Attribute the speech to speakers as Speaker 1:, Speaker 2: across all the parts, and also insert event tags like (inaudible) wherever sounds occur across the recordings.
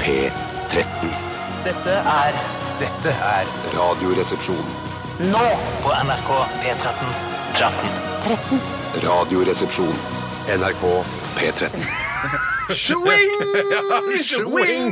Speaker 1: P13.
Speaker 2: Dette er
Speaker 3: Dette er
Speaker 1: Radioresepsjon.
Speaker 2: nå
Speaker 3: på NRK P13.
Speaker 1: Radioresepsjon. NRK P13.
Speaker 4: Swing!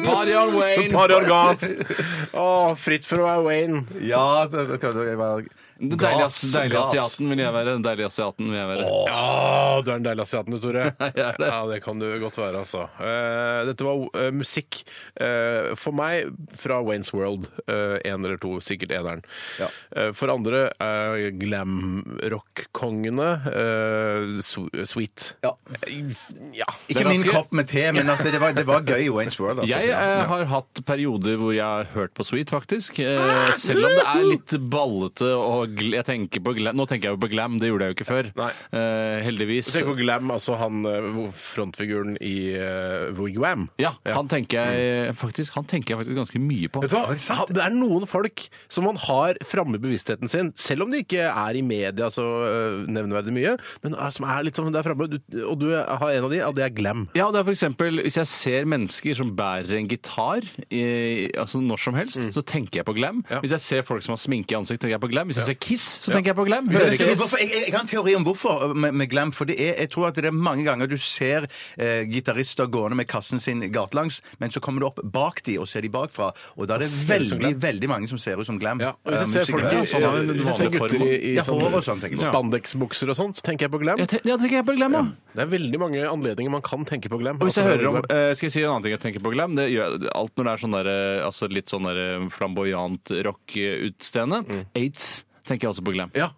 Speaker 5: Party on Wayne!
Speaker 4: Marion Gath. Å, fritt fra Wayne.
Speaker 6: Ja, det, det, det, det, var-
Speaker 5: Den deilige
Speaker 6: Gas,
Speaker 5: as- deilige
Speaker 6: gas.
Speaker 5: asiaten vil jeg være. Den deilige asiaten vil jeg være.
Speaker 4: Ja, du er en deilig asiaten du,
Speaker 6: (laughs)
Speaker 4: Tore.
Speaker 5: jeg er det.
Speaker 4: Ja, det kan du godt være, altså. Eh, dette var eh, musikk eh, for meg fra Waynes World. Én eller to, sikkert eneren. Eh, for andre er glamrock-kongene eh, su- Sweet. Eh,
Speaker 6: Ja.
Speaker 4: Ja.
Speaker 6: Ikke min kopp med te, men at det, det, var, det var gøy i Wayne's World. Altså.
Speaker 5: Jeg eh, har hatt perioder hvor jeg har hørt på Sweet, faktisk. Eh, selv om det er litt ballete og gl jeg tenker på glam. Nå tenker jeg jo på glam, det gjorde jeg jo ikke før.
Speaker 4: Nei.
Speaker 5: Eh, heldigvis.
Speaker 4: Tenk på Glam, altså han eh, frontfiguren i eh, Wigwam.
Speaker 5: Ja, han tenker jeg faktisk, han tenker jeg faktisk ganske mye på.
Speaker 4: Vet du hva? Han- Det er noen folk som man har framme i bevisstheten sin, selv om de ikke er i media så øh, nevneverdig mye, men er, som er litt sånn der framme. Du- Og du har en av de, og det er Glam.
Speaker 5: Ja, det er for eksempel, Hvis jeg ser mennesker som bærer en gitar eh, altså når som helst, så tenker jeg på glam.
Speaker 4: Ja.
Speaker 5: Hvis jeg ser folk som har sminke i ansiktet, tenker jeg på glam. Hvis jeg ser Kiss, så tenker jeg på glam. Hvis
Speaker 6: Jeg,
Speaker 5: jeg ser
Speaker 6: hvorfor- jeg, jeg, jeg har en teori om hvorfor eh, med, med Glam. For det er, jeg tror at det er mange ganger du ser eh, gitarister gående med kassen sin gatelangs, men så kommer du opp bak de og ser de bakfra. Og da er det
Speaker 4: ser ut som
Speaker 6: veldig veldig mange som ser ut som Glam.
Speaker 4: og hvis jeg
Speaker 6: eh,
Speaker 4: ser, folk,
Speaker 6: musikere.
Speaker 5: Ja,
Speaker 4: i-
Speaker 5: sånn er det
Speaker 4: øh,
Speaker 5: den
Speaker 4: hvis jeg ser
Speaker 5: vanlige
Speaker 4: gutter i,
Speaker 5: formen.
Speaker 4: i
Speaker 6: Ja, hår og sånn,
Speaker 4: sånn
Speaker 6: tenker jeg.
Speaker 4: spandexbukser og sånn, så tenker jeg på Glam.
Speaker 5: ja, te- ja, tenker jeg på glam, ja.
Speaker 4: Det er veldig mange anledninger man kan tenke på Glam.
Speaker 5: Og hvis jeg
Speaker 4: Altså,
Speaker 5: hører om,
Speaker 4: Wigwam.
Speaker 5: eh, Skal jeg si en annen ting jeg tenker på glam? Det gjør jeg, alt når det er sånn der, eh, altså litt sånn der eh, flamboyant rock-utseende.
Speaker 4: Mm.
Speaker 5: Aids tenker jeg også på glam.
Speaker 4: ja.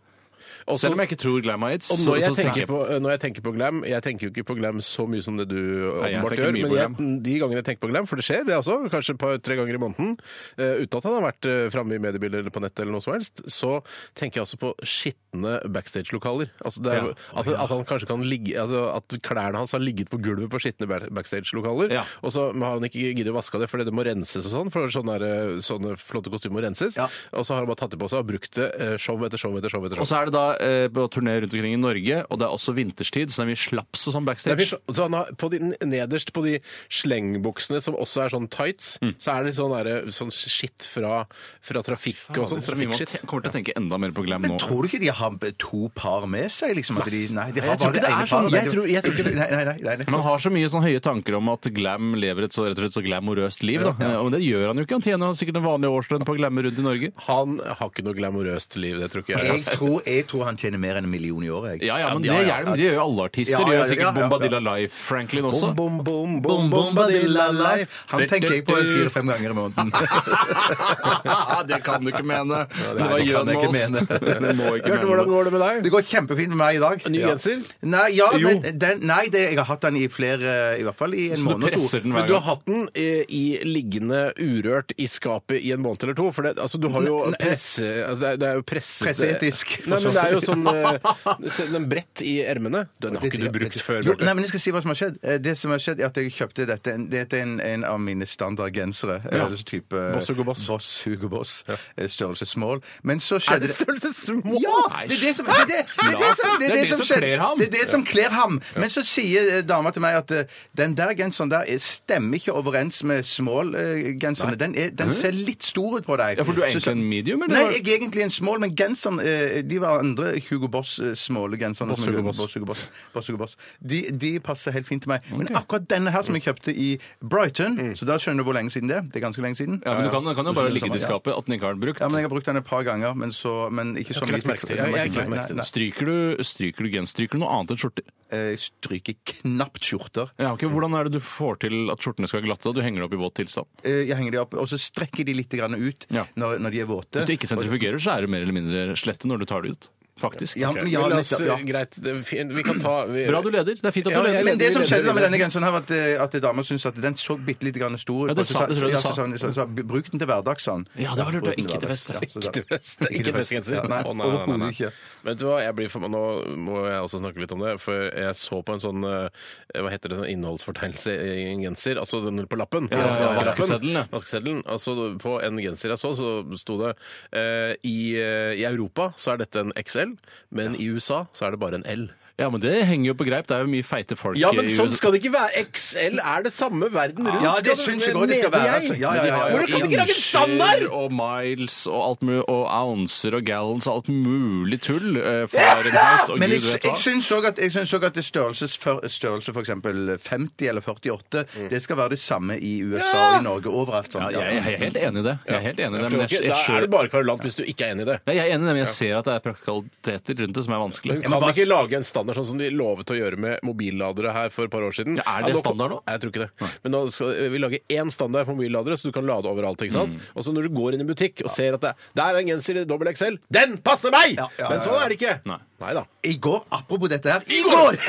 Speaker 4: Også-
Speaker 5: Selv om jeg ikke tror glam har aids.
Speaker 4: Og
Speaker 5: så-
Speaker 4: når,
Speaker 5: så
Speaker 4: jeg tenker på, eh, når jeg tenker på glam Jeg tenker jo ikke på glam så mye som det du
Speaker 5: jeg
Speaker 4: åpenbart
Speaker 5: tenker
Speaker 4: gjør,
Speaker 5: mye
Speaker 4: men
Speaker 5: på
Speaker 4: jeg, de gangene jeg tenker på glam, for det skjer det også, kanskje et par-tre ganger i måneden, eh, uten at han har vært uh, framme i mediebildet eller på nettet eller noe som helst, så tenker jeg også på skitne backstage-lokaler. Altså det er,
Speaker 5: Ja.
Speaker 4: at, at han kanskje kan ligge altså At klærne hans har ligget på gulvet på skitne ba- backstage-lokaler,
Speaker 5: Ja.
Speaker 4: og så har han ikke giddet å vaske det fordi det må renses og sånn, for sånne, der, eh, sånne flotte kostymer må renses,
Speaker 6: Ja.
Speaker 4: og så har han bare tatt det på seg og brukt det eh, show etter show etter show etter show.
Speaker 5: Og så er det da eh, på turné rundt omkring i Norge, og det er også vinterstid, så det er mye slaps og sånn
Speaker 4: Det er
Speaker 5: backstage.
Speaker 4: fint. Så han har, på de, nederst på de slengbuksene som også er sånn tights,
Speaker 6: Mm.
Speaker 4: så er det sånn, derre- sånn skitt fra, fra trafikk og sånn.
Speaker 5: vi må te-
Speaker 4: Trafikkskitt.
Speaker 5: kommer til å tenke enda mer på glam nå.
Speaker 6: Men tror du ikke de har to par med seg? Liksom, at de, nei, de har
Speaker 5: Jeg tror
Speaker 6: bare
Speaker 5: ikke det
Speaker 6: ene
Speaker 5: er sånn.
Speaker 6: paret. Nei,
Speaker 5: Jeg
Speaker 6: du-
Speaker 5: tror- jeg tror ikke det-
Speaker 6: Nei, nei, nei, nei, nei.
Speaker 5: Man har så mye sånn høye tanker om at glam lever et så, rett og slett så glamorøst liv. Da. Eh, Men det gjør han jo ikke. Han tjener sikkert en vanlig årslønn på å glamme rundt i Norge.
Speaker 4: Han har ikke noe glamorøst liv, det tror ikke jeg.
Speaker 6: Jeg tror, jeg tror han tjener mer enn en million i året. jeg.
Speaker 5: Ja, ja, men
Speaker 6: Ja,
Speaker 5: det
Speaker 6: ja,
Speaker 5: gjør de. Det gjør jo alle artister.
Speaker 6: Ja,
Speaker 5: De
Speaker 6: ja,
Speaker 5: gjør
Speaker 6: ja, ja,
Speaker 5: sikkert
Speaker 6: ja.
Speaker 5: Bombadilla Life, Franklin også.
Speaker 4: (laughs) Bom, bom,
Speaker 6: Bom,
Speaker 4: bom,
Speaker 6: bom, badilla, life. Han
Speaker 4: Du, du,
Speaker 6: tenker jeg på en
Speaker 4: du.
Speaker 6: fire-fem ganger i måneden. (laughs)
Speaker 5: det kan du ikke mene.
Speaker 6: Nei,
Speaker 5: det var
Speaker 6: det kan
Speaker 5: jøden
Speaker 6: jeg
Speaker 5: med
Speaker 6: ikke
Speaker 5: oss.
Speaker 6: mene.
Speaker 5: Du må ikke
Speaker 4: Bjarte,
Speaker 5: mene
Speaker 4: hvordan
Speaker 5: det.
Speaker 4: går det med deg?
Speaker 6: Det går kjempefint med meg i dag.
Speaker 4: Ny
Speaker 6: Ja.
Speaker 4: genser?
Speaker 6: Nei, ja,
Speaker 4: Jo.
Speaker 6: men den, nei det, jeg har hatt den i flere eh, I hvert fall i en
Speaker 5: Så du
Speaker 6: måned og
Speaker 5: presser
Speaker 6: to.
Speaker 5: den
Speaker 4: Men
Speaker 5: hver
Speaker 4: du har
Speaker 5: gang.
Speaker 4: hatt den i, i liggende urørt i skapet i en måned eller to? For det, altså, du har jo
Speaker 6: Nei, nei.
Speaker 4: presse... Altså, det, er, det er jo presset
Speaker 6: Presseetisk.
Speaker 4: Nei, men det er jo sånn
Speaker 6: (laughs)
Speaker 4: eh, se- Den brett i ermene. Den har ikke du brukt før,
Speaker 6: Jo,
Speaker 4: Bjarte.
Speaker 6: nei, men jeg skal si hva som har skjedd. Eh, Det som har skjedd er at jeg kjøpte dette Dette er en, en av mine standardgensere. Eh,
Speaker 4: Ja.
Speaker 6: Ja. sånn Type
Speaker 4: Boss Hugo Boss.
Speaker 6: Boss, Hugo Boss eh, Størrelse small. Men så
Speaker 4: Er
Speaker 6: skjedde
Speaker 4: det størrelse små?
Speaker 6: Ja! Det er det som det er det- det er det som- det er det som skjer.
Speaker 5: kler ham.
Speaker 6: Det er det som kler ham. Men så sier eh, dama til meg at eh, den der genseren der eh, stemmer ikke overens med small-genserne. Den, er- den ser litt stor ut på deg.
Speaker 5: Ja, for du er
Speaker 6: Så-
Speaker 5: egentlig en medium, eller?
Speaker 6: Nei, jeg er egentlig en small, men genseren eh, De var andre Hugo Boss-smale genserne.
Speaker 4: Boss
Speaker 6: som jeg-
Speaker 4: Hugo Boss.
Speaker 6: Boss Hugo Boss. Boss Hugo Boss. De, de passer helt fint til meg. Men akkurat denne her som jeg kjøpte i Brighton, så da skjønner du hvor lenge siden det er. Det er ganske lenge siden.
Speaker 5: Ja, men du kan, den kan jo bare
Speaker 6: skjønner
Speaker 5: ligge
Speaker 6: det
Speaker 5: i
Speaker 6: samme,
Speaker 5: skapet at den ikke har den brukt.
Speaker 6: Ja, men Jeg har brukt den et par ganger, men, så, men ikke så
Speaker 4: ikke lagt merke til det. Jeg har ikke lagt merke til det.
Speaker 5: Stryker du, stryker du gens? Stryker du noe annet enn skjorter?
Speaker 6: Jeg eh, stryker knapt skjorter.
Speaker 5: Ja, ok. Hvordan er det du får til at skjortene skal være glatte? da? Du henger det opp i våt tilstand.
Speaker 6: Eh, Jeg henger de opp, og så strekker de litt grann ut
Speaker 5: Ja.
Speaker 6: når, når de er våte.
Speaker 5: Hvis du ikke sentrifugerer, så er du mer eller mindre slette når du tar det ut. Faktisk.
Speaker 6: Ja, men ja,
Speaker 4: Men la oss, eh,
Speaker 6: nettopp, ja.
Speaker 5: eh,
Speaker 4: Greit, det er fint. Vi kan ta vi,
Speaker 5: Bra du leder. Det er fint at du
Speaker 4: Ja, jeg
Speaker 5: leder.
Speaker 6: Men det som
Speaker 4: Vi
Speaker 6: skjedde da
Speaker 4: redder
Speaker 6: med denne genseren, her var at, eh, at dama syntes at den så bitte litt grann stor ut.
Speaker 5: Ja, det
Speaker 6: og så
Speaker 5: sa- det tror jeg
Speaker 6: ja,
Speaker 5: du
Speaker 6: så
Speaker 5: sa.
Speaker 6: hun- så sa hun, Bruk den til hverdags, sa hun.
Speaker 5: Ja, det var lurt,
Speaker 6: bruk den
Speaker 5: ikke til
Speaker 6: hverdags.
Speaker 5: fest, ja.
Speaker 6: Ja, så
Speaker 4: (laughs)
Speaker 6: da-
Speaker 4: Ikke til fest. Ikke til festgenser.
Speaker 6: Ja, nei,
Speaker 4: Å, nei, nei, nei,
Speaker 6: overhodet
Speaker 4: nei.
Speaker 6: ikke.
Speaker 4: Men vet du hva, jeg blir for, nå må jeg også snakke litt om det, for jeg så på en sånn eh, hva heter det, sånn innholdsfortegnelse i en genser, altså den på lappen.
Speaker 5: ja, ja, ja.
Speaker 4: Vaskelappen.
Speaker 5: Vaskeseddelen, ja.
Speaker 4: Vaskeseddelen. Altså på en genser jeg så, så sto det eh, i, eh, i Europa så er dette en XL, men i USA så er det bare en L.
Speaker 5: Ja, men det henger jo på greip. Det er jo mye feite folk
Speaker 4: Ja, men
Speaker 5: i
Speaker 4: sånn
Speaker 5: USA.
Speaker 4: skal det ikke være. XL er det samme verden rundt.
Speaker 6: Ja, det
Speaker 4: skal
Speaker 6: syns jeg også det
Speaker 4: mener
Speaker 6: skal være,
Speaker 4: jeg.
Speaker 6: altså. Ja, ja, ja, ja.
Speaker 4: Hvordan kan de ikke lage en standard?!
Speaker 5: Incher og miles og alt mulig, og ouncer og gallons og alt mulig tull. eh, Fahrenheit og
Speaker 6: Men jeg,
Speaker 5: gud vet
Speaker 6: jeg
Speaker 5: hva.
Speaker 6: syns òg at, jeg syns også at det størrelses, for, størrelse f.eks. 50 eller 48, det skal være det samme i USA og i Norge overalt. Sånn.
Speaker 5: Mm. Ja, jeg, jeg er helt enig i det. Jeg er helt enig i det, men jeg,
Speaker 4: Ok,
Speaker 5: jeg,
Speaker 4: Da er
Speaker 5: skjønner-
Speaker 4: du bare kverulant hvis du ikke er enig i det.
Speaker 5: Nei, jeg er enig i det, men jeg ser at det er praktikaliteter rundt det som er vanskelig.
Speaker 4: Men
Speaker 6: må
Speaker 4: kan de
Speaker 6: bare-
Speaker 4: ikke lage en standard sånn som de lovet å gjøre med mobilladere her for et par år siden?
Speaker 5: Ja, er det
Speaker 4: kom-
Speaker 5: standard nå?
Speaker 4: Nei, Jeg tror ikke det. Men nå skal vi lage én standard for mobilladere, så du kan lade overalt. ikke sant? Og så når du går inn i butikk og ser at det, der er en genser i dobbel XL, den passer meg!
Speaker 6: Ja, ja,
Speaker 4: Men
Speaker 6: ja,
Speaker 4: sånn
Speaker 6: ja.
Speaker 4: er det ikke.
Speaker 5: Nei.
Speaker 4: da.
Speaker 6: I går, apropos dette her I går! (laughs)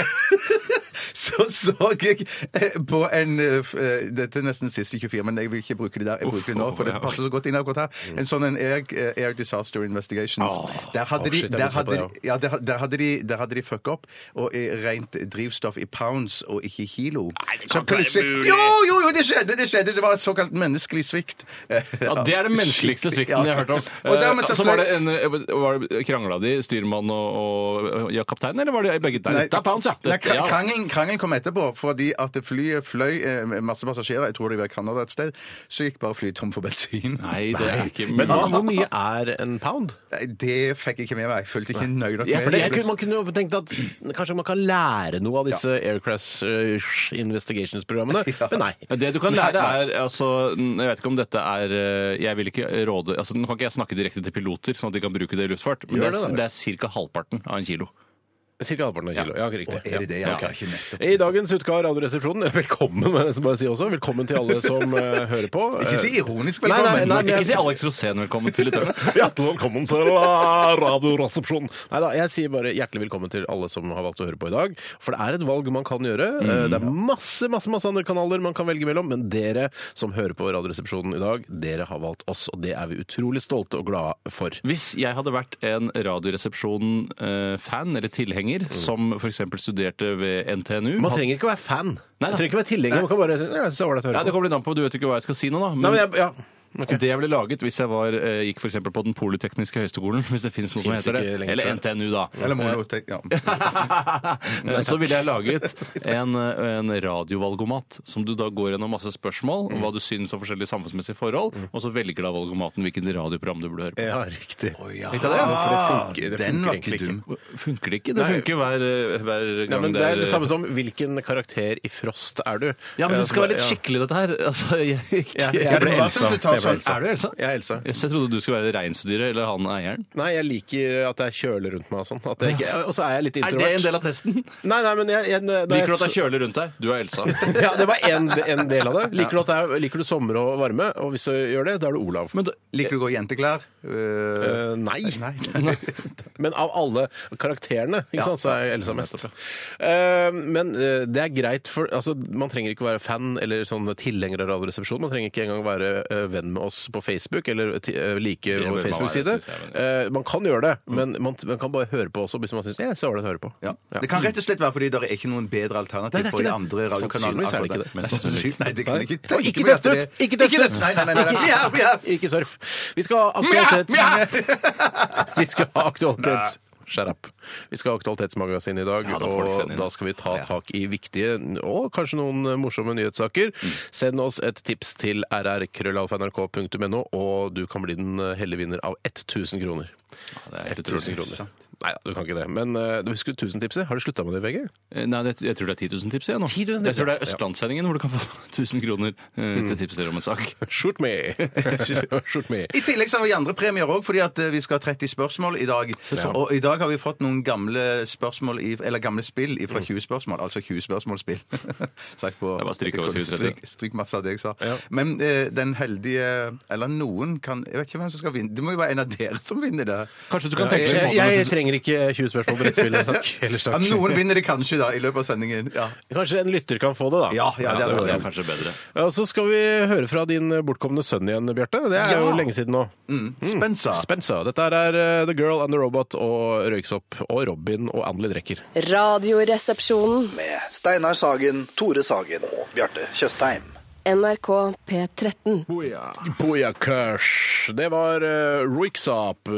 Speaker 6: så så jeg eh, på en eh, f- eh, Dette er nesten siste 24, men jeg vil ikke bruke det der. Jeg
Speaker 5: Uff,
Speaker 6: bruker det nå,
Speaker 5: uff,
Speaker 6: for det
Speaker 5: ja.
Speaker 6: passer så godt inn akkurat her. En sånn en Eric, eh, Eric Disaster Investigations.
Speaker 5: Mm. Åh,
Speaker 6: Der
Speaker 4: åh,
Speaker 6: hadde de
Speaker 4: shit, jeg
Speaker 6: der
Speaker 4: vil se på
Speaker 6: hadde,
Speaker 4: det,
Speaker 6: de- ja, der, der hadde de, der hadde de fucka opp, og i rent drivstoff i pounds og ikke i kilo. Nei,
Speaker 5: det kan ikke være mulig.
Speaker 6: Jo, jo, jo, det skjedde! Det skjedde, det var et såkalt menneskelig svikt. Eh,
Speaker 5: Ja, Det er den menneskeligste
Speaker 6: (laughs) skikkelig,
Speaker 5: svikten
Speaker 6: ja.
Speaker 5: jeg har (laughs) hørt om.
Speaker 6: Og dermed
Speaker 5: Eh,
Speaker 6: så
Speaker 5: så var det en, eh, var det Krangla de, styrmann og, og ja, kaptein, eller var det begge der?
Speaker 6: Nei,
Speaker 5: Dette er pounds, ja.
Speaker 6: Nei,
Speaker 5: Dette-
Speaker 6: kra-
Speaker 5: ja.
Speaker 6: krangelen, krangelen kom etterpå, fordi at flyet fløy eh, masse passasjerer, jeg tror de var i Canada et sted, så gikk bare flyet tom for bensin.
Speaker 5: Nei, det er ikke
Speaker 4: Men
Speaker 5: mulig.
Speaker 4: hvor mye er en pound?
Speaker 6: Nei, Det fikk jeg ikke med meg. Jeg følte ikke nøye nok
Speaker 5: Ja,
Speaker 6: med
Speaker 5: for det
Speaker 4: Jeg
Speaker 5: er
Speaker 4: kunne, man kunne jo tenkt at kanskje man kan lære noe av disse Aircrash eh, Investigations-programmene,
Speaker 6: (laughs) Ja.
Speaker 4: men nei.
Speaker 5: Ja, Det du kan lære er altså, n- Jeg vet ikke om dette er eh, Jeg vil ikke råde altså, Nå kan ikke jeg snakke direkte til piloter, sånn at de kan bruke det i luftfart, men
Speaker 4: Gjør
Speaker 5: det er,
Speaker 4: det da,
Speaker 5: det er ca. halvparten av en kilo.
Speaker 4: Cirka halvparten av kilo. Ja, riktig.
Speaker 6: Er det det? Jeg
Speaker 4: Ja.
Speaker 6: klarer ikke nettopp.
Speaker 4: I dagens utgave av Radioresepsjonen (laughs) Velkommen, må jeg nesten bare si også. Velkommen til alle som eh, hører på.
Speaker 6: Ikke så ironisk
Speaker 4: Nei,
Speaker 6: velkommen.
Speaker 4: nei, men
Speaker 5: Ikke
Speaker 4: jeg-
Speaker 5: si Alex Rosén velkommen til Litauen.
Speaker 4: Hjertelig velkommen til eh, Radioresepsjonen. Nei da, jeg sier bare hjertelig velkommen til alle som har valgt å høre på i dag. For det er et valg man kan gjøre. Eh, Det er masse masse, masse andre kanaler man kan velge mellom, men dere som hører på Radioresepsjonen i dag, dere har valgt oss, og det er vi utrolig stolte og glade for.
Speaker 5: (laughs) Hvis jeg hadde vært en Radioresepsjonen-fan eller tilhenger,
Speaker 4: Mm.
Speaker 5: som f.eks. studerte ved NTNU
Speaker 4: Man trenger ikke å være fan.
Speaker 5: Nei,
Speaker 4: Man
Speaker 5: da.
Speaker 4: trenger ikke å være tilhenger. Man kan bare si ja, jeg synes det er ålreit å
Speaker 5: Nei, det
Speaker 4: høre på.
Speaker 5: kommer litt an på, du vet jo ikke hva jeg skal si nå, da. Men,
Speaker 4: Nei, men jeg, ja. Ok.
Speaker 5: Det jeg ville laget hvis jeg var, eh, gikk f.eks. på Den polytekniske høgskolen, (laughs) hvis det fins noe som
Speaker 4: Finnes
Speaker 5: heter
Speaker 4: ikke
Speaker 5: det.
Speaker 4: lenger, tror
Speaker 5: Eller
Speaker 4: jeg.
Speaker 5: NTNU, da.
Speaker 6: Eller må jo tenke,
Speaker 5: (laughs)
Speaker 6: ja.
Speaker 5: Eh, Så ville jeg laget en, eh, en radiovalgomat, som du da går gjennom masse spørsmål om hva du syns om forskjellige samfunnsmessige forhold, og så velger da valgomaten hvilken radioprogram du burde høre på.
Speaker 4: Ja, riktig.
Speaker 6: ja. Ah,
Speaker 4: Litt av det, ja, for det funker, det
Speaker 6: Den
Speaker 4: funker
Speaker 6: var
Speaker 4: egentlig
Speaker 6: ikke dum.
Speaker 5: Funker det ikke? Det
Speaker 4: Nei.
Speaker 5: funker hver, hver gang
Speaker 4: Ja, men det er
Speaker 5: er-
Speaker 4: det samme som hvilken karakter i Frost er du? Eh,
Speaker 5: Ja, men det skal være litt
Speaker 4: Ja.
Speaker 5: skikkelig, dette her. (laughs) Altså, jeg,
Speaker 4: Ja,
Speaker 5: jeg,
Speaker 4: jeg
Speaker 6: Ja,
Speaker 4: ble
Speaker 6: det var
Speaker 4: Elsa.
Speaker 6: sånn som tar
Speaker 4: Jeg ble
Speaker 6: sånn-
Speaker 4: Elsa.
Speaker 5: Er du Elsa?
Speaker 4: Jeg er Elsa.
Speaker 5: Yes, jeg trodde du skulle være reinsdyret eller han eieren.
Speaker 4: Nei, jeg liker at det er kjøle rundt meg og sånn. At jeg ikke, og så er jeg
Speaker 5: Er
Speaker 4: litt introvert.
Speaker 5: det en del av testen?
Speaker 4: Nei, nei, men jeg, jeg, da jeg
Speaker 5: Liker du at det er
Speaker 4: så-
Speaker 5: kjølig rundt deg? Du er Elsa.
Speaker 4: (laughs) Ja, det var en, en del av det. Liker du, at det er, liker du sommer og varme? Og hvis du gjør det, da er du Olav.
Speaker 5: (laughs) Men da,
Speaker 6: Liker du å gå i jenteklær? Uh,
Speaker 4: Eh, (laughs) nei.
Speaker 6: nei.
Speaker 4: Men av alle karakterene, ikke sant, så er jeg Elsa mest.
Speaker 5: nettopp,
Speaker 4: Eh, men eh, det er greit, for altså, man trenger ikke være fan eller sånn tilhenger av Radioresepsjonen. Man trenger ikke engang være eh, venn med oss på Facebook eller ti- eh, like
Speaker 5: bør
Speaker 4: vår
Speaker 5: man
Speaker 4: Facebook-side.
Speaker 5: være, synes jeg, Mm.
Speaker 4: Eh, man kan gjøre det, men man, man kan bare høre på også hvis man syns det er ålreit å høre på.
Speaker 6: Ja. Det kan rett og slett være fordi det er ikke noen bedre alternativ
Speaker 4: Nei, det er
Speaker 6: på
Speaker 4: ikke
Speaker 6: de
Speaker 4: det.
Speaker 6: andre radiokanalene.
Speaker 4: Sannsynligvis er det ikke det.
Speaker 6: akkurat der.
Speaker 4: Men
Speaker 6: Nei,
Speaker 4: sannsynligvis.
Speaker 6: (laughs) Nei, det kan jeg ikke
Speaker 4: Og
Speaker 6: tenke
Speaker 4: ikke
Speaker 6: meg
Speaker 4: test
Speaker 6: at det-
Speaker 4: ut! Ikke test
Speaker 6: Ikke
Speaker 4: ut!
Speaker 6: test! Nei, nei,
Speaker 4: (laughs)
Speaker 6: nei, nei, nei. Vi er- vi er-
Speaker 4: Ikke surf. Vi skal ha aktualitets... (laughs) Vi skal ha aktualitets... Shut up. Vi skal ha Aktualitetsmagasin i dag,
Speaker 5: Ja, da får folk
Speaker 4: og
Speaker 5: sende inn.
Speaker 4: da skal vi ta tak i viktige og kanskje noen eh, morsomme nyhetssaker. Send oss et tips til rrkrøllalfa.nrk.no, og du kan bli den heldige vinner av 1000 kroner.
Speaker 5: det er helt
Speaker 4: 1000
Speaker 5: utrolig.
Speaker 4: kroner. Nei da, du kan ikke det. Men eh, du husker 1000-tipset? Har du slutta med det, VG?
Speaker 5: Eh, Nei, det, jeg tror det er 10 000 tips jeg nå.
Speaker 4: 10 000 tips,
Speaker 5: jeg tror det
Speaker 4: ja.
Speaker 5: er Østlandssendingen hvor du kan få (laughs) 1000 kroner eh, hvis du tipser om en sak.
Speaker 4: Shoot (laughs) me! Shoot me.
Speaker 6: I tillegg så har vi andre premier òg, fordi at eh, vi skal ha 30 spørsmål i dag.
Speaker 5: sånn.
Speaker 6: Og i dag har vi fått noen gamle spørsmål i, eller gamle spill fra 20 spørsmål. Altså 20 spørsmålsspill. (laughs) Sagt på
Speaker 5: Mm. Det er bare stryk over, skriv
Speaker 6: stryk, stryk masse av det jeg sa. Men eh, den heldige, eller noen, kan Jeg vet ikke hvem som skal vinne. Det må jo være en av dere som vinner det.
Speaker 5: (laughs) Kanskje du kan
Speaker 4: Jeg,
Speaker 5: tenke deg
Speaker 4: jeg,
Speaker 5: en måte
Speaker 4: jeg trenger ikke 20 spørsmål på rettspillet,
Speaker 6: (laughs)
Speaker 4: takk. Ellers
Speaker 6: Ja,
Speaker 4: takk.
Speaker 6: noen vinner det kanskje, da, i løpet av sendingen. Ja,
Speaker 4: Kanskje en lytter kan få det, da.
Speaker 6: ja, ja
Speaker 5: Ja,
Speaker 6: det er
Speaker 5: det
Speaker 6: det.
Speaker 5: er kanskje bedre.
Speaker 4: Ja, og Så skal vi høre fra din bortkomne sønn igjen, Bjarte. Det er
Speaker 6: Ja.
Speaker 4: jo lenge siden nå.
Speaker 6: Mm. Spencer.
Speaker 4: Spencer. Dette her er eh, The Girl and the Robot og Røyksopp og Robin og Anneli Drecker.
Speaker 7: Radioresepsjonen.
Speaker 8: med Steinar Sagen, Tore Sagen og Bjarte Tjøstheim.
Speaker 7: NRK P13.
Speaker 4: Booyah Kush. Det var uh, Roiksap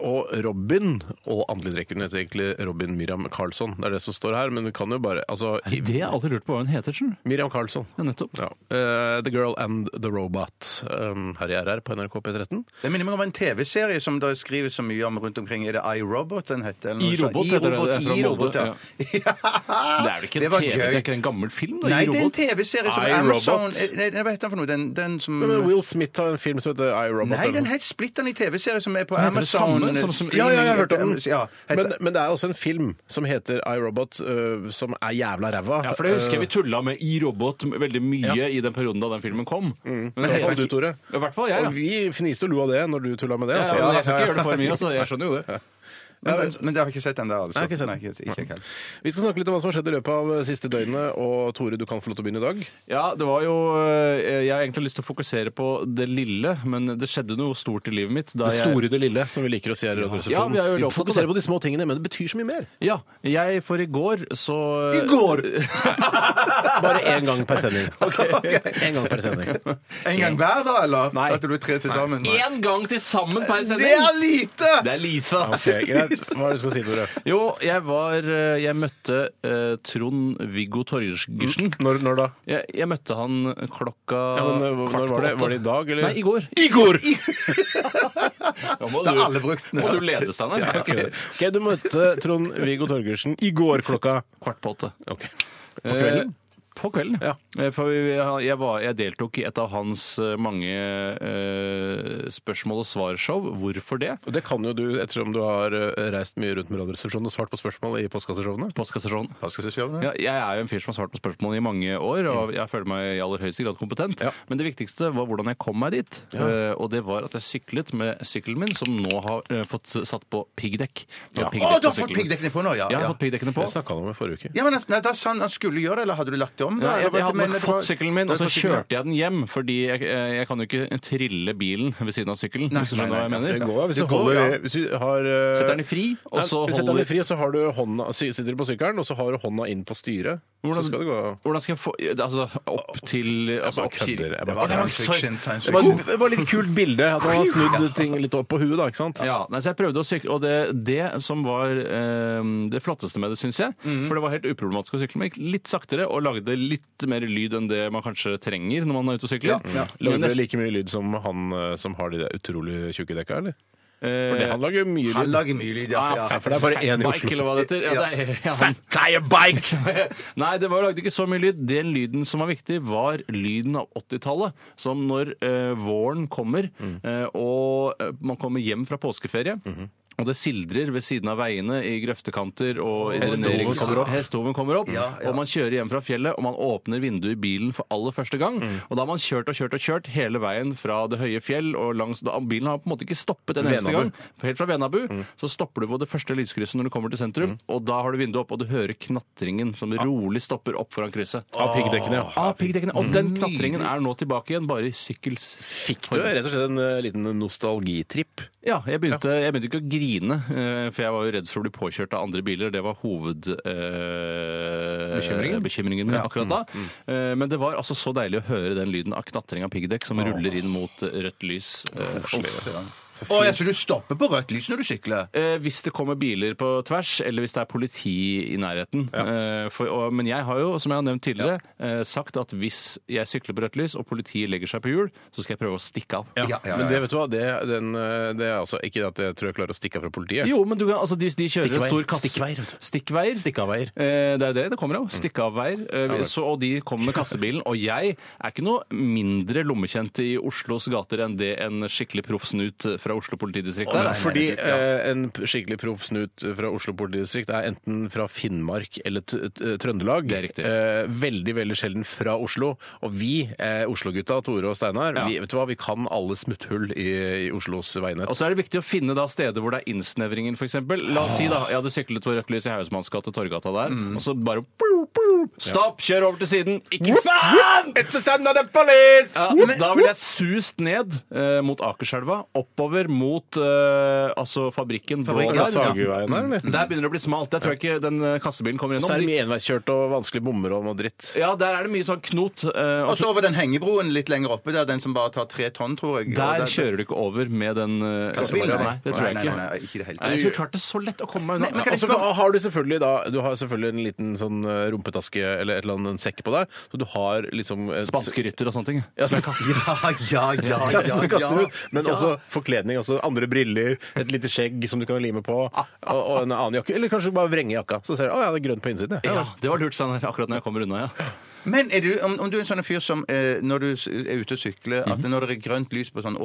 Speaker 4: og Robin og Anneli Drekken heter egentlig Robin Miriam Karlsson. Det er det som står her, men du kan jo bare altså, i-
Speaker 5: Det har jeg alltid lurt på hva hun heter. skjønner du?
Speaker 4: Miriam Karlsson.
Speaker 5: Ja, nettopp.
Speaker 4: Ja. Eh, the Girl and the Robot. Um, her i RR på NRK P13.
Speaker 6: Det minner meg om en TV-serie som det skrives så mye om rundt omkring. Er det iRobot den heter? eller noe
Speaker 5: I
Speaker 6: sånt?
Speaker 5: Robot heter det, (laughs) det er fra
Speaker 6: I Robot,
Speaker 5: Molde,
Speaker 6: ja.
Speaker 5: Det er vel ikke
Speaker 6: Det
Speaker 5: en
Speaker 6: var
Speaker 5: TV, det er
Speaker 6: gøy.
Speaker 5: ikke en gammel film? da, i
Speaker 6: Nei, det er en
Speaker 5: robot?
Speaker 6: TV-serie som
Speaker 4: I,
Speaker 6: Amazon Eh,
Speaker 4: Robot.
Speaker 6: Nei, Hva heter den for noe? Den, den som
Speaker 4: Men eh, Will Smith har en film som heter I, Robot.
Speaker 6: Nei,
Speaker 4: eller
Speaker 6: den
Speaker 4: noe.
Speaker 6: helt splitter i TV-serie som er på
Speaker 5: heter det
Speaker 6: Amazon.
Speaker 5: samme som- som-
Speaker 4: ja, ja, jeg har hørt om den.
Speaker 6: Ja, heter,
Speaker 4: men, men det er også en film som heter I, Robot, eh, som er jævla ræva. Eh,
Speaker 5: Ja, for det husker jeg vi tulla med i Robot veldig mye i den perioden da den filmen kom. Men
Speaker 4: I hvert fall du, Tore.
Speaker 5: I hvert fall jeg,
Speaker 4: Og
Speaker 5: ja.
Speaker 4: vi fniste og lo av det når du tulla med det.
Speaker 5: Ja,
Speaker 4: Altså.
Speaker 5: men jeg skal ikke gjøre det for mye, altså. Jeg skjønner jo det.
Speaker 6: men, den, men det har jeg ikke sett ennå. Altså.
Speaker 4: Nei, jeg har ikke sett den.
Speaker 6: ikke, ikke, jeg heller.
Speaker 4: Vi skal snakke litt om hva som har skjedd i løpet av eh, siste døgnet. Og Tore, du kan få lov til å begynne i dag.
Speaker 5: Ja, det var jo eh, Jeg har egentlig lyst til å fokusere på det lille, men det skjedde noe stort i livet mitt. Da
Speaker 4: Det store, det lille, som vi liker å si her i
Speaker 5: Ja,
Speaker 4: Radioresepsjonen.
Speaker 5: vi er jo
Speaker 4: vi
Speaker 5: lovt å
Speaker 4: fokuserer
Speaker 5: det.
Speaker 4: på de små tingene, men det betyr så mye mer.
Speaker 5: Jeg, ja, jeg for i går så (laughs)
Speaker 4: Bare én gang per (laughs) sending. En gang per sending.
Speaker 6: En gang hver, da, eller?
Speaker 4: Nei.
Speaker 6: At du er tre til sammen?
Speaker 5: Én gang til sammen per
Speaker 6: Det er lite!
Speaker 5: Det er lite, ass.
Speaker 4: Ok, greit. Hva er det du skal si, Tore?
Speaker 5: (laughs) Jo, jeg var eh, Jeg møtte eh, Trond-Viggo Torgersen.
Speaker 4: Når, når da?
Speaker 5: Jeg, jeg møtte han klokka
Speaker 4: Mm. Ja, men, eh, hvor- når var det? Var det i dag, eller?
Speaker 5: Nei, i går.
Speaker 4: I går!
Speaker 5: Da
Speaker 6: Da har alle brukt den.
Speaker 5: Må du lede, Steinar?
Speaker 4: Ok, Du møtte Trond-Viggo Torgersen i går klokka
Speaker 5: Kvart på åtte.
Speaker 4: Ok. På kvelden?
Speaker 5: Eh, På kvelden.
Speaker 4: Ja.
Speaker 5: Eh, For jeg, jeg, var, jeg deltok i et av hans eh, mange eh, spørsmål og svar-show. Hvorfor det?
Speaker 4: Og Det kan jo du, ettersom du har eh, reist mye rundt med Radioresepsjonen og svart på spørsmål i postkasseshowene.
Speaker 5: Postkassasjon.
Speaker 6: Hva skal jeg si om det?
Speaker 5: Ja, jeg er jo en fyr som har svart på spørsmål i mange år, og jeg føler meg i aller høyeste grad kompetent.
Speaker 4: Ja.
Speaker 5: Men det viktigste var hvordan jeg kom meg dit. Eh, og det var at jeg syklet med sykkelen min, som nå har eh, fått satt på piggdekk. Det var piggdekk
Speaker 6: Å, du
Speaker 5: på
Speaker 6: har fått
Speaker 5: sykkelen.
Speaker 6: piggdekkene på nå, ja.
Speaker 5: Jeg har
Speaker 6: ja.
Speaker 5: fått piggdekkene på.
Speaker 4: Jeg snakka om det forrige uke.
Speaker 6: Ja, men altså, nei, da sa han han skulle gjøre det, eller hadde du lagt det om?
Speaker 5: Nei,
Speaker 6: da?
Speaker 5: jeg,
Speaker 6: Eller
Speaker 5: jeg
Speaker 6: hva-
Speaker 5: hadde
Speaker 6: men-
Speaker 5: nok fått sykkelen min,
Speaker 6: Du
Speaker 5: og så
Speaker 6: hadde fått sykkelen,
Speaker 5: kjørte jeg den hjem. Fordi jeg, eh, jeg kan jo ikke trille bilen ved siden av sykkelen. hvis du
Speaker 6: nei,
Speaker 5: skjønner hva jeg
Speaker 6: nei,
Speaker 5: mener.
Speaker 4: Det går, ja, hvis,
Speaker 6: Det
Speaker 4: du
Speaker 6: går,
Speaker 4: holder,
Speaker 6: ja.
Speaker 4: hvis du har eh,
Speaker 5: Setter den i fri, og
Speaker 4: Nei,
Speaker 5: så
Speaker 4: hvis du setter den i
Speaker 5: holder
Speaker 4: fri, så har du hånda, si- sitter du på sykkelen, og så har du hånda inn på styret.
Speaker 5: Hvordan-
Speaker 4: Så skal det gå
Speaker 5: Hvordan skal jeg få Altså opp til altså,
Speaker 4: bare
Speaker 5: opp kirken.
Speaker 4: kødder, jeg bare
Speaker 6: Det var
Speaker 5: Altså,
Speaker 6: science
Speaker 5: sorry.
Speaker 6: fiction, science
Speaker 4: Det var,
Speaker 6: fiction.
Speaker 4: det var litt kult bilde. At man har snudd ting litt opp på huet, da. ikke sant?
Speaker 5: Ja, nei, så jeg prøvde å sykle, og det, det som var eh, det flotteste med det, syns jeg,
Speaker 4: Mhm.
Speaker 5: for det var helt uproblematisk å sykle med, gikk litt saktere og lagde litt mer lyd enn det man kanskje trenger når man er ute og sykler. Men
Speaker 4: Lagde
Speaker 5: nest-
Speaker 4: like mye lyd som han eh, som har de der utrolig tjukke dekka, eller? For det,
Speaker 5: eh,
Speaker 4: han lager jo mye
Speaker 6: Han
Speaker 4: lyd.
Speaker 6: lager mye lyd, ja. ja.
Speaker 4: For det er bare én i
Speaker 5: Bike, eller
Speaker 4: Oslo.
Speaker 5: hva det heter. Ja, det er, ja, han- (laughs) Nei, det var lagde ikke så mye lyd. Den lyden som var viktig, var lyden av 80-tallet. Som når eh, våren kommer,
Speaker 4: Mm.
Speaker 5: eh, og eh, man kommer hjem fra påskeferie.
Speaker 4: Mm-hmm.
Speaker 5: Og det sildrer ved siden av veiene i grøftekanter. og i
Speaker 4: Hestehoven
Speaker 5: drenerings-
Speaker 4: kommer opp.
Speaker 5: Hestehoven kommer opp,
Speaker 6: Ja, ja.
Speaker 5: Og man kjører hjem fra fjellet, og man åpner vinduet i bilen for aller første gang.
Speaker 4: Mm.
Speaker 5: Og da har man kjørt og kjørt og kjørt hele veien fra det høye fjell og langs da, Bilen har på en måte ikke stoppet en eneste
Speaker 4: Venabu. Mm.
Speaker 5: gang. Helt fra Venabu. Så stopper du på det første lyskrysset når du kommer til sentrum, og da har du vinduet opp, og du hører knatringen som rolig stopper opp foran krysset.
Speaker 4: Ah. Av piggdekkene, ja.
Speaker 5: Ah, piggdekkene. Og den knatringen er nå tilbake igjen, bare i sykkels...
Speaker 4: Fikk du rett og slett en eh, liten nostalgitripp?
Speaker 5: Ja, jeg begynte, jeg begynte ikke å grine, eh, for jeg var jo redd for å bli påkjørt av andre biler. Det var hovedbekymringen
Speaker 4: Bekymringen? Mm,
Speaker 5: bekymringen min akkurat da. Eh, Men det var altså så deilig å høre den lyden av knatring av piggdekk som ruller inn mot rødt lys. eh,
Speaker 6: Å, ja, så du stopper på rødt lys når du sykler?
Speaker 5: Eh, hvis det kommer biler på tvers, eller hvis det er politi i nærheten. Eh, for, og, men jeg har jo, som jeg har nevnt tidligere, eh, sagt at hvis jeg sykler på rødt lys, og politiet legger seg på hjul, så skal jeg prøve å stikke av.
Speaker 6: Ja, ja, ja.
Speaker 4: Men det vet du hva, det, den, eh, det er altså ikke at jeg tror jeg klarer å stikke av fra politiet.
Speaker 5: Jo, men du kan, altså de, de kjører en
Speaker 4: Stikkveier.
Speaker 5: stor kasse
Speaker 4: Stikkveier, vet du.
Speaker 5: Stikkveier.
Speaker 4: Stikkavveier.
Speaker 5: Eh, det er jo det det kommer av. Stikkavveier. Eh, så, og de kommer med kassebilen. Og jeg er ikke noe mindre lommekjent i Oslos gater enn det en skikkelig proff snut fra Oslo politidistrikt er.
Speaker 4: Fordi eh, en p- skikkelig proff snut fra Oslo politidistrikt er enten fra Finnmark eller t t Trøndelag.
Speaker 5: Det er riktig.
Speaker 4: Eh, veldig veldig sjelden fra Oslo. Og vi, eh, Oslo-gutta, Tore og Steinar,
Speaker 5: Ja.
Speaker 4: vi, vet du hva, vi kan alle smutthull i, i Oslos veinett.
Speaker 5: Og så er det viktig å finne da steder hvor det er innsnevringen, f.eks. La oss si da, jeg hadde syklet på rødt lys i Hausmanns gate, Torgata der, og så bare boop, boop, Stopp! Kjør over til siden! Ikke faen!
Speaker 4: It's the standard police!
Speaker 5: Ja, da ville jeg sust ned eh, mot Akerselva, oppover nedover mot eh, altså fabrikken.
Speaker 6: Fabrikken,
Speaker 5: Blå
Speaker 4: Er
Speaker 5: der.
Speaker 4: det
Speaker 6: ja.
Speaker 4: Sageveien der, eller?
Speaker 5: (laughs) Der begynner det å bli smalt. Der tror jeg ikke den eh, kassebilen kommer
Speaker 4: Så Mm. er det
Speaker 5: gjennom.
Speaker 4: mye enveiskjørt og vanskelig bomrom og dritt.
Speaker 5: Ja, der er det mye sånn knot. eh,
Speaker 6: Og så over den hengebroen litt lenger oppe der, den som bare tar tre tonn, tror jeg.
Speaker 5: Der
Speaker 6: Og
Speaker 5: kjører du ikke over med den eh,
Speaker 6: Kassebilen, nei.
Speaker 5: Nei, det tror jeg
Speaker 6: Nei, nei,
Speaker 5: ikke.
Speaker 6: nei, nei, ikke i det hele tatt.
Speaker 5: Nei, Jeg skulle klart det så lett å komme meg unna.
Speaker 6: Men kan
Speaker 4: Og
Speaker 6: jeg
Speaker 4: så
Speaker 6: spørre-
Speaker 4: har du selvfølgelig da Du har selvfølgelig en liten sånn eh, rumpetaske eller et eller annet en sekk på deg, så du har liksom et-
Speaker 5: Spanske rytter og sånne ting.
Speaker 4: Ja, som er kasse.
Speaker 6: Ja, ja, ja.
Speaker 4: Ja,
Speaker 6: ja,
Speaker 4: som er kasse,
Speaker 6: ja,
Speaker 4: Men også forkledning. Altså andre briller, et lite skjegg som du kan lime på, og, og en annen jakke. Eller kanskje bare vrenge jakka, så ser du å ja, det er grønt på innsiden.
Speaker 5: Ja, Det var lurt, Steinar, akkurat når jeg kommer unna. ja.
Speaker 6: Men er du, om, om du er en sånn fyr som eh, når du s- er ute og sykler, at
Speaker 5: Mhm.
Speaker 6: når det er grønt lys på sånn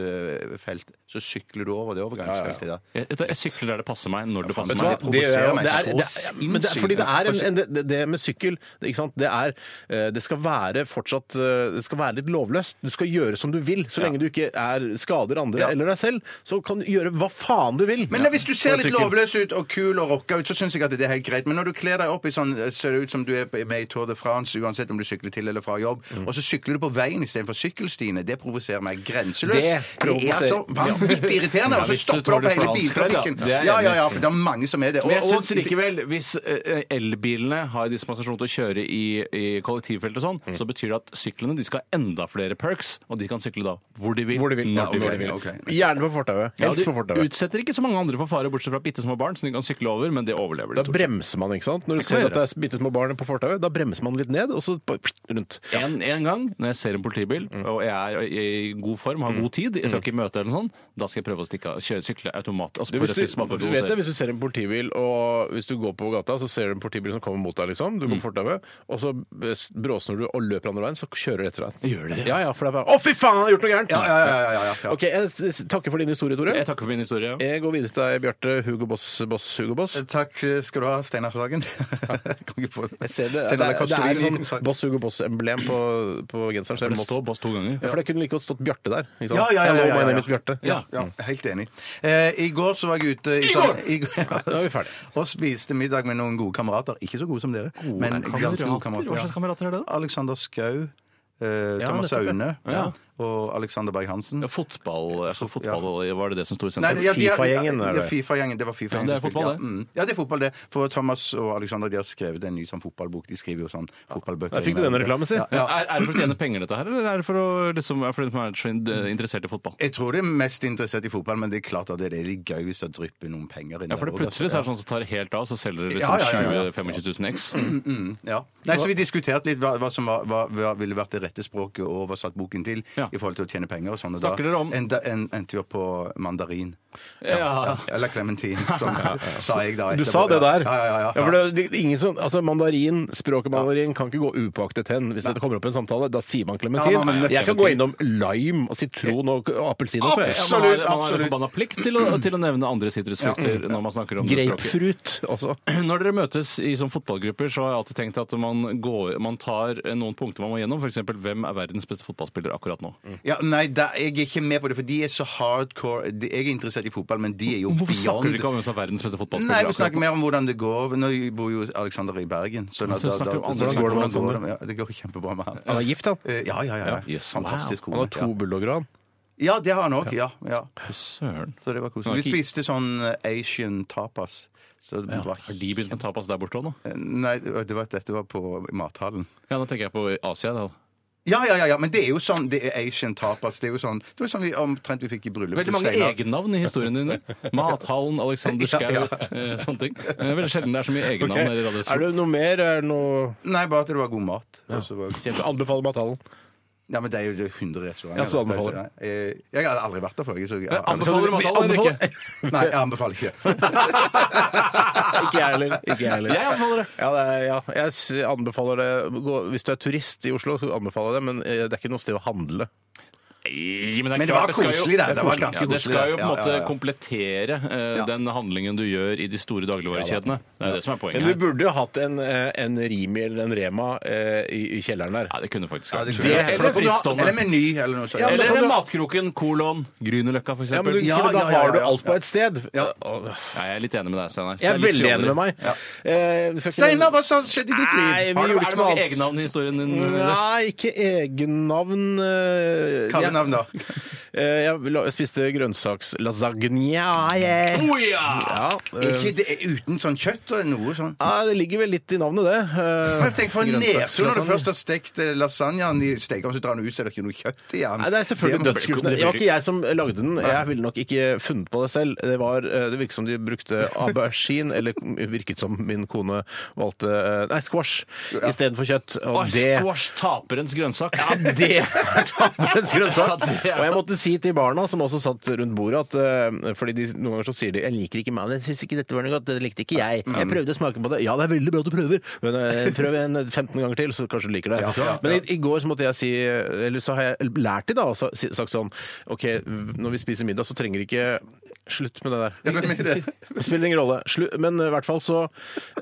Speaker 6: overgangsfelt, så sykler du over det overgangsfeltet da?
Speaker 5: Jeg, vet du, jeg sykler der det passer meg, når det passer
Speaker 4: Vet du hva?
Speaker 5: meg.
Speaker 6: provoserer
Speaker 4: Det, gjør jeg jo.
Speaker 6: meg
Speaker 4: det, er,
Speaker 6: så
Speaker 4: det, er, men det, er- fordi det er en, en det, det med sykkel, det, ikke sant? det er eh, Det skal være fortsatt eh, Det skal være litt lovløst. Du skal gjøre som du vil. Så lenge du ikke er, skader andre
Speaker 6: Ja.
Speaker 4: eller deg selv, så kan du gjøre hva faen du vil.
Speaker 6: Men eh,
Speaker 4: Ja.
Speaker 6: hvis du
Speaker 4: På
Speaker 6: ser
Speaker 4: en
Speaker 6: litt
Speaker 4: sykkel.
Speaker 6: lovløs ut og kul og rocka ut, så syns jeg at det er helt greit. Men når du kler deg opp i sånn, eh, ser det ut som du er på- med i Tour de France, uansett om du sykler til eller fra jobb,
Speaker 4: Mm.
Speaker 6: og så sykler du på veien istedenfor sykkelstiene, det provoserer meg grenseløst.
Speaker 4: Det
Speaker 6: Det, er
Speaker 4: provoserer-
Speaker 6: så vanvittig irriterende,
Speaker 5: Ja,
Speaker 6: og så
Speaker 5: hvis du
Speaker 6: stopper
Speaker 5: Tour
Speaker 6: opp
Speaker 5: de
Speaker 6: hele
Speaker 5: France-kledd, ja.
Speaker 6: biltrafikken.
Speaker 5: Det er jeg
Speaker 6: Ja, ja,
Speaker 5: enig i.
Speaker 6: ja, for det er mange som er det. Og-
Speaker 5: Men jeg
Speaker 6: og-
Speaker 5: syns likevel, hvis eh, elbilene har dispensasjon til å kjøre i, i kollektivfelt og sånn,
Speaker 6: Mm.
Speaker 5: så betyr det at syklene de skal ha enda flere perks, og de kan sykle da hvor de vil.
Speaker 4: Hvor de vil.
Speaker 5: når de
Speaker 6: ok,
Speaker 5: vil.
Speaker 6: ok.
Speaker 4: Gjerne på fortauet.
Speaker 5: Ja,
Speaker 4: Helst på
Speaker 5: de
Speaker 4: fortauet.
Speaker 5: utsetter ikke så mange andre for fare, bortsett fra bitte små barn, som de kan sykle over, men det overlever
Speaker 4: Da
Speaker 5: de stort sett.
Speaker 4: bremser man, ikke sant? Når du
Speaker 5: Det kan
Speaker 4: ser
Speaker 5: jeg
Speaker 4: at det er bitte små barn på fortauet, da bremser man litt ned, og så bare rundt.
Speaker 5: En, en gang når jeg ser en politibil, og jeg er i god form, har god tid, jeg skal ikke møte eller noe sånt, da skal jeg prøve å stikke av, kjøre, sykle automat. Altså
Speaker 4: Du,
Speaker 5: på
Speaker 4: hvis,
Speaker 5: rødt lys,
Speaker 4: du,
Speaker 5: bare for å
Speaker 4: du vet det,
Speaker 5: provosere.
Speaker 4: hvis du ser en politibil, og hvis du går på gata, så ser du en politibil som kommer mot deg, liksom. Du går på fortauet, og så s- bråsnur du og løper andre veien, så kjører de etter deg.
Speaker 5: Gjør de det?
Speaker 4: Ja, ja, for det er bare Å, fy faen, han har gjort noe gærent!
Speaker 6: Ja, ja, ja, ja, ja, ja, ja.
Speaker 4: OK, jeg s- takker for din historie, Tore.
Speaker 5: Jeg takker for min historie.
Speaker 4: Jeg går videre til deg, Bjarte. Hugo Boss, Boss, Hugo Boss.
Speaker 6: Takk skal du ha, Steinar Sagen. (laughs) Kan ikke få det.
Speaker 4: Jeg ser det. Det
Speaker 6: Steinar
Speaker 4: er, det er
Speaker 6: Kostelin.
Speaker 4: en sånn Boss Hugo Boss-emblem på, på genseren. så jeg
Speaker 5: Det
Speaker 4: må-
Speaker 5: står boss to ganger.
Speaker 4: Ja, for det kunne like godt stått Bjarte der. Ikke sant?
Speaker 6: Ja, ja, ja,
Speaker 4: Hello,
Speaker 6: ja, ja,
Speaker 4: my
Speaker 6: ja.
Speaker 4: name is Bjarte.
Speaker 5: Ja.
Speaker 6: Ja, helt enig. Eh, I går så var jeg ute I går! I går
Speaker 4: da er vi ferdig.
Speaker 6: (laughs) og spiste middag med noen gode kamerater. Ikke så gode som dere, men ganske gode kamerater.
Speaker 5: Hva slags
Speaker 6: ja.
Speaker 5: kamerater er det, da?
Speaker 6: Alexander Skau, eh, Thomas
Speaker 4: nettopp, ja.
Speaker 6: Aune
Speaker 5: Ja.
Speaker 6: og Alexander Berg Hansen.
Speaker 5: Ja, fotball, altså fotball Var det det som sto i
Speaker 6: Nei,
Speaker 5: sentrum?
Speaker 6: ja, de-
Speaker 4: FIFA-gjengen,
Speaker 6: ja,
Speaker 4: er
Speaker 6: det
Speaker 4: det.
Speaker 6: er FIFA-gjengen. Det var FIFA-gjengen.
Speaker 5: Ja, det er
Speaker 6: som spilte,
Speaker 5: fotball,
Speaker 6: ja.
Speaker 5: det.
Speaker 6: Mm. Ja, det er fotball, det. For Thomas og Alexander de har skrevet en ny sånn fotballbok. De skriver jo sånn fotballbøker.
Speaker 4: Der fikk du den reklamen, si.
Speaker 6: Ja, ja.
Speaker 5: Er, er det for å tjene penger, dette her, eller er det for, å, liksom, er det for de som er så in- interessert i fotball?
Speaker 6: Jeg tror de er mest interessert i fotball, men det er klart at det er litt gøy hvis det drypper noen penger
Speaker 5: Ja,
Speaker 6: inn
Speaker 5: for det
Speaker 6: der også.
Speaker 5: Plutselig så er det sånn at det tar helt av, så selger dere
Speaker 6: Ja,
Speaker 5: liksom
Speaker 6: ja, ja, ja.
Speaker 5: 20 25 000 x.
Speaker 6: Ja. Nei, så Vi diskuterte litt hva, hva som var, hva, hva ville vært det rette språket å oversatt boken til
Speaker 5: Ja.
Speaker 6: i forhold til å tjene penger. og sånn. og
Speaker 5: Snakker dere om-
Speaker 6: en, en, endte vi opp på mandarin.
Speaker 5: Ja.
Speaker 6: Eller clementin, som sa jeg da.
Speaker 4: Du
Speaker 6: etterpå.
Speaker 4: sa det der.
Speaker 6: Ja, ja, ja. ja.
Speaker 4: Ja, for det, det, ingen som, altså Mandarin, språket mandarin kan ikke gå upåaktet hen. Hvis det kommer opp i en samtale, da sier man klementin.
Speaker 6: Ja, man- man-
Speaker 4: jeg kan gå innom lime og sitron og og appelsin også. jeg.
Speaker 5: Ja, man har,
Speaker 6: Absolutt,
Speaker 5: man har en
Speaker 6: absolutt.
Speaker 5: forbanna plikt til å, til å nevne andre sitrusfrukter når man snakker om det språket.
Speaker 4: Grapefruit også.
Speaker 5: Når dere møtes i sånn fotballgrupper, så har jeg alltid tenkt at man, går, man tar eh, noen punkter man må gjennom. F.eks.: Hvem er verdens beste fotballspiller akkurat nå?
Speaker 6: Ja, nei, da, jeg er ikke med på det, for de er så hardcore. De, jeg er interessert i fotball, men de er jo
Speaker 5: Hvorfor snakker dere
Speaker 6: beyond.
Speaker 5: ikke om hvem som er verdens beste
Speaker 6: Nei,
Speaker 5: fotballspiller
Speaker 6: vi
Speaker 5: akkurat
Speaker 6: snakker
Speaker 5: nå?
Speaker 6: mer om hvordan det går. Nå bor jo Alexander i Bergen. Så da-
Speaker 5: så snakker vi om andre-
Speaker 6: snakker vi om
Speaker 4: hvordan går det med
Speaker 6: hvordan det? Ja, det går kjempebra med han.
Speaker 4: Han er gift, han.
Speaker 6: Eh, Ja, ja, ja. ja.
Speaker 5: Yes, wow.
Speaker 6: Fantastisk
Speaker 4: Han har
Speaker 6: kone.
Speaker 4: to bulldogger, han.
Speaker 6: Ja. ja, det har han òg. Ja, ja.
Speaker 5: Søren.
Speaker 6: Så det
Speaker 5: Ja,
Speaker 6: var koselig. Vi
Speaker 5: ki-
Speaker 6: spiste sånn eh, Asian tapas. Så det var
Speaker 5: Har de begynt med tapas der borte òg nå?
Speaker 6: Nei, det var- det var, dette var på mathallen.
Speaker 5: Ja, nå tenker jeg på Asia. Da.
Speaker 6: Ja, ja, ja, ja, men det er jo sånn det er Asian tapas. Det er jo sånn, det var sånn vi omtrent vi fikk i bryllupet
Speaker 5: Veldig mange egennavn i historien din. Mathallen, Alexander Schou,
Speaker 6: Ja, ja.
Speaker 5: eh, sånne ting. Eh, Veldig sjelden det er så mye egennavn. her i Radio
Speaker 4: Er
Speaker 5: Sol.
Speaker 4: det noe mer? Er det noe
Speaker 6: Nei, bare at det var god mat. Og så var,
Speaker 4: Anbefaler Mathallen.
Speaker 6: ja, men det er jo det er 100 restauranter.
Speaker 4: Ja, så anbefaler
Speaker 6: jeg. Eh, Jeg har aldri vært der før. Jeg, så jeg,
Speaker 5: Anbefaler du mathallen eller ikke?
Speaker 6: (laughs) Nei, jeg anbefaler ikke.
Speaker 4: (laughs) Ikke jeg heller. Ikke jeg heller.
Speaker 5: Jeg anbefaler det.
Speaker 4: Ja, det er, ja. Jeg s- anbefaler det Gå- Hvis du er turist i Oslo, så anbefaler jeg det, men eh, det er ikke noe sted å handle.
Speaker 5: Nei, Men,
Speaker 6: Men det var koselig, det. Det var ganske
Speaker 5: Ja, det
Speaker 6: koselig,
Speaker 5: skal jo på en
Speaker 6: det. Ja, ja,
Speaker 5: måte
Speaker 6: ja.
Speaker 5: komplettere eh, den handlingen du gjør i de store dagligvarekjedene. Det er det som er
Speaker 4: Men
Speaker 5: poenget.
Speaker 4: du
Speaker 5: her.
Speaker 4: burde jo hatt en, eh, en Rimi eller en Rema eh, i, i kjelleren der.
Speaker 5: Nei, det kunne faktisk
Speaker 6: Ja,
Speaker 5: vært
Speaker 6: det
Speaker 5: det.
Speaker 6: kunne vært
Speaker 5: Eller
Speaker 6: helt- Eller
Speaker 5: frittstående.
Speaker 6: meny eller noe sånt.
Speaker 4: Ja, men da
Speaker 5: Eller
Speaker 4: kan du-
Speaker 5: Matkroken, kolon, Grünerløkka f.eks.
Speaker 4: Ja, men du,
Speaker 6: Ja,
Speaker 4: for da
Speaker 6: ja, ja,
Speaker 4: har du
Speaker 6: ja,
Speaker 4: alt på
Speaker 6: ja.
Speaker 4: et sted.
Speaker 5: Jeg er litt enig med deg, Steinar.
Speaker 4: Jeg er veldig enig med meg. Eh, vi skal ikke-
Speaker 6: Steinar, hva som skjedde i ditt liv?
Speaker 4: Nei, vi
Speaker 5: Har du,
Speaker 4: gjorde
Speaker 5: er det
Speaker 4: ikke noe
Speaker 5: mange
Speaker 4: annet.
Speaker 6: Mm,
Speaker 5: egennavn i historien din?
Speaker 4: Nei, ikke egennavn eh,
Speaker 6: Kallenavn, da?
Speaker 4: jeg- Eh, Jeg la- spiste grønnsakslasagne. Oh, ja! eh,
Speaker 6: Ikke det, uten sånn kjøtt og noe sånn.
Speaker 4: ja, det ligger vel litt i navnet, det. Eh,
Speaker 6: Men tenk for en nese når
Speaker 4: grønnsakslasagne.
Speaker 6: du først har stekt eh, lasagnen i steker, så drar den ut, så er det ikke noe kjøtt i den.
Speaker 4: Nei, Det er selvfølgelig
Speaker 6: Det må-
Speaker 4: dødskuffende. Det var ikke jeg som lagde den. Jeg ville nok ikke funnet på det selv. Det, var, eh, det virket som de brukte aubergine, (laughs) eller virket som min kone valgte eh, Nei, squash istedenfor kjøtt. Og det
Speaker 5: Ah, Squash taperens grønnsak.
Speaker 4: Ja, (laughs) det er tapperens grønnsak.
Speaker 5: (laughs) Ja, det er-
Speaker 4: Og jeg måtte si til barna, som også satt rundt bordet, at eh, fordi de, noen ganger så sier de 'jeg liker ikke mannen', 'jeg syns ikke dette var noe godt', det likte ikke jeg. Jeg prøvde å smake på det. Ja, det er veldig bra at du prøver, men eh, prøv en 15 ganger til, så kanskje du liker det. Men i, i går så måtte jeg si Eller så har jeg lært de da, og så- si- sagt sånn OK, når vi spiser middag, så trenger ikke Slutt med det der. Det (laughs) Spiller ingen rolle. Slu men eh, i hvert fall så,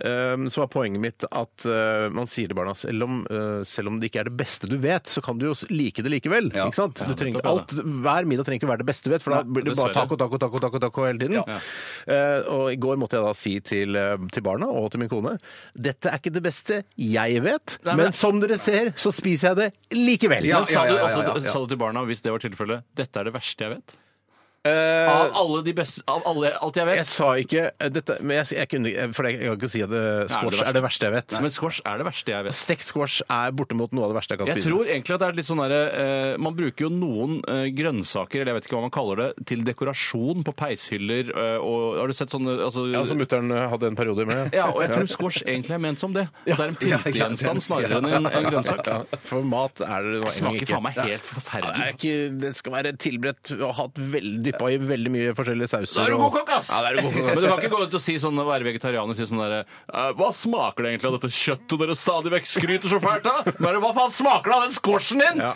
Speaker 4: ehm, så var poenget mitt at eh, man sier til barna selv om, eh, selv om det ikke er det beste du vet, så kan du jo s- like det likevel. Ikke sant? Du trenger,
Speaker 5: nettopp, ja,
Speaker 4: alt, hver middag trenger ikke være det beste du vet, for da blir det bare
Speaker 5: dessverre.
Speaker 4: taco, taco, taco, taco, taco hele tiden. Eh, og i går måtte jeg da si til, eh, til barna og til min kone dette er ikke det beste jeg vet,
Speaker 5: Nei,
Speaker 4: men,
Speaker 5: men-
Speaker 4: som dere ser, så spiser jeg det likevel.
Speaker 6: Ja,
Speaker 5: Men sa,
Speaker 6: ja,
Speaker 5: du,
Speaker 6: ja, ja,
Speaker 5: altså,
Speaker 6: ja.
Speaker 5: sa du til barna, hvis det var tilfellet, dette er det verste jeg vet?
Speaker 4: Eh,
Speaker 5: Av alle de beste Av alle, alt jeg
Speaker 4: jeg
Speaker 5: vet?
Speaker 4: sa ikke eh, dette, men jeg, jeg kunne ikke- For jeg, jeg kan ikke si at eh, squash
Speaker 5: verste.
Speaker 4: er det verste jeg vet.
Speaker 5: Men squash er det verste jeg vet.
Speaker 4: Stekt squash er bortimot noe av det verste jeg kan
Speaker 5: Jeg
Speaker 4: spise.
Speaker 5: tror egentlig at det er litt sånn derre eh, Man bruker jo noen eh, grønnsaker, eller jeg vet ikke hva man kaller det, til dekorasjon på peishyller eh, og Har du sett sånne altså,
Speaker 4: Ja, som mutter'n eh, hadde en periode med.
Speaker 5: Ja, og jeg tror squash egentlig er ment som det. At det er en pyntegjenstand snarere enn en, en grønnsak.
Speaker 4: (laughs) Ja, for mat er det
Speaker 5: Det smaker faen meg helt forferdelig.
Speaker 4: Det, er ikke, det skal være tilberedt og hatt veldig dyppa i veldig mye forskjellige sauser.
Speaker 5: Da er du
Speaker 4: og-
Speaker 5: god kokk, ass!
Speaker 4: Ja, da er du god kokk,
Speaker 5: Men du
Speaker 4: ass.
Speaker 5: kan ikke gå ut og si sånn, og være vegetarianer og si sånn derre «Eh, Hva smaker det egentlig av dette kjøttet dere stadig vekk skryter så fælt av? Men hva faen smaker det av den squashen din?
Speaker 4: Ja.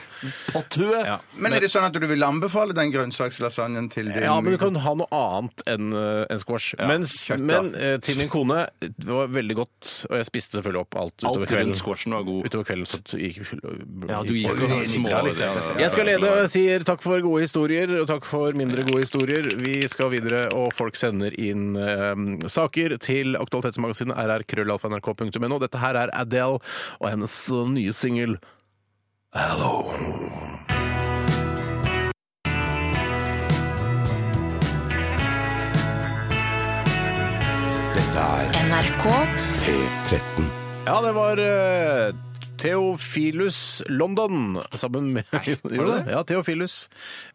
Speaker 5: Potthue!
Speaker 4: Ja.
Speaker 6: Men er det sånn at du vil anbefale den grønnsakslasagnen til din
Speaker 4: Ja, men du kan ha noe annet enn eh, enn squash. Mens,
Speaker 6: kjøtt, da.
Speaker 4: men eh, til min kone Det var veldig godt, og jeg spiste selvfølgelig opp alt utover
Speaker 5: Alt
Speaker 4: kvelden.
Speaker 5: rundt squashen var god.
Speaker 4: Utover kvelden så gikk
Speaker 5: Ja, du gikk
Speaker 6: jo
Speaker 5: jo
Speaker 6: små-
Speaker 5: små
Speaker 4: Jeg skal lede og sier takk for gode historier, og takk for mindre gode historier. Vi skal videre, og folk sender inn eh, saker til Aktualitetsmagasinet rrkrøllalfa.nrk.no. Dette her er Adele og hennes eh, nye singel Hello.
Speaker 1: Dette er
Speaker 8: NRK
Speaker 1: P13.
Speaker 4: Ja, det var eh, Theophilus London sammen med Gjorde det? Ja, Theophilus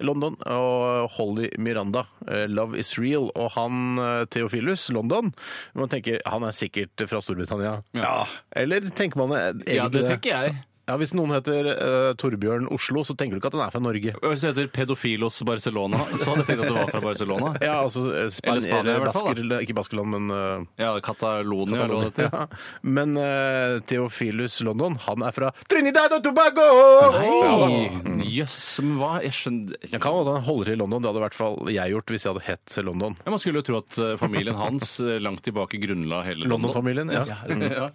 Speaker 4: London og Holly Miranda. eh, Love is real. Og han eh, Theophilus London Man tenker han er sikkert fra Storbritannia.
Speaker 5: Ja.
Speaker 4: Eller tenker man eh, egentlig
Speaker 5: Ja, det tenker jeg.
Speaker 4: Ja, Hvis noen heter eh, Torbjørn Oslo, så tenker du ikke at han er fra Norge.
Speaker 5: Og Hvis det heter Pedofilos Barcelona, så hadde jeg tenkt at det var fra (laughs) Barcelona.
Speaker 4: Ja, altså eh,
Speaker 5: Eller
Speaker 4: Span eller
Speaker 5: Spania, i hvert fall, da.
Speaker 4: Basker, eller, Ikke Baskeland, men eh,
Speaker 5: Ja, Catalonia eller hva det heter.
Speaker 4: Ja. Men eh, Theophilus London, han er fra Trinidad og Tobago!
Speaker 5: Nei! Jøss, men hva? Jeg skjønner
Speaker 4: Jeg kan hende han holder til i London. Det hadde i hvert fall jeg gjort hvis jeg hadde hett London.
Speaker 5: Ja, Man skulle jo tro at eh, familien hans eh, langt tilbake grunnla hele
Speaker 4: London-familien, ja.
Speaker 5: Mm. ja.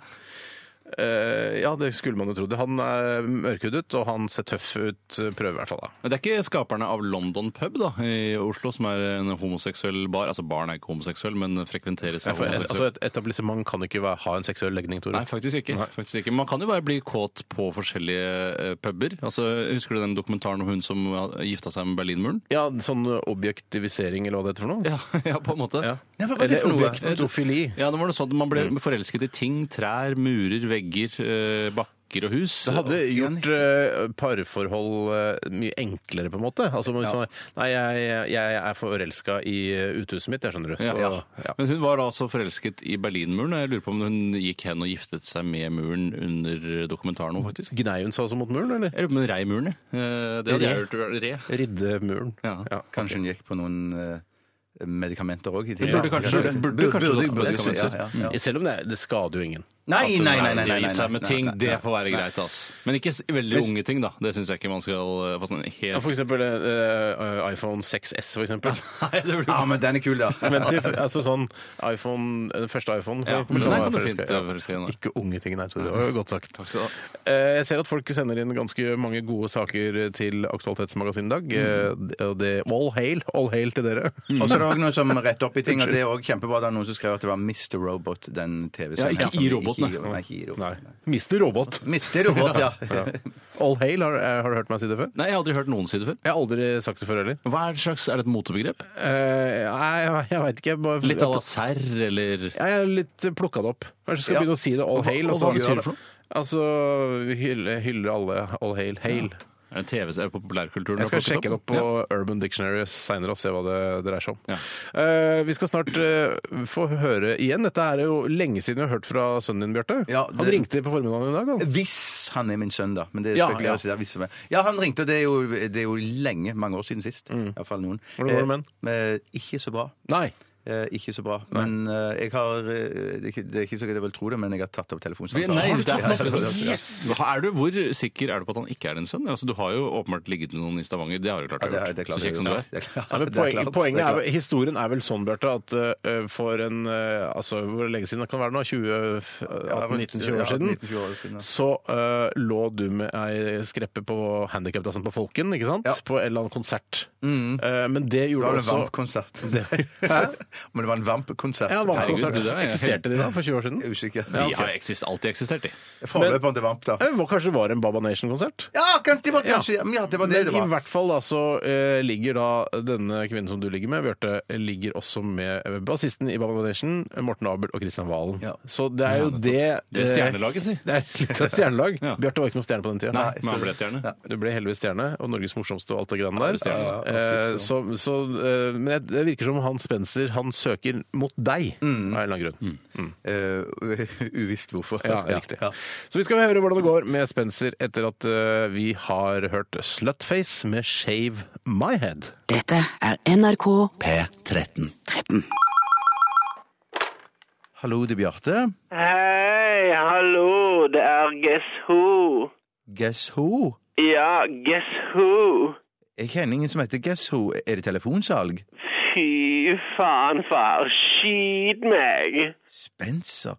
Speaker 4: Eh, ja, det skulle man jo trodd. Han er mørkhudet, og han ser tøff ut. eh, Prøver i hvert fall, da.
Speaker 5: Men det er ikke skaperne av London Pub da, i Oslo, som er en homoseksuell bar. Altså, baren er ikke homoseksuell, men frekventeres av
Speaker 4: For, et, altså,
Speaker 5: homoseksuelle.
Speaker 4: et etablissement kan ikke være, ha en seksuell legning, Tore.
Speaker 5: Nei, faktisk ikke. faktisk ikke. Man kan jo bare bli kåt på forskjellige eh, puber. Altså, husker du den dokumentaren om hun som eh, gifta seg med Berlinmuren?
Speaker 4: Ja, sånn objektivisering, eller hva det heter for noe?
Speaker 5: Ja, (laughs) ja på en måte.
Speaker 4: Ja.
Speaker 6: Nei, hva var det
Speaker 4: Eller
Speaker 6: for noe?
Speaker 4: objektofili.
Speaker 5: Ja, det var noe sånn at Man ble forelsket i ting. Trær, murer, vegger, eh, bakker og hus.
Speaker 4: Det hadde gjort eh, parforhold eh, mye enklere, på en måte. Altså, hvis man- nei, jeg, jeg er forelska i eh, utehuset mitt, jeg skjønner du.
Speaker 5: Ja,
Speaker 4: Så,
Speaker 5: ja. Men hun var da altså forelsket i Berlinmuren. og Jeg lurer på om hun gikk hen og giftet seg med muren under dokumentaren nå, faktisk.
Speaker 4: Gnei hun seg også mot muren, eller?
Speaker 5: Jeg lurer på om hun rei muren, jeg. Eh, Det hadde jeg hørt. Re.
Speaker 4: Ridde muren.
Speaker 5: Ja.
Speaker 6: Kanskje hun gikk på noen eh, medikamenter òg i
Speaker 5: Burde kanskje- burde kanskje tatt medikamenter.
Speaker 6: ja, ja, ja.
Speaker 4: Selv om det, er- det skader jo ingen.
Speaker 6: Nei, nei, nei. nei,
Speaker 5: Det
Speaker 6: nei,
Speaker 5: å
Speaker 6: nei,
Speaker 5: gifte seg med
Speaker 6: nei,
Speaker 5: ting,
Speaker 6: nei, nei.
Speaker 5: det får være greit, ass. Men ikke s- veldig unge ting, da. Det syns jeg ikke man skal eh, få sånn
Speaker 4: Ja,
Speaker 5: helt
Speaker 4: for eksempel eh, iPhone 6S, for eksempel.
Speaker 5: Nei, det blir
Speaker 6: Ja, men den er kul, da.
Speaker 4: (laughs) Men til, altså sånn iPhone, den første iPhone
Speaker 5: Ja,
Speaker 4: kommer til å
Speaker 5: den
Speaker 4: være
Speaker 5: kan du
Speaker 4: forelska.
Speaker 5: fint være forelska i, nei.
Speaker 4: Ikke unge ting, nei. Tore. Det var jo godt sagt.
Speaker 5: Takk skal du ha.
Speaker 4: Eh, Jeg ser at folk sender inn ganske mange gode saker til Aktualitetsmagasinet i dag.
Speaker 5: Mm.
Speaker 4: Eh, Og det, all hail, all hail til dere.
Speaker 6: Og så er det også noe som retter opp i ting, og det er også kjempebra. Det er noen som skrev at det var Mr. Robot, den
Speaker 5: Ja,
Speaker 6: TV-serien.
Speaker 5: ikke
Speaker 6: som
Speaker 5: i
Speaker 6: vi
Speaker 5: robot,
Speaker 6: Hero, nei, Hero.
Speaker 4: Nei. Mister Robot.
Speaker 6: Mister robot,
Speaker 4: (laughs)
Speaker 6: ja.
Speaker 4: All hail, har, eh, har du hørt meg si det før?
Speaker 5: Nei, jeg har aldri hørt noen si det før.
Speaker 4: Jeg har aldri sagt det før heller.
Speaker 5: Hva er, det slags, er det et motebegrep?
Speaker 4: Eh, nei, jeg, jeg veit ikke. Jeg, bare,
Speaker 5: Litt à la serr, eller
Speaker 4: jeg er litt plukka det opp. Kanskje jeg skal begynne å si det all hail.
Speaker 5: og
Speaker 4: og så
Speaker 5: hva betyr det for noe?
Speaker 4: Altså hylle, hylle alle all hail. Hail.
Speaker 5: Er det TV er det populærkulturen? har
Speaker 4: Jeg skal
Speaker 5: plukket
Speaker 4: sjekke det opp på Urban Dictionary seinere og se hva det dreier seg om.
Speaker 5: Ja.
Speaker 4: Eh, vi skal snart eh, få høre igjen. Dette er jo lenge siden vi har hørt fra sønnen din, Bjarte.
Speaker 6: Ja,
Speaker 4: Han
Speaker 6: det- Eh,
Speaker 4: ringte på formiddagen i dag. Han.
Speaker 6: Hvis han er min sønn, da. Men det
Speaker 4: Ja,
Speaker 6: spekuleres i.
Speaker 4: ja.
Speaker 6: det, hvis som er. Ja, han ringte, og det er jo, det er jo lenge, mange år siden sist. I hvert fall noen.
Speaker 4: Hvordan går det med
Speaker 6: Eh, eh, Ikke så bra.
Speaker 4: Nei.
Speaker 6: Eh, ikke så bra. Men eh, jeg har eh, Det er ikke- det er ikke sikkert jeg vil tro det, men jeg har tatt opp
Speaker 5: Vi-
Speaker 6: telefonsamtalen.
Speaker 5: Nei,
Speaker 6: Ja,
Speaker 5: det er
Speaker 6: ja, ja, ja, ja.
Speaker 5: Yes! Hva Er du, hvor sikker er du på at han ikke er din sønn? Altså, du har jo åpenbart ligget med noen i Stavanger. Det har du klart
Speaker 6: Ja,
Speaker 5: å
Speaker 6: det
Speaker 5: ha
Speaker 6: er,
Speaker 5: gjort.
Speaker 6: det er klart.
Speaker 5: Så kjekk som du
Speaker 6: jeg har
Speaker 5: er.
Speaker 6: gjort. Det er klart.
Speaker 4: Ja, men
Speaker 6: Det er
Speaker 4: poen,
Speaker 6: klart.
Speaker 4: poenget
Speaker 6: Det
Speaker 4: er,
Speaker 6: klart.
Speaker 4: vel- historien er vel sånn, Bjarte, at eh, for en eh, altså, Hvor lenge siden det kan være nå? 20-18-19-20 år
Speaker 6: Ja,
Speaker 4: siden?
Speaker 6: 19-20 år siden, ja.
Speaker 4: Så eh, lå du med ei skreppe på handikapdassen på Folken, ikke sant?
Speaker 6: Ja. Mm.
Speaker 4: På en eller annen konsert. Eh, men det
Speaker 6: Det
Speaker 4: gjorde
Speaker 6: var en
Speaker 4: også
Speaker 6: Vamp-konsert. Men det var en Vamp-konsert.
Speaker 4: Ja,
Speaker 5: Herregud,
Speaker 4: Vamp-konsert.
Speaker 5: det der er
Speaker 4: Eksisterte de da for 20 år siden?
Speaker 6: Jeg er Usikker.
Speaker 5: De har eksist, alltid eksistert, de.
Speaker 6: Forløperen til Vamp, da.
Speaker 4: Eh, hva- Kanskje det var en Baba Nation-konsert?
Speaker 6: Ja, kan- det var kanskje ja. men ja, det var det
Speaker 4: Men
Speaker 6: det
Speaker 4: i
Speaker 6: var.
Speaker 4: hvert fall da så eh, ligger da denne kvinnen som du ligger med, Bjarte, ligger også med eh, bassisten i Baba Nation, Morten Abel og Kristian Valen.
Speaker 6: Ja.
Speaker 4: Så det er jo det eh,
Speaker 5: Det er stjernelaget, si.
Speaker 4: (laughs) Det er litt av et stjernelag.
Speaker 5: Ja.
Speaker 4: Bjarte var ikke noen stjerne på den tida.
Speaker 5: Nei, men han ble stjerne.
Speaker 4: Du ble heldigvis stjerne, og Norges morsomste og alt det grann der.
Speaker 6: Ja, ja,
Speaker 4: Eh,
Speaker 6: ja.
Speaker 4: så, så, eh, men jeg- det virker som han Spencer han søker mot deg,
Speaker 6: Mm.
Speaker 4: av en eller annen grunn.
Speaker 6: Eh, (laughs) uvisst hvorfor.
Speaker 4: Ja, riktig. Så vi skal høre hvordan det går med Spencer etter at eh, vi har hørt Slutface med Shave My Head.
Speaker 7: Dette er NRK
Speaker 3: P13.
Speaker 7: 13.
Speaker 6: Hallo, det er Bjarte.
Speaker 8: Hei, hallo, det er Guess Who.
Speaker 6: Guess who?
Speaker 8: Ja, Guess Who.
Speaker 6: Jeg kjenner ingen som heter Guess who. Er det telefonsalg?
Speaker 8: Fy faen, far. Skyt meg.
Speaker 6: Spencer?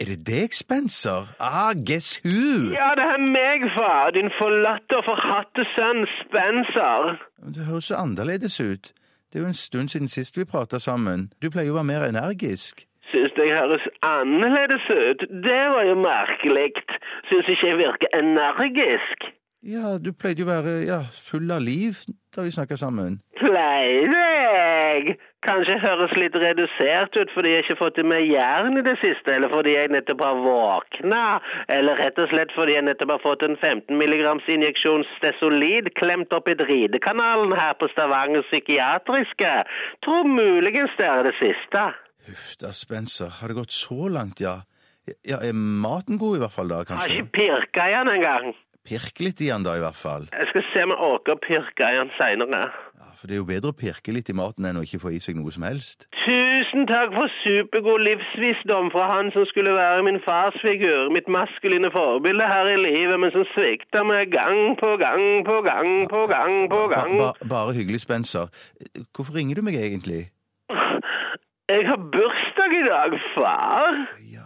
Speaker 6: Er det deg, Spencer? Ah, guess who?
Speaker 8: Ja, det er meg, far. Din forlatte og forhatte sønn Spencer.
Speaker 6: Du høres så annerledes ut. Det er jo en stund siden sist vi prata sammen. Du pleier jo å være mer energisk.
Speaker 8: Syns det høres annerledes ut. Det var jo merkelig. Syns ikke jeg virker energisk.
Speaker 6: Ja, du pleide jo å være ja, full av liv da vi snakka sammen.
Speaker 8: Pleier jeg. Kanskje jeg høres litt redusert ut fordi jeg ikke har fått i meg jern i det siste, eller fordi jeg nettopp har våkna, eller rett og slett fordi jeg nettopp har fått en 15 milligrams injeksjon stesolid klemt opp i dridekanalen her på Stavanger psykiatriske. Tror muligens det er det siste.
Speaker 6: Huff da, Spencer. Har det gått så langt, ja? Ja, Er maten god, i hvert fall, da,
Speaker 8: Jeg har
Speaker 6: kanskje?
Speaker 8: ikke pirka i den engang.
Speaker 6: Pirk litt i den, da, i hvert fall.
Speaker 8: Jeg skal se om jeg orker å pirke i den seinere.
Speaker 6: Ja, For det er jo bedre å pirke litt i maten enn å ikke få i seg noe som helst.
Speaker 8: Tusen takk for supergod livsvisdom fra han som skulle være min farsfigur, mitt maskuline forbilde her i livet, men som svikta meg gang på gang på gang på gang på
Speaker 6: Ba
Speaker 8: gang.
Speaker 6: ba bare hyggelig, Spencer. Hvorfor ringer du meg egentlig?
Speaker 8: Jeg har bursdag i dag, far.
Speaker 6: Ja,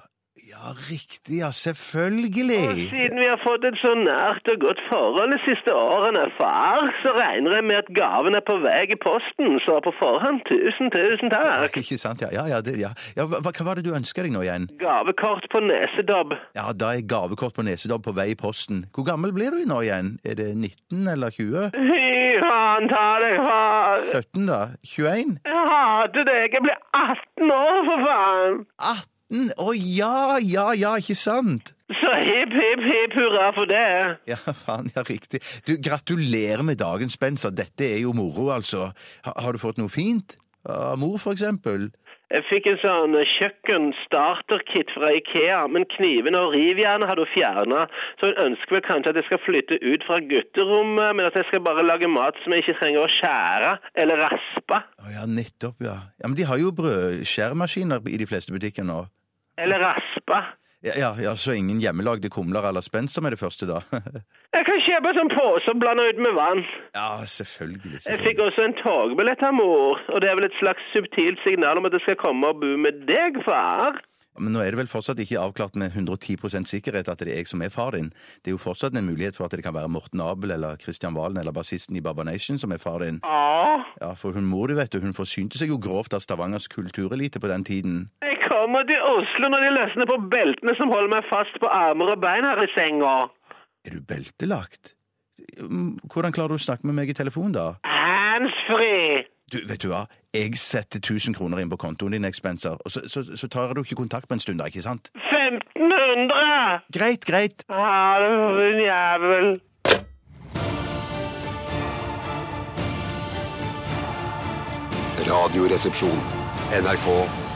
Speaker 6: ja riktig, ja.
Speaker 8: Og
Speaker 6: Selvfølgelig.
Speaker 8: siden vi har fått et så nært og godt forhold de siste årene, far, så regner jeg med at gaven er på vei i posten, så på forhånd tusen, tusen takk.
Speaker 6: Ikke sant, ja. Ja, ja, det, ja. ja hva, hva var det du ønska deg nå igjen?
Speaker 8: Gavekort på nesedobb.
Speaker 6: Ja, da er gavekort på Nesedobb på vei i posten. Hvor gammel blir du nå igjen? Er det 19 eller 20?
Speaker 8: Fy faen ta deg, far.
Speaker 6: 17, da? 21?
Speaker 8: Jeg hater deg. Jeg blir 18 år, for faen.
Speaker 6: 18? Å ja, ja, ja, ikke sant?
Speaker 8: Så hipp, hipp, hipp hurra for det.
Speaker 6: Ja, faen, ja, riktig. Du, gratulerer med dagen, Spencer. Dette er jo moro, altså. Ha, har du fått noe fint? Av mor, for eksempel?
Speaker 8: Jeg fikk en sånn kjøkken-starter-kit fra Ikea, men knivene og rivjernet hadde hun fjerna, så hun ønsker vel kanskje at jeg skal flytte ut fra gutterommet, men at jeg skal bare lage mat som jeg ikke trenger å skjære eller raspe.
Speaker 6: Å ja, nettopp, ja. ja. Men de har jo brødskjæremaskiner i de fleste butikker nå.
Speaker 8: Eller raspe.
Speaker 6: Ja, ja, ja, så ingen hjemmelagde kumler eller Spencer med det første, da? (laughs)
Speaker 8: Jeg kan kjøpe en sånn pose og blande ut med vann.
Speaker 6: ja, selvfølgelig.
Speaker 8: Jeg
Speaker 6: selvfølgelig.
Speaker 8: fikk også en togbillett av mor, og det er vel et slags subtilt signal om at jeg skal komme og bo med deg, far.
Speaker 6: Men nå er det vel fortsatt ikke avklart med 110 sikkerhet at det er jeg som er far din. Det er jo fortsatt en mulighet for at det kan være Morten Abel eller Kristian Valen eller bassisten i Baba Nation som er far din.
Speaker 8: Åh.
Speaker 6: Ja, for hun mor, du vet du, hun forsynte seg jo grovt av Stavangers kulturelite på den tiden.
Speaker 8: Jeg kom kommer til Oslo når de løsner på beltene som holder meg fast på armer og bein her i senga.
Speaker 6: Er du beltelagt? Mm, Hvordan klarer du å snakke med meg i telefon, da?
Speaker 8: Handsfree!
Speaker 6: Du, vet du hva? Jeg setter 1000 kroner inn på kontoen din, Expenser, og så, så, så tar du ikke kontakt på en stund, da, ikke sant?
Speaker 8: 1500!
Speaker 6: Greit, greit.
Speaker 8: Ha det, for en jævel.
Speaker 1: Radioresepsjon. NRK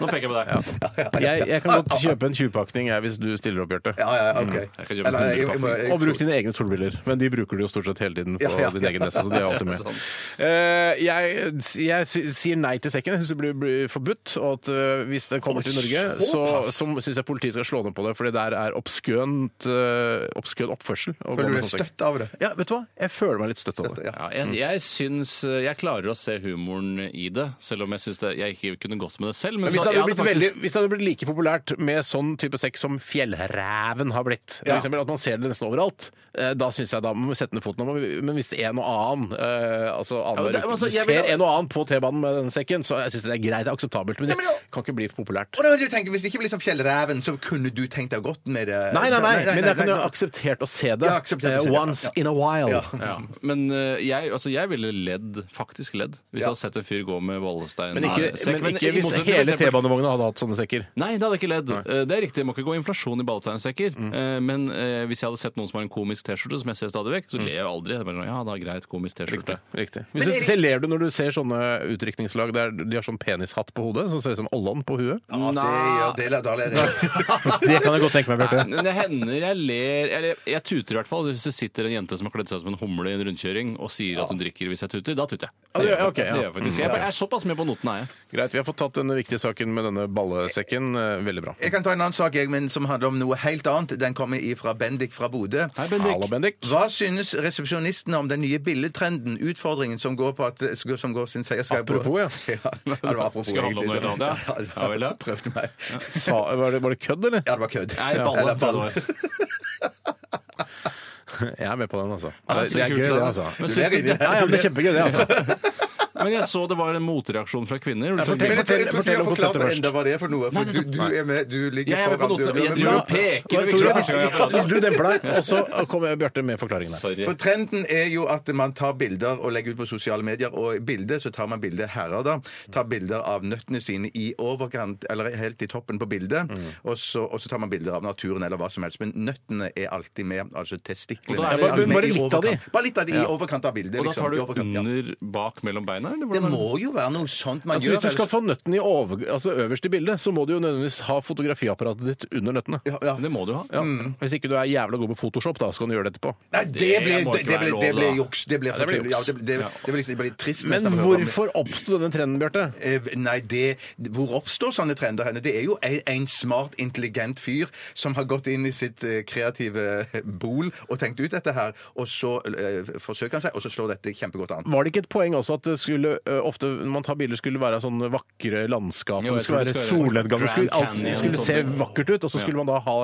Speaker 5: Nå peker jeg på deg.
Speaker 4: Jeg, jeg kan godt kjøpe en 20-pakning jeg, hvis du stiller opp, Bjarte.
Speaker 6: Ja, ja, OK.
Speaker 5: Mm. Jeg kan kjøpe
Speaker 6: Eller, jeg- jeg må- jeg
Speaker 4: Og bruk
Speaker 6: tror-
Speaker 4: dine egne solbriller. Men de bruker du jo stort sett hele tiden på
Speaker 6: Ja, ja,
Speaker 4: din
Speaker 6: ja.
Speaker 4: egen nese. så de er alltid med. Eh, jeg, jeg sy- sier nei til sekken. Jeg syns det blir, blir forbudt. Og at eh, hvis den kommer til Norge, så, så syns jeg politiet skal slå ned på det. For det der er obskønt, eh, obskøn oppførsel. å gå
Speaker 6: Føler du
Speaker 4: med
Speaker 6: deg
Speaker 4: sånn sekk.
Speaker 6: støtt av det?
Speaker 4: Ja, vet du hva? Jeg føler meg litt støtt av det.
Speaker 6: Ja.
Speaker 5: Ja, jeg, jeg syns eh, Jeg klarer å se humoren i det, selv om jeg syns det- jeg ikke kunne gått med det selv. Men,
Speaker 4: Men hvis
Speaker 5: så-
Speaker 4: det,
Speaker 5: jeg
Speaker 4: hadde blitt
Speaker 5: hadde
Speaker 4: veldig,
Speaker 5: faktisk-
Speaker 4: hvis det hadde blitt like populært med sånn type sekk som fjellreven har blitt, for
Speaker 6: Ja.
Speaker 4: eksempel, at man ser det nesten overalt, eh, da syns jeg da må vi sette ned foten. om, Men hvis det er en og annen eh, altså,
Speaker 5: men
Speaker 4: annenhver
Speaker 5: det-
Speaker 4: uke,
Speaker 5: altså,
Speaker 4: Du
Speaker 5: jeg
Speaker 4: ser
Speaker 5: vil-
Speaker 4: en og annen på T-banen med denne sekken, så jeg syns det er greit, det er akseptabelt. Men det kan ikke bli for populært.
Speaker 6: Og da, hadde jeg tenkt, hvis det ikke blir sånn som Fjellreven, så kunne du tenkt deg godt med det.
Speaker 4: Nei, nei, nei, men jeg kan jo
Speaker 6: nei.
Speaker 4: ha akseptert å se det.
Speaker 6: Ja, akseptert å se
Speaker 4: eh,
Speaker 6: det, ja.
Speaker 4: Once
Speaker 6: Ja.
Speaker 4: in a while.
Speaker 6: Ja.
Speaker 5: ja, men eh, jeg, altså, jeg ville ledd, faktisk ledd, hvis jeg hadde sett en fyr gå med ballestein.
Speaker 4: Men ikke,
Speaker 5: Nei, sekk,
Speaker 4: men ikke
Speaker 5: i
Speaker 4: hvis
Speaker 5: motsetning til
Speaker 4: hele
Speaker 5: for eksempel-
Speaker 4: T-banevogna hadde hatt sånne sekker.
Speaker 5: Nei, det hadde jeg ikke ledd. Eh, Det er riktig, det må ikke gå inflasjon i ballesteinsekker. Eh, Men eh, hvis jeg hadde sett noen som har en komisk T-skjorte, som jeg ser stadig vekk, så ler jeg aldri. Jeg bare, sånn, ja, da greit, komisk T-skjorte.
Speaker 4: Riktig. Hvis du, se, ler du når du ser sånne utdrikningslag der de har sånn penishatt på hodet, som ser ut som Allan på huet?
Speaker 6: Ja, det gjør det. Da ler jeg.
Speaker 4: Det kan jeg godt tenke meg,
Speaker 5: Nei,
Speaker 4: Bjarte.
Speaker 5: men det hender jeg ler Eller jeg tuter i hvert fall. Hvis det sitter en jente som har kledd seg som en humle i en rundkjøring og sier at hun drikker hvis jeg tuter, da tuter jeg.
Speaker 4: Ja, det gjør- ok, ja.
Speaker 5: Det gjør jeg faktisk. Jeg er såpass med på notene, er jeg.
Speaker 4: Greit, vi har fått tatt denne viktige saken med denne ballesekken. Eh, Veldig bra.
Speaker 6: Jeg kan ta en annen sak jeg, men som handler om noe helt annet. Den kommer ifra Bendik fra Bodø.
Speaker 5: Hei, Bendik.
Speaker 4: Hallo, Bendik.
Speaker 6: Hva synes resepsjonistene om den nye billedtrenden, utfordringen som går på at som går sin seiersgang på-
Speaker 4: Apropos, ja.
Speaker 6: (laughs) ja. det var apropos,
Speaker 5: Skal handle om noe
Speaker 6: egentlig.
Speaker 5: helt annet, ja.
Speaker 6: det
Speaker 5: Ja vel, ja.
Speaker 6: var- (laughs) Prøvde meg.
Speaker 4: Sa, var, det, var det kødd, eller?
Speaker 6: Ja, det var kødd.
Speaker 5: Nei,
Speaker 6: Ja.
Speaker 5: balle.
Speaker 6: Eller
Speaker 5: tror jeg det var.
Speaker 4: Jeg er med på den, altså.
Speaker 5: Ja,
Speaker 4: Det,
Speaker 5: så
Speaker 4: det er
Speaker 5: kult,
Speaker 4: gøy,
Speaker 5: da.
Speaker 4: det, altså.
Speaker 5: Men
Speaker 6: Du
Speaker 5: syns
Speaker 6: ler
Speaker 5: du
Speaker 6: inni
Speaker 4: Ja, ja, men det er kjempegøy, (laughs) det, altså.
Speaker 5: Men jeg så det var en motreaksjon fra kvinner. Gjorde du
Speaker 6: Men
Speaker 5: det?
Speaker 6: jeg tror- jeg tror ikke
Speaker 4: fortell
Speaker 6: jeg
Speaker 4: om
Speaker 6: forklarte
Speaker 4: konseptet
Speaker 6: enda hva det er for noe. For du, du er med, du ligger
Speaker 5: Jeg er med på
Speaker 6: foran du-
Speaker 5: notene.
Speaker 6: du er
Speaker 5: Jeg
Speaker 6: med
Speaker 5: driver og
Speaker 6: på-
Speaker 5: peker. Det virker som
Speaker 4: Tore,
Speaker 5: det er første gang jeg har
Speaker 4: hvis, hvis du demper deg, og så kommer Bjarte med forklaringen her.
Speaker 5: Sorry.
Speaker 6: For trenden er jo at man tar bilder og legger ut på sosiale medier, og i bildet så tar man bilder herrer, da. Tar bilder av nøttene sine i overkant, eller helt i toppen på bildet.
Speaker 5: Mm.
Speaker 6: Og, så, og så tar man bilder av naturen eller hva som helst. Men nøttene er alltid med, altså testiklene.
Speaker 5: Og da er
Speaker 6: er
Speaker 5: det-
Speaker 6: alltid med
Speaker 4: bare
Speaker 6: i
Speaker 4: litt av de.
Speaker 6: overkant. Bare litt av de i overkant av bildet.
Speaker 5: Og da
Speaker 6: liksom.
Speaker 5: tar
Speaker 6: I
Speaker 5: du
Speaker 6: overkant, ja.
Speaker 5: under, bak, mellom beina? Eller
Speaker 6: Det
Speaker 5: hvordan er
Speaker 6: må jo være noe sånt man
Speaker 4: Altså,
Speaker 6: gjør.
Speaker 4: hvis du skal få nøtten i over, altså, øverst i bildet, så må du jo nødvendigvis ha fotografiapparatet ditt under nøttene.
Speaker 6: ja, ja.
Speaker 5: Det må du ha.
Speaker 4: Ja. Mm. Hvis ikke du er jævla god med Photoshop, da, så kan du gjøre det etterpå.
Speaker 6: Nei, det
Speaker 5: Det
Speaker 6: ble,
Speaker 5: må
Speaker 6: det,
Speaker 5: ikke
Speaker 6: det
Speaker 5: være
Speaker 6: ble,
Speaker 5: lov,
Speaker 6: det ble
Speaker 5: da.
Speaker 6: juks. Det ble
Speaker 4: det ble
Speaker 6: for- ja,
Speaker 4: juks.
Speaker 6: det, det, det ble liksom, det ble trist.
Speaker 4: Men
Speaker 6: nesten å høre om.
Speaker 4: hvorfor oppsto denne trenden, Bjarte?
Speaker 6: Eh, Nei, det, hvor oppstår sånne trender henne? Det er jo en, en smart, intelligent fyr som har gått inn i sitt eh, kreative bol og tenkt ut dette her, og så eh, forsøker han seg, og så slår dette kjempegodt an.
Speaker 4: Var det ikke et poeng også at det skulle, ø, ofte når man tar bilder, skulle være sånne vakre landskap?
Speaker 5: Jo,
Speaker 4: og det
Speaker 5: jeg tror
Speaker 4: skulle
Speaker 5: det
Speaker 4: være
Speaker 5: skal være
Speaker 4: solnedgang? Det skulle,
Speaker 5: Grand
Speaker 4: alt
Speaker 5: Canyon
Speaker 4: skulle
Speaker 5: og
Speaker 4: se
Speaker 5: sånt.
Speaker 4: vakkert ut, og så
Speaker 5: Ja.
Speaker 4: skulle man da ha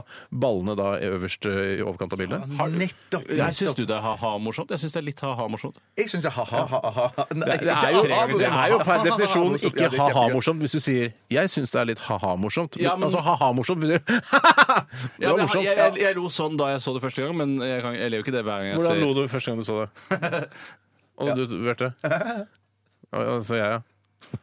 Speaker 4: ballene da i øverst ø, i overkant av bildet?
Speaker 6: Nettopp!
Speaker 5: Jeg syns du det er ha-ha-morsomt? Jeg syns det er litt ha-ha-morsomt.
Speaker 6: Jeg syns det er ha-ha, ha-ha.
Speaker 4: Det, det, er jo, det er jo (laughs) per definisjon ikke ha-ha-morsomt hvis du sier 'jeg syns det er litt ha-ha-morsomt'.
Speaker 5: Ja, men-
Speaker 4: Altså ha-ha-morsomt betyr (laughs) Det
Speaker 5: Ja,
Speaker 4: var
Speaker 5: men
Speaker 4: morsomt.
Speaker 5: Jeg, jeg, jeg lo sånn da jeg så det første gang, men jeg, kan, jeg ler jo ikke det hver gang jeg
Speaker 4: Hvordan
Speaker 5: ser
Speaker 4: lo du første gang du så det?
Speaker 5: (laughs)
Speaker 4: Og du, Bjarte? Å, ja, Så jeg, ja.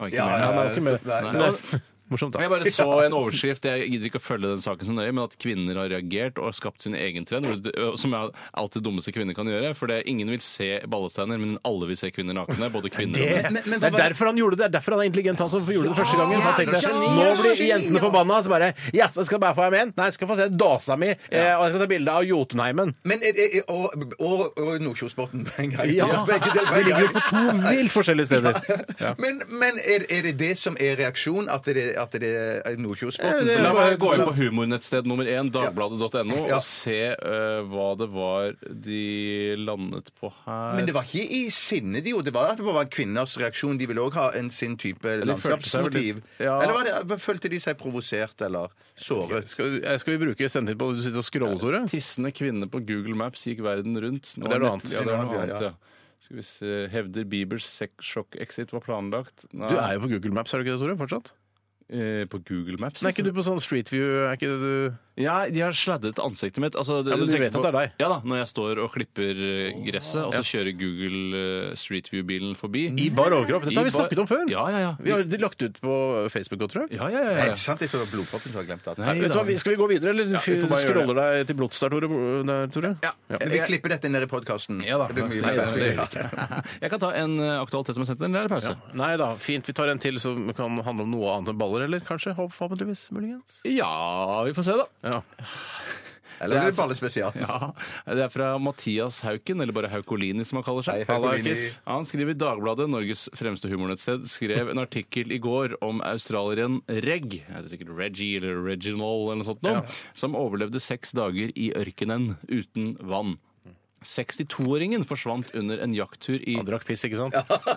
Speaker 5: Å, ikke
Speaker 6: Ja,
Speaker 5: mer.
Speaker 4: Nei, det var ikke mer.
Speaker 6: Nei,
Speaker 5: Nei.
Speaker 6: nei.
Speaker 5: Og-
Speaker 4: (laughs) morsomt,
Speaker 5: Jeg
Speaker 4: da.
Speaker 5: bare
Speaker 4: (laughs)
Speaker 5: så en overskrift, jeg gidder ikke å følge den saken så nøye, men at kvinner har reagert og skapt sin egen trend, hvor det- ø, som er alt det dummeste kvinner kan gjøre. For det, ingen vil se ballesteiner, men alle vil se kvinner nakne. Både kvinner og menn.
Speaker 4: Det, det er derfor han gjorde det. Det er derfor han er intelligent, han som gjorde det første gangen. Han tenkte nå blir jentene forbanna, så bare Jaså, skal jeg bare få en menn? Nei, jeg skal få se dåsa mi, eh, og jeg skal ta bilde av Jotunheimen.
Speaker 6: Men er, er, er, og, og, og Nordkjosbotn på en gang.
Speaker 4: Ja,
Speaker 6: Begge deler på
Speaker 4: Vi
Speaker 6: en
Speaker 4: ligger jo
Speaker 6: gang.
Speaker 4: på to vilt forskjellige steder.
Speaker 6: Men, men er, er det det som er reaksjon? At det, at det er Nordkjosbotn?
Speaker 4: Ja, det-
Speaker 5: La meg gå inn på humornettsted nummer én, dagbladet.no,
Speaker 6: Ja.
Speaker 5: og se ø, hva det var de landet på her.
Speaker 6: Men det var ikke i sinne de gjorde det. var at det var kvinners reaksjon. De ville òg ha en sin type
Speaker 5: de følte seg vel
Speaker 6: landskapsmotiv.
Speaker 5: litt- ja.
Speaker 6: Eller var det, følte de seg provosert eller såret?
Speaker 4: Skal, vi- eh, skal vi bruke sendetid på at du sitter og scroller, Tore?
Speaker 5: Tissende kvinne på Google Maps gikk verden rundt. Nå
Speaker 4: Det er noe
Speaker 5: nett-
Speaker 4: annet.
Speaker 5: Ja, det er noe
Speaker 6: Ja,
Speaker 5: annet,
Speaker 6: ja.
Speaker 5: ja. Skal vi se. Hevder Biebers sex- sjokk-exit var planlagt. Nei.
Speaker 4: Du er jo på Google Maps, er du ikke det, Tore? Fortsatt?
Speaker 5: eh, på Google Maps.
Speaker 4: Nei, er ikke du på sånn Street View? Er ikke det du
Speaker 5: Ja, de har sladdet ansiktet mitt. Altså,
Speaker 4: Ja, men du
Speaker 5: tenker
Speaker 4: vet at det er deg.
Speaker 5: Ja da, Når jeg står og klipper eh, gresset, og så kjører Google eh, Street View-bilen forbi.
Speaker 4: I bar overkropp? Dette har
Speaker 5: I
Speaker 4: vi
Speaker 5: bar-
Speaker 4: snakket om før.
Speaker 5: Ja, ja, ja.
Speaker 4: Vi har det lagt ut på Facebook òg, tror jeg.
Speaker 5: ja, ja, ja, ja.
Speaker 6: Er det sant? Jeg tror det var blodproppen som har glemt det.
Speaker 5: Nei,
Speaker 4: Vet du hva, vi- Skal vi gå videre, eller
Speaker 5: vi får bare gjøre
Speaker 4: scroller deg til blods der, Tore? Der, Tore?
Speaker 5: Ja.
Speaker 6: Men vi klipper dette ned i podkasten.
Speaker 5: Ja da.
Speaker 6: Det blir mye
Speaker 5: Nei,
Speaker 6: bedre.
Speaker 5: det gjør vi ikke. (laughs) Jeg kan ta en eh, aktualitet som er sendt inn. Det er pause.
Speaker 4: Nei da, fint. Vi tar en til som kan handle om noe annet enn baller, eller kanskje? Forhåpentligvis, muligens.
Speaker 5: Ja, vi får se, da.
Speaker 4: Ja.
Speaker 6: Eller blir det ballespesial?
Speaker 5: Ja, Det er fra Mathias Hauken, eller bare Haukolini som han kaller
Speaker 6: Hei,
Speaker 5: seg.
Speaker 6: Haukolini.
Speaker 5: Hallakis. Han skriver i Dagbladet, Norges fremste humornettsted, skrev en artikkel i går om australieren Reg, er det sikkert Reggie eller Reginald eller noe sånt, nå, som overlevde seks dager i ørkenen uten vann. 62-åringen forsvant under en jakttur i
Speaker 4: Han drakk piss, ikke sant? (laughs)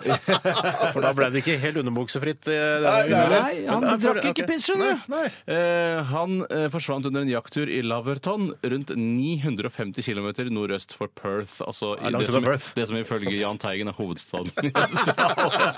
Speaker 4: For da ble det ikke helt underbuksefritt. eh, denne
Speaker 6: nei,
Speaker 4: gangen, eller?
Speaker 5: Nei, han
Speaker 4: Men- nei, for-
Speaker 5: drakk ikke
Speaker 4: ok.
Speaker 5: piss, skjønner du.
Speaker 4: Nei, nei.
Speaker 5: Eh, han eh, forsvant under en jakttur i Laverton, rundt 950 km nordøst for Perth. Altså i
Speaker 4: langt
Speaker 5: det, som,
Speaker 4: unna Perth.
Speaker 5: det som ifølge Jahn Teigen er hovedstaden i
Speaker 4: (laughs)
Speaker 5: Australia.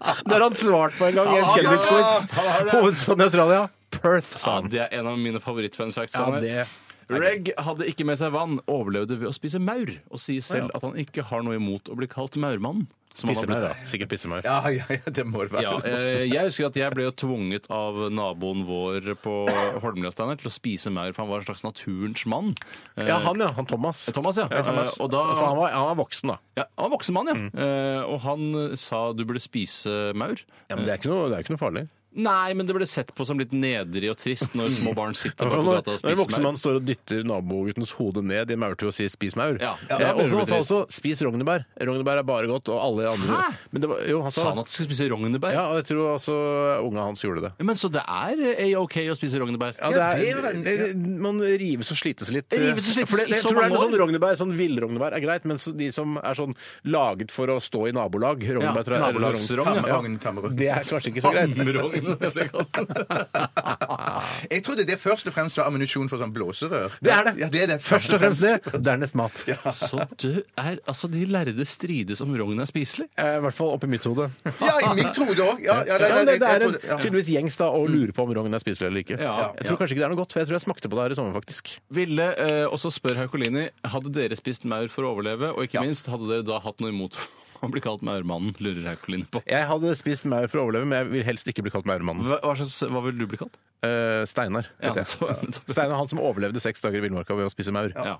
Speaker 4: (laughs) Det har han svart på en gang i en
Speaker 5: Ja, ja,
Speaker 4: kjendisquiz. Hovedstaden i Australia. Perth, sa
Speaker 5: Ja,
Speaker 4: han.
Speaker 5: det er en av mine favorittfunfacts.
Speaker 4: Ja, det-
Speaker 5: Reg hadde ikke med seg vann, overlevde ved å spise maur, og sier selv at han ikke har noe imot å bli kalt maurmann. Som han har
Speaker 4: Pissemaur,
Speaker 5: blitt.
Speaker 4: da. Sikkert pissemaur.
Speaker 6: Ja, ja, ja, det må det være.
Speaker 5: Ja, eh, jeg husker at jeg ble jo tvunget av naboen vår på Holmlia Steiner til å spise maur, for han var en slags naturens mann. Eh,
Speaker 4: Ja, han ja. Han Thomas.
Speaker 5: Thomas, ja.
Speaker 4: Thomas.
Speaker 5: Eh, Og da,
Speaker 4: Så han var, han var voksen, da.
Speaker 5: ja, han var voksen mann, ja. Eh, og han eh, sa du burde spise maur.
Speaker 4: Ja, men det er ikke noe, det er ikke noe farlig.
Speaker 5: Nei, men det ble sett på som litt nedrig og trist når små barn sitter
Speaker 4: Når,
Speaker 5: bak på gata og
Speaker 4: når en
Speaker 5: spiser
Speaker 4: voksen mann
Speaker 5: maur.
Speaker 4: står og dytter naboguttens hode ned i en maurtue og sier 'spis maur'.
Speaker 5: Ja,
Speaker 4: Eh,
Speaker 5: det er
Speaker 4: og så han sa
Speaker 5: ulvetrist.
Speaker 4: også 'spis rognebær'. Rognebær er bare godt, og alle andre
Speaker 5: Hæ?
Speaker 4: Men det var, jo, han sa,
Speaker 5: Sa han at du skulle spise rognebær?
Speaker 4: Ja, og jeg tror også unga hans gjorde det.
Speaker 5: Men så det er eh, ok å spise rognebær?
Speaker 4: Ja, det er, det- man rives og slites litt. eh,
Speaker 5: Rives og slites
Speaker 4: For det,
Speaker 5: i
Speaker 4: jeg
Speaker 5: så
Speaker 4: tror det er
Speaker 5: mange
Speaker 4: noe sånn
Speaker 5: år.
Speaker 4: rognebær, sånn villrognebær er greit, men så de som er sånn laget for å stå i nabolag Rognebær tror jeg er
Speaker 5: nabolagsrogn,
Speaker 4: rogn-
Speaker 5: ja.
Speaker 6: Tammerogn, tammerogn.
Speaker 4: Det er kanskje ikke så greit.
Speaker 5: Ammerogn, som jeg
Speaker 4: (laughs)
Speaker 5: kaller det.
Speaker 6: Jeg trodde det først og fremst var ammunisjon for sånn blåserør.
Speaker 4: Det er det.
Speaker 6: Ja, det, er det.
Speaker 4: Først og
Speaker 5: (laughs)
Speaker 4: fremst det, dernest mat.
Speaker 5: Så du er Altså, de lærde strides om rogn er spiselig?
Speaker 4: Eh, I hvert fall oppi mitt hode.
Speaker 6: Ja, i mitt hode òg. Ja, ja,
Speaker 4: Ja, Mm.
Speaker 6: nei,
Speaker 4: men
Speaker 6: nei,
Speaker 4: det, det er
Speaker 6: jeg
Speaker 4: en,
Speaker 6: trodde- ja.
Speaker 4: tydeligvis gjengs da å lure på om rogn er spiselig eller ikke.
Speaker 5: Ja.
Speaker 4: Jeg tror kanskje ikke det er noe godt, for jeg tror jeg smakte på det her i sommer, faktisk.
Speaker 5: Ville, eh, og så spør Haukolini, hadde dere spist maur for å overleve, og ikke minst, hadde dere da hatt noe imot (laughs) å bli kalt maurmannen, lurer Haukolini på.
Speaker 4: Jeg hadde spist maur for å overleve, men jeg vil helst ikke bli kalt maurmannen.
Speaker 5: Hva, hva, slags, hva vil du bli kalt?
Speaker 4: Eh, Steinar.
Speaker 5: Ja,
Speaker 4: heter jeg. (laughs)
Speaker 5: så-
Speaker 4: Steinar han som overlevde seks dager i villmarka ved å spise maur.
Speaker 5: Ja.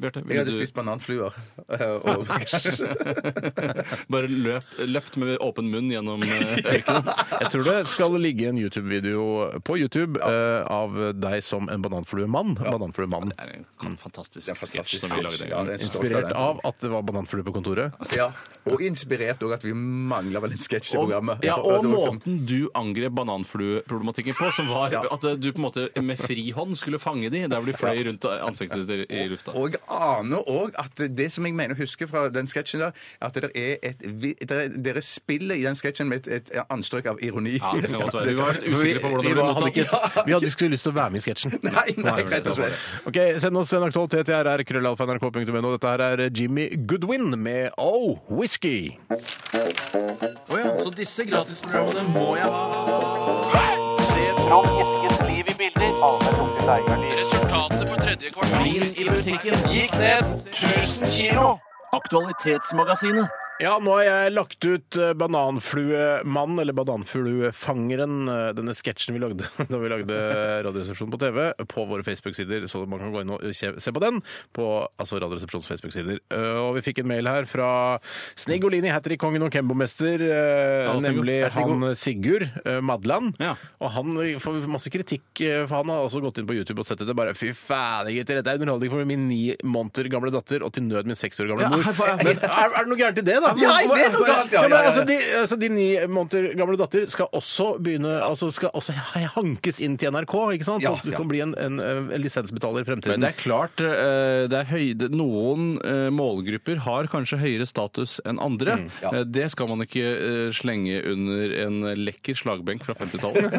Speaker 5: Bjarte,
Speaker 6: Jeg
Speaker 5: ville
Speaker 6: hadde
Speaker 5: du
Speaker 6: spist bananfluer. eh, Og
Speaker 5: bare løp, løpt med åpen munn gjennom
Speaker 6: (laughs)
Speaker 5: eh, ørkenen?
Speaker 4: Jeg tror det skal ligge en YouTube-video på YouTube eh, av deg som en bananfluemann. Bananfluemannen.
Speaker 5: Det er en kan- fantastisk
Speaker 6: Det er
Speaker 5: sketsj
Speaker 6: fantastisk.
Speaker 5: som vi lagde en
Speaker 6: Ja,
Speaker 5: gang.
Speaker 6: det er en stolt
Speaker 4: Inspirert
Speaker 6: den.
Speaker 4: av at det var bananflue på kontoret.
Speaker 6: Ja, og inspirert òg at vi mangla vel en sketsj i
Speaker 5: Og,
Speaker 6: programmet.
Speaker 5: ja,
Speaker 6: For-
Speaker 5: og
Speaker 6: det var som-
Speaker 5: måten du angrep bananflueproblematikken på, som var at eh, du på en måte med fri hånd skulle fange de der hvor de fløy rundt ansiktet ditt i- i lufta.
Speaker 6: Og jeg aner òg at det som jeg mener å huske fra den sketsjen der, at det er et vi- det er- Dere spiller i den sketsjen med et, et anstrøk av ironi.
Speaker 5: Ja, det kan godt
Speaker 6: (laughs)
Speaker 5: være. Vi var litt
Speaker 4: Vi,
Speaker 5: usikre på hvordan
Speaker 4: vi,
Speaker 5: det ble
Speaker 4: var- hadde
Speaker 5: mottatt.
Speaker 4: ikke, (laughs) vi hadde ikke lyst til å være med i sketsjen.
Speaker 6: Nei, nei, rett og slett.
Speaker 4: Ok, Send oss en aktualitet. Jeg er krøllalfa.nrk.no. Dette her er Jimmy Goodwin med Oh Whisky.
Speaker 9: Vin i butikken gikk ned 1000 kilo. Aktualitetsmagasinet
Speaker 4: Ja, nå har jeg lagt ut eh, Bananfluemannen, eller Bananfluefangeren, eh, denne sketsjen vi lagde (laughs) da vi lagde Radioresepsjonen på TV, på våre Facebook-sider, så man kan gå inn og se se på den på altså Radioresepsjonens Facebook-sider. Eh, Og vi fikk en mail her fra Snigolini, heter i Kongen og Kembo-mester, eh,
Speaker 5: Ja, Snigo.
Speaker 4: nemlig
Speaker 5: Hei, Snigo.
Speaker 4: han Sigurd eh, Madland.
Speaker 5: Ja.
Speaker 4: Og han får masse kritikk, eh, for han har også gått inn på YouTube og sett etter bare fy faen, gutter, dette er underholdning for min ni måneder gamle datter, og til nød min seks år gamle
Speaker 5: Ja,
Speaker 4: mor.
Speaker 5: her får jeg-
Speaker 4: Men er, er det noe gærent i det, da?
Speaker 6: Ja, det er noe gærent, ja,
Speaker 4: men
Speaker 6: ja, ja.
Speaker 4: Altså, de, altså, de ni måneder gamle datter skal også begynne altså, skal også hankes inn til NRK, ikke sant?
Speaker 6: Ja,
Speaker 4: Sånn at du
Speaker 6: ja.
Speaker 4: kan bli en, en, eh, lisensbetaler i fremtiden.
Speaker 5: Men det er klart, eh, det er høyde, noen eh, målgrupper har kanskje høyere status enn andre. Eh, Det skal man ikke eh, slenge under en lekker slagbenk fra 50-tallet.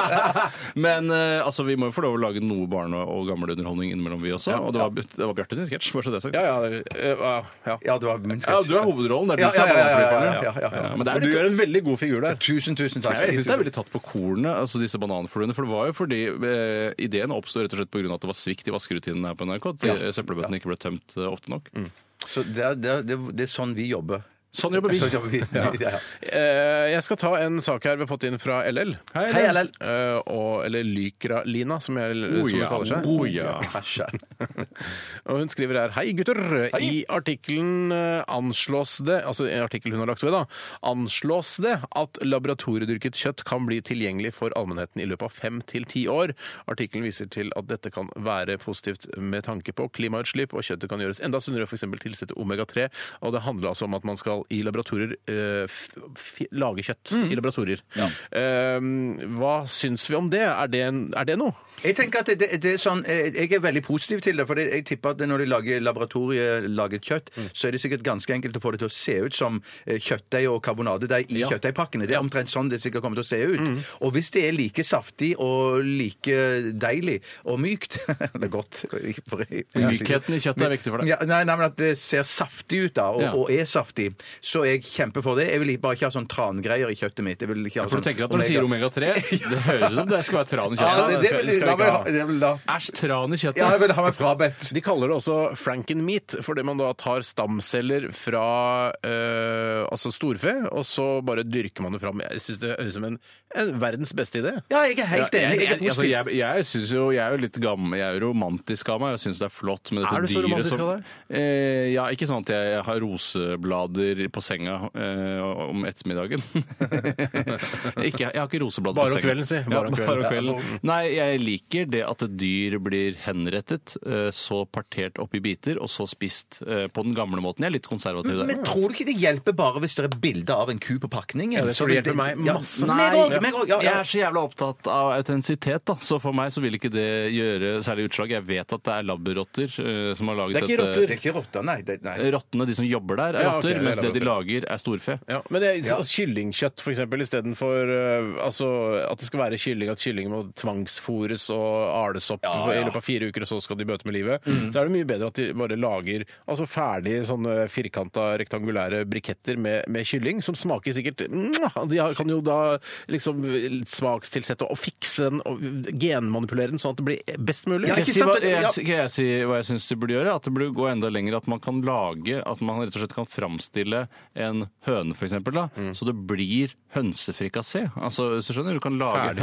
Speaker 5: (laughs) Men eh, altså, vi må jo få lov å lage noe barne- og gammelunderholdning innimellom, vi også. Og det var, det var Bjarte sin sketsj, bare så det er sagt.
Speaker 4: Ja, ja, eh, ja, ja.
Speaker 6: Ja, det var min
Speaker 5: Ja,
Speaker 6: sketsj.
Speaker 5: du er hovedrollen. Det er
Speaker 6: Ja,
Speaker 5: du som er
Speaker 6: ja, ja, ja, ja,
Speaker 5: bananflyfaren,
Speaker 6: ja, ja, ja.
Speaker 5: Men det
Speaker 4: Men
Speaker 5: er
Speaker 4: du
Speaker 5: litt
Speaker 4: gjør en veldig god figur der.
Speaker 6: Tusen, tusen takk.
Speaker 5: Nei, jeg synes det er veldig tatt på kornet, altså disse bananfluene. For det var jo fordi eh, ideen oppstod rett og slett pga. at det var svikt i vaskerutinene her på NRK. At eh, søppelbøttene ikke ble tømt eh, ofte nok.
Speaker 6: Mm. Så det er, det, er, det er sånn vi jobber.
Speaker 5: Sånn jobber vi.
Speaker 6: Sånn jobber vi. Ja. Ja.
Speaker 4: Eh, Jeg skal ta en sak her vi har fått inn fra LL.
Speaker 5: Hei, LL.
Speaker 4: Eh, og, eller Lykra-Lina, som, jeg,
Speaker 5: Oh,
Speaker 4: som
Speaker 5: ja.
Speaker 4: det kaller seg.
Speaker 5: Oh, ja.
Speaker 6: Asja.
Speaker 4: Og hun skriver her Hei, gutter! I artikkelen eh, anslås det altså i artikkel hun har lagt ved da, anslås det at laboratoriedyrket kjøtt kan bli tilgjengelig for allmennheten i løpet av fem til ti år. Artikkelen viser til at dette kan være positivt med tanke på klimautslipp, og kjøttet kan gjøres enda sunnere, f.eks. tilsette omega-3. Og det handler altså om at man skal i laboratorier eh, f f lage kjøtt. I laboratorier. Eh, hva syns vi om det? Er det, en, er det noe?
Speaker 6: Jeg tenker at det, det er sånn, eh, jeg er veldig positiv til det, for jeg tipper at når de lager laboratorielaget kjøtt,
Speaker 5: Mm.
Speaker 6: så er det sikkert ganske enkelt å få det til å se ut som eh, kjøttdeig og karbonadedeig i kjøttdeigpakkene. Det er omtrent sånn det sikkert kommer til å se ut.
Speaker 5: Mm.
Speaker 6: Og hvis det er like saftig og like deilig og mykt (laughs) Eller godt. for- for-
Speaker 5: Mykheten i kjøttet er viktig for deg.
Speaker 6: Ja, nei, nei, men at det ser saftig ut, da, og,
Speaker 5: Ja.
Speaker 6: og er saftig, så er jeg kjemper for det. Jeg vil bare ikke ha sånn trangreier i kjøttet mitt. Jeg vil ikke ha
Speaker 5: For du
Speaker 6: sånn
Speaker 5: tenker at når du sier
Speaker 6: (laughs)
Speaker 5: omega-3, det høres ut som det skal være tran i
Speaker 6: Ja,
Speaker 5: kjøttet.
Speaker 6: det, det, vil,
Speaker 5: skal
Speaker 6: da
Speaker 5: vi ikke
Speaker 6: vil, jeg ha-
Speaker 5: ha.
Speaker 6: det vil da
Speaker 5: Æsj, tran i
Speaker 6: Ja, jeg
Speaker 5: kjøttet.
Speaker 6: vil ha meg frabedt.
Speaker 4: De kaller det også frankenmeat, fordi man da tar stamceller fra eh, altså storfe, og så bare dyrker man det fram. Jeg syns det høres ut som en, en verdens beste idé.
Speaker 6: Ja, jeg er helt
Speaker 5: Jeg,
Speaker 6: enig. Jeg er
Speaker 5: jeg, altså,
Speaker 6: positiv.
Speaker 5: jeg, jeg, synes jo, jeg er jo litt gammel, jeg er jo romantisk av meg. Jeg syns det er flott med dette
Speaker 4: Er du så
Speaker 5: dyret
Speaker 4: romantisk
Speaker 5: som
Speaker 4: av deg?
Speaker 5: Eh, ja, ikke sånn at jeg har roseblader på senga eh, om ettermiddagen. (laughs) ikke, jeg har ikke roseblader
Speaker 4: Bare
Speaker 5: på
Speaker 4: om
Speaker 5: senga.
Speaker 4: kvelden, si.
Speaker 5: Ja,
Speaker 4: Bare om kvelden.
Speaker 5: bare om kvelden. Nei, jeg liker det at et dyr blir henrettet, eh, så partert opp i biter, og så spist eh, på den gamle måten. Jeg er litt konservativ der.
Speaker 6: Men tror du ikke det hjelper bare hvis det er bilde av en ku på pakningen?
Speaker 4: det
Speaker 6: Så
Speaker 4: tror jeg
Speaker 6: vil
Speaker 4: hjelper meg masse.
Speaker 6: Ja, meg òg! Meg òg! Ja,
Speaker 5: Jeg
Speaker 6: ja.
Speaker 5: er så jævla opptatt av autentisitet, da. så for meg så vil ikke det gjøre særlig utslag. Jeg vet at det er labberotter eh, som har laget
Speaker 4: Det er ikke
Speaker 5: dette.
Speaker 6: Det er ikke rotta, nei. Det, nei.
Speaker 4: Eh,
Speaker 5: Rottene, de som jobber der, er
Speaker 4: Ja, ok,
Speaker 5: rotter,
Speaker 4: det er
Speaker 5: mens det de
Speaker 4: labberotter.
Speaker 5: lager, er storfe.
Speaker 4: Ja, men det, altså, kyllingkjøtt for eksempel, istedenfor uh, altså, at det skal være kylling, at kyllinger må tvangsfôres og ales opp på- i løpet av fire uker, og så skal de bøte med livet,
Speaker 6: Mm.
Speaker 4: så er det mye bedre at de bare lager altså, ferdige sånne firkanta, rektangulære briketter med, med kylling, som smaker sikkert mwah! De har- kan jo da liksom smakstilsette og fikse den og genmanipulere den sånn at det blir best mulig.
Speaker 6: Ja,
Speaker 5: Skal
Speaker 6: ikke
Speaker 5: jeg si hva,
Speaker 6: sant?
Speaker 5: jeg,
Speaker 6: Ja.
Speaker 5: skal jeg si hva jeg syns de burde gjøre? At det burde gå enda lenger. At man kan lage At man rett og slett kan framstille en høne, for eksempel, da, så det blir hønsefrikassé. Altså, hvis du skjønner, du kan lage
Speaker 4: Ferdig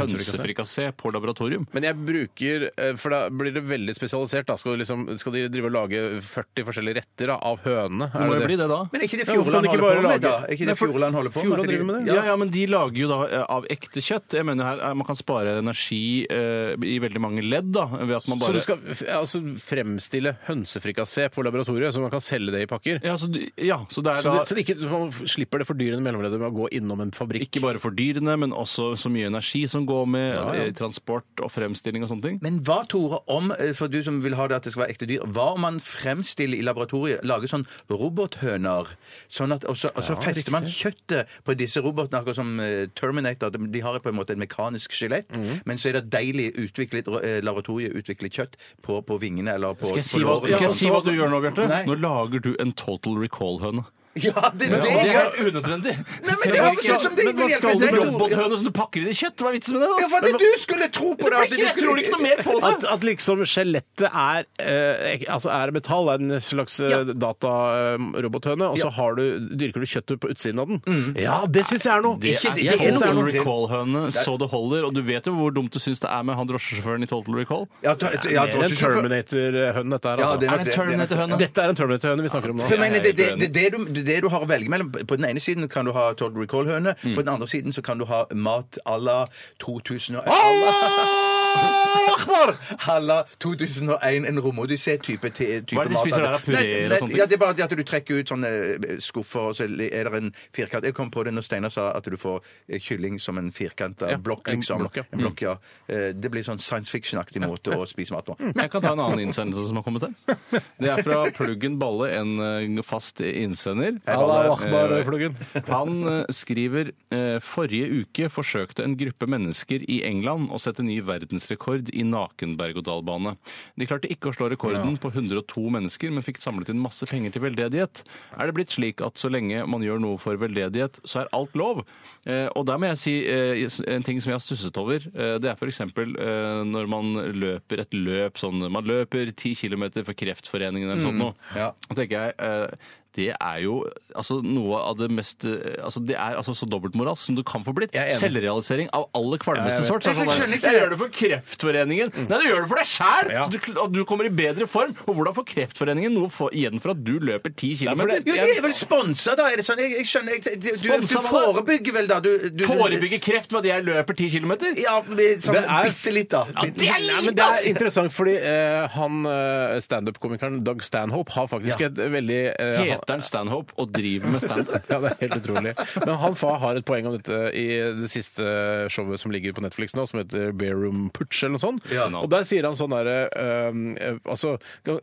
Speaker 5: hønsefrikassé
Speaker 4: hønsefrikassé.
Speaker 5: på laboratorium.
Speaker 4: Men jeg bruker, eh, for da blir det veldig spesialisert. Da. Skal, du liksom, skal de drive og lage 40 forskjellige retter da, av hønene?
Speaker 5: Det må jo bli det, da.
Speaker 6: Men er ikke det
Speaker 4: Ja, hvorfor kan
Speaker 6: Fjordland
Speaker 4: de ikke
Speaker 6: holder på
Speaker 4: bare
Speaker 6: med, da?
Speaker 4: lage-
Speaker 6: Er ikke
Speaker 4: Nei,
Speaker 6: det
Speaker 4: for-
Speaker 6: Fjordland holder på
Speaker 4: Fjordland
Speaker 6: At de-
Speaker 4: driver med det,
Speaker 5: Ja, ja, men de lager jo da eh, av ekte kjøtt. Jeg mener her, eh, Man kan spare energi eh, i veldig mange ledd da, ved at man
Speaker 4: Så
Speaker 5: bare
Speaker 4: du skal f- altså, fremstille hønsefrikassé på laboratoriet, så man kan selge det i pakker?
Speaker 5: ja, så, du- ja, så det er
Speaker 4: Så,
Speaker 5: da
Speaker 4: det, så det ikke, så man slipper det fordyrende mellomleddet med å gå innom en fabrikk?
Speaker 5: ikke bare for dyrene, men også så mye energi som går med eh, transport og fremstilling og sånne ting.
Speaker 6: Men hva, Tore, om eh, for du som vil ha det at det skal være ekte dyr, hva om man fremstiller i laboratoriet, lager sånn robothøner, sånn at, og så, og så fester man kjøttet på disse robotene, akkurat som eh, Terminator, de de har på en måte et mekanisk skjelett, men så er det deilig utviklet, eh, laboratorieutviklet kjøtt på, på vingene eller på
Speaker 5: Skal jeg si
Speaker 6: på
Speaker 5: hva,
Speaker 6: låret. liksom.
Speaker 5: skal jeg si hva du gjør nå, Bjarte?
Speaker 6: Nei.
Speaker 5: Nå lager du en total recall-høne.
Speaker 6: Ja,
Speaker 5: Ja,
Speaker 6: det, det,
Speaker 5: og det er
Speaker 6: ja.
Speaker 5: helt unødvendig.
Speaker 6: men det høres ut som det
Speaker 5: Men hva
Speaker 6: vil hjelpe
Speaker 5: skal du
Speaker 6: deg,
Speaker 5: med
Speaker 6: Tore?
Speaker 5: robothøne som du pakker inn i kjøtt? Hva er vitsen med det? da?
Speaker 6: Ja, for det du skulle tro på det!
Speaker 5: Jeg
Speaker 6: at du
Speaker 5: tror
Speaker 6: skulle-
Speaker 5: ikke noe mer på det.
Speaker 4: At, at liksom skjelettet er, eh, ek- altså er metall, er en slags eh, datarobothøne, og så har du, dyrker du kjøttet på utsiden av den. Ja, Mm. det syns jeg er noe! sånn
Speaker 5: Det
Speaker 6: Ikke-
Speaker 5: er
Speaker 6: Altså, det
Speaker 5: jeg
Speaker 6: er
Speaker 5: synes det er
Speaker 6: noe-
Speaker 5: noe recall-høne, så det holder. Og du vet jo hvor dumt du syns det er med han drosjesjåføren i Total Recall.
Speaker 6: Ja, to- to- ja,
Speaker 4: Det er en
Speaker 6: drosjesjåfør.
Speaker 4: Terminator-hønn, dette her.
Speaker 6: Ja,
Speaker 5: Er det
Speaker 4: Altså.
Speaker 6: det er nok det.
Speaker 5: en
Speaker 6: det er nok det.
Speaker 5: Terminator-høne?
Speaker 4: Dette er en Terminator-høne vi snakker om nå.
Speaker 6: For jeg mener, det, det, det, det, du, det du har å velge mellom På den ene siden kan du ha Total Recall-høne.
Speaker 5: Mm.
Speaker 6: På den andre siden så kan du ha mat à la 2000 og- (laughs) à la 2001, en romodyssé-type te- type
Speaker 5: Hva er det de spiser der, da? Puré
Speaker 6: Nei,
Speaker 5: og
Speaker 6: nei,
Speaker 5: sånne ting?
Speaker 6: Ja, det er bare det at du trekker ut sånne eh, skuffer, og så er det en firkant Jeg kom på det når Steinar sa at du får eh, kylling som en firkanta
Speaker 4: Ja,
Speaker 6: blokk,
Speaker 4: en
Speaker 6: liksom.
Speaker 4: blokk, ja.
Speaker 6: En
Speaker 5: Mm.
Speaker 6: blokk, ja. Eh, Det blir sånn science fiction-aktig måte å spise mat på.
Speaker 5: Jeg kan ta en annen innsendelse som har kommet her. Det er
Speaker 6: (laughs)
Speaker 5: fra Pluggen Balle, en eh, fast innsender.
Speaker 4: Allah
Speaker 5: Eh,
Speaker 4: Akbar-pluggen.
Speaker 5: Han eh, skriver eh, forrige uke forsøkte en gruppe mennesker i England å sette ny verdensrekord i naken berg-og-dal-bane. De klarte ikke å slå rekorden på 102 mennesker, men fikk samlet inn masse penger til veldedighet. Er det blitt slik at så lenge man gjør noe for veldedighet, så er alt lov? Eh, og der må jeg si eh, en ting som jeg har stusset over. Eh, det er f.eks. Eh, når man løper et løp sånn Man løper 10 km for Kreftforeningen eller sånt noe.
Speaker 6: ja.
Speaker 5: Da tenker jeg eh, det er jo altså, noe av det mest eh, altså, Det er altså så dobbeltmoralsk som du kan få blitt.
Speaker 4: er enig.
Speaker 5: Selvrealisering av aller kvalmeste sort. Så er Mm. det
Speaker 6: Jeg
Speaker 5: sånn
Speaker 6: skjønner
Speaker 5: der,
Speaker 6: ikke
Speaker 5: jeg
Speaker 6: det.
Speaker 5: gjør det for Kreftforeningen! Nei, du gjør det for deg sjæl!
Speaker 4: Ja.
Speaker 5: Du, kl- og du kommer i bedre form. Og hvordan får Kreftforeningen noe for, igjen for at du løper 10
Speaker 6: Jo,
Speaker 5: km?
Speaker 6: de er vel sponsa, da? Er det sånn? Jeg, jeg skjønner jeg, du, du,
Speaker 5: Sponsa hva da?
Speaker 6: forebygger vel, da? Du, du,
Speaker 5: Forebygge kreft ved at jeg løper 10 km?
Speaker 6: Ja, med sånn
Speaker 4: Det er-
Speaker 6: bitte litt, da.
Speaker 5: det er
Speaker 4: Nei, men
Speaker 5: lite,
Speaker 4: det
Speaker 5: ass!
Speaker 4: er interessant, fordi eh, han eh, standup-komikeren Doug Stanhope har faktisk et veldig eh, han-
Speaker 5: Heter han Stanhope og driver med standup?
Speaker 4: (laughs) Ja, det er helt utrolig. Men han fa har et poeng om dette i det siste showet som ligger på Netflix nå, som heter Bear Room Putsch eller noe sånt.
Speaker 5: Ja.
Speaker 4: Og der sier han sånn derre ehm, eh, Altså,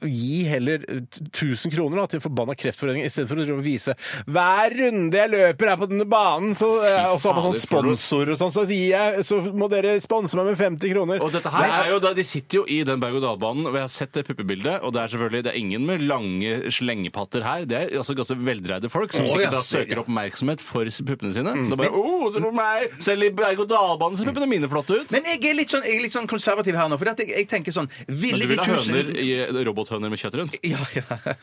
Speaker 4: gi heller 1000 kroner da, til forbanna Kreftforeningen istedenfor å drive og vise hver runde jeg løper her på denne banen, så, eh, og så har man sånn
Speaker 5: fader, for noe.
Speaker 4: sponsor og sånn, så, gir jeg, så må dere sponse meg med 50 kroner.
Speaker 5: Og dette her er jo da, De sitter jo i den berg-og-dal-banen, og jeg har sett det puppebildet. Og det er selvfølgelig det er ingen med lange slengepatter her. Det er altså ganske veldreide folk som sikkert da søker oppmerksomhet for s- puppene sine. Det er bare, oh, se på meg! Selv i berg-og-dal-banen ser puppene mine flotte ut.
Speaker 6: Men jeg er litt sånn, jeg er litt sånn konservativ her nå, for at jeg, jeg tenker sånn
Speaker 5: Men
Speaker 6: Ville
Speaker 5: du
Speaker 6: de
Speaker 5: vil ha
Speaker 6: tusen
Speaker 5: høner i eh, robothøner med kjøtt rundt?
Speaker 6: (laughs) Ja, ja.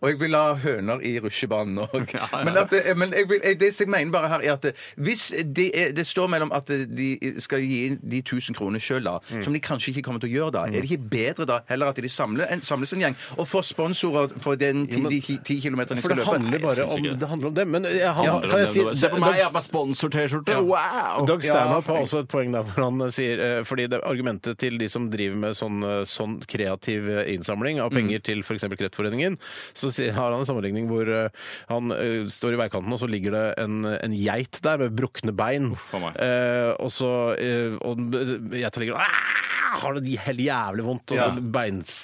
Speaker 6: Og jeg vil ha høner i rusjebanen
Speaker 4: (laughs)
Speaker 6: òg.
Speaker 5: Ja, ja.
Speaker 6: Men, at det, men jeg vil, jeg, det jeg mener bare her, er at det- hvis det, er, det står mellom at eh, de skal gi inn de 1000 kronene sjøl, da,
Speaker 4: Mm.
Speaker 6: som de kanskje ikke kommer til å gjøre da, er det ikke bedre da heller at de samler en, samles en gjeng og får sponsorer for den ti, de ki- ti kilometerne de
Speaker 4: For
Speaker 6: skal
Speaker 4: det
Speaker 6: løpe?
Speaker 4: handler bare om,
Speaker 5: ikke det.
Speaker 4: det handler om dem. Men jeg, han,
Speaker 5: Ja,
Speaker 4: kan jeg si
Speaker 5: Se på meg,
Speaker 4: Doug-
Speaker 5: jeg har på meg sponsor-T-skjorte! Wow!
Speaker 4: Doug Stanhope har også et poeng der hvor han sier eh, Fordi det er argumentet til de som driver med sånn, eh, sånn kreativ eh, innsamling av
Speaker 5: Mm.
Speaker 4: penger til f.eks. Kreftforeningen, så sier- har han en sammenligning hvor eh, han eh, står i veikanten, og så ligger det en, en geit der med brukne bein.
Speaker 5: a meg.
Speaker 4: Eh, og så eh, Og den- geita ligger og "Ah!" har det helt jævlig vondt, og
Speaker 6: Ja.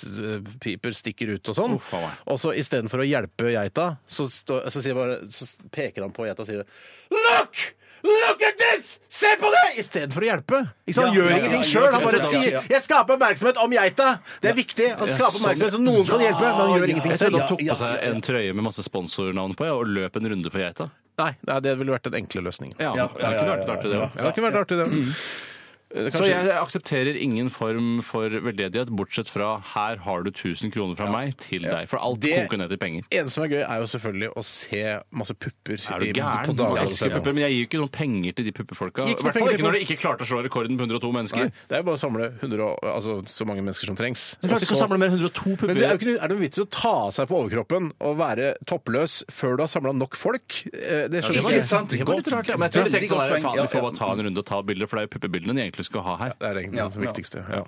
Speaker 4: beinspiper stikker ut og sånn.
Speaker 5: Uff a meg.
Speaker 4: Og så istedenfor å hjelpe geita, så, stå, så, sier bare, så peker han på geita og sier Look! Look at this! Se på det! Istedenfor å hjelpe. Ikke sant? Han
Speaker 6: Ja,
Speaker 4: gjør
Speaker 6: ja, ja,
Speaker 4: ingenting
Speaker 6: ja,
Speaker 4: sjøl. Han
Speaker 6: ja,
Speaker 4: bare
Speaker 6: ja, ja, ja.
Speaker 4: sier 'Jeg skaper oppmerksomhet om geita'. Det er viktig. Han skaper oppmerksomhet så noen kan hjelpe, men han gjør ingenting
Speaker 5: Jeg trodde
Speaker 4: selv.
Speaker 5: han tok
Speaker 6: ja,
Speaker 5: på seg en trøye med masse sponsornavn på ja, og løp en runde for geita.
Speaker 4: Nei, nei, det ville vært en enkle løsning.
Speaker 5: Ja,
Speaker 6: Ja,
Speaker 5: det er
Speaker 6: ja,
Speaker 5: ikke
Speaker 6: ja,
Speaker 5: vært
Speaker 6: ja,
Speaker 5: artig det
Speaker 6: ja.
Speaker 5: også.
Speaker 4: Ja, det kunne vært artig, det. Eh,
Speaker 5: Så
Speaker 4: kanskje-
Speaker 5: jeg aksepterer ingen form for veldedighet, bortsett fra her har du 1000 kroner fra meg til deg. For alt
Speaker 4: Det-
Speaker 5: koker ned til penger.
Speaker 4: En som er gøy, er jo selvfølgelig å se masse pupper
Speaker 5: Er du
Speaker 4: i-
Speaker 5: gæren?
Speaker 4: på
Speaker 5: Jeg elsker
Speaker 4: dagen.
Speaker 5: pupper, men jeg gir jo ikke noen penger til de puppefolka. I
Speaker 4: Ikke noe
Speaker 5: hvert
Speaker 4: penger
Speaker 5: fall
Speaker 4: til
Speaker 5: ikke når de ikke klarte å slå rekorden på 102 mennesker.
Speaker 4: Nei, Det er jo bare å samle 100, og- altså, så mange mennesker som trengs.
Speaker 5: Du klarte ikke å
Speaker 4: Og så-
Speaker 5: samle mer enn 102
Speaker 4: Men det er,
Speaker 5: pupper.
Speaker 4: jo ikke, noe- er det noen vits i å ta av seg på overkroppen og være toppløs før du har samla nok folk? Eh, Det skjønner
Speaker 5: var
Speaker 4: jeg
Speaker 5: litt-
Speaker 4: ikke.
Speaker 5: Det var litt rart, ja. Men jeg tror de
Speaker 6: Veldig
Speaker 5: tenkte sånn der,
Speaker 6: godt poeng.
Speaker 5: faen,
Speaker 6: Ja,
Speaker 5: vi får
Speaker 6: ja.
Speaker 5: bare ta en runde og ta bilder, for det er jo puppebildene de egentlig skal ha her.
Speaker 4: Det er egentlig
Speaker 6: Ja,
Speaker 4: det som er
Speaker 6: ja.
Speaker 4: viktigste. Ja.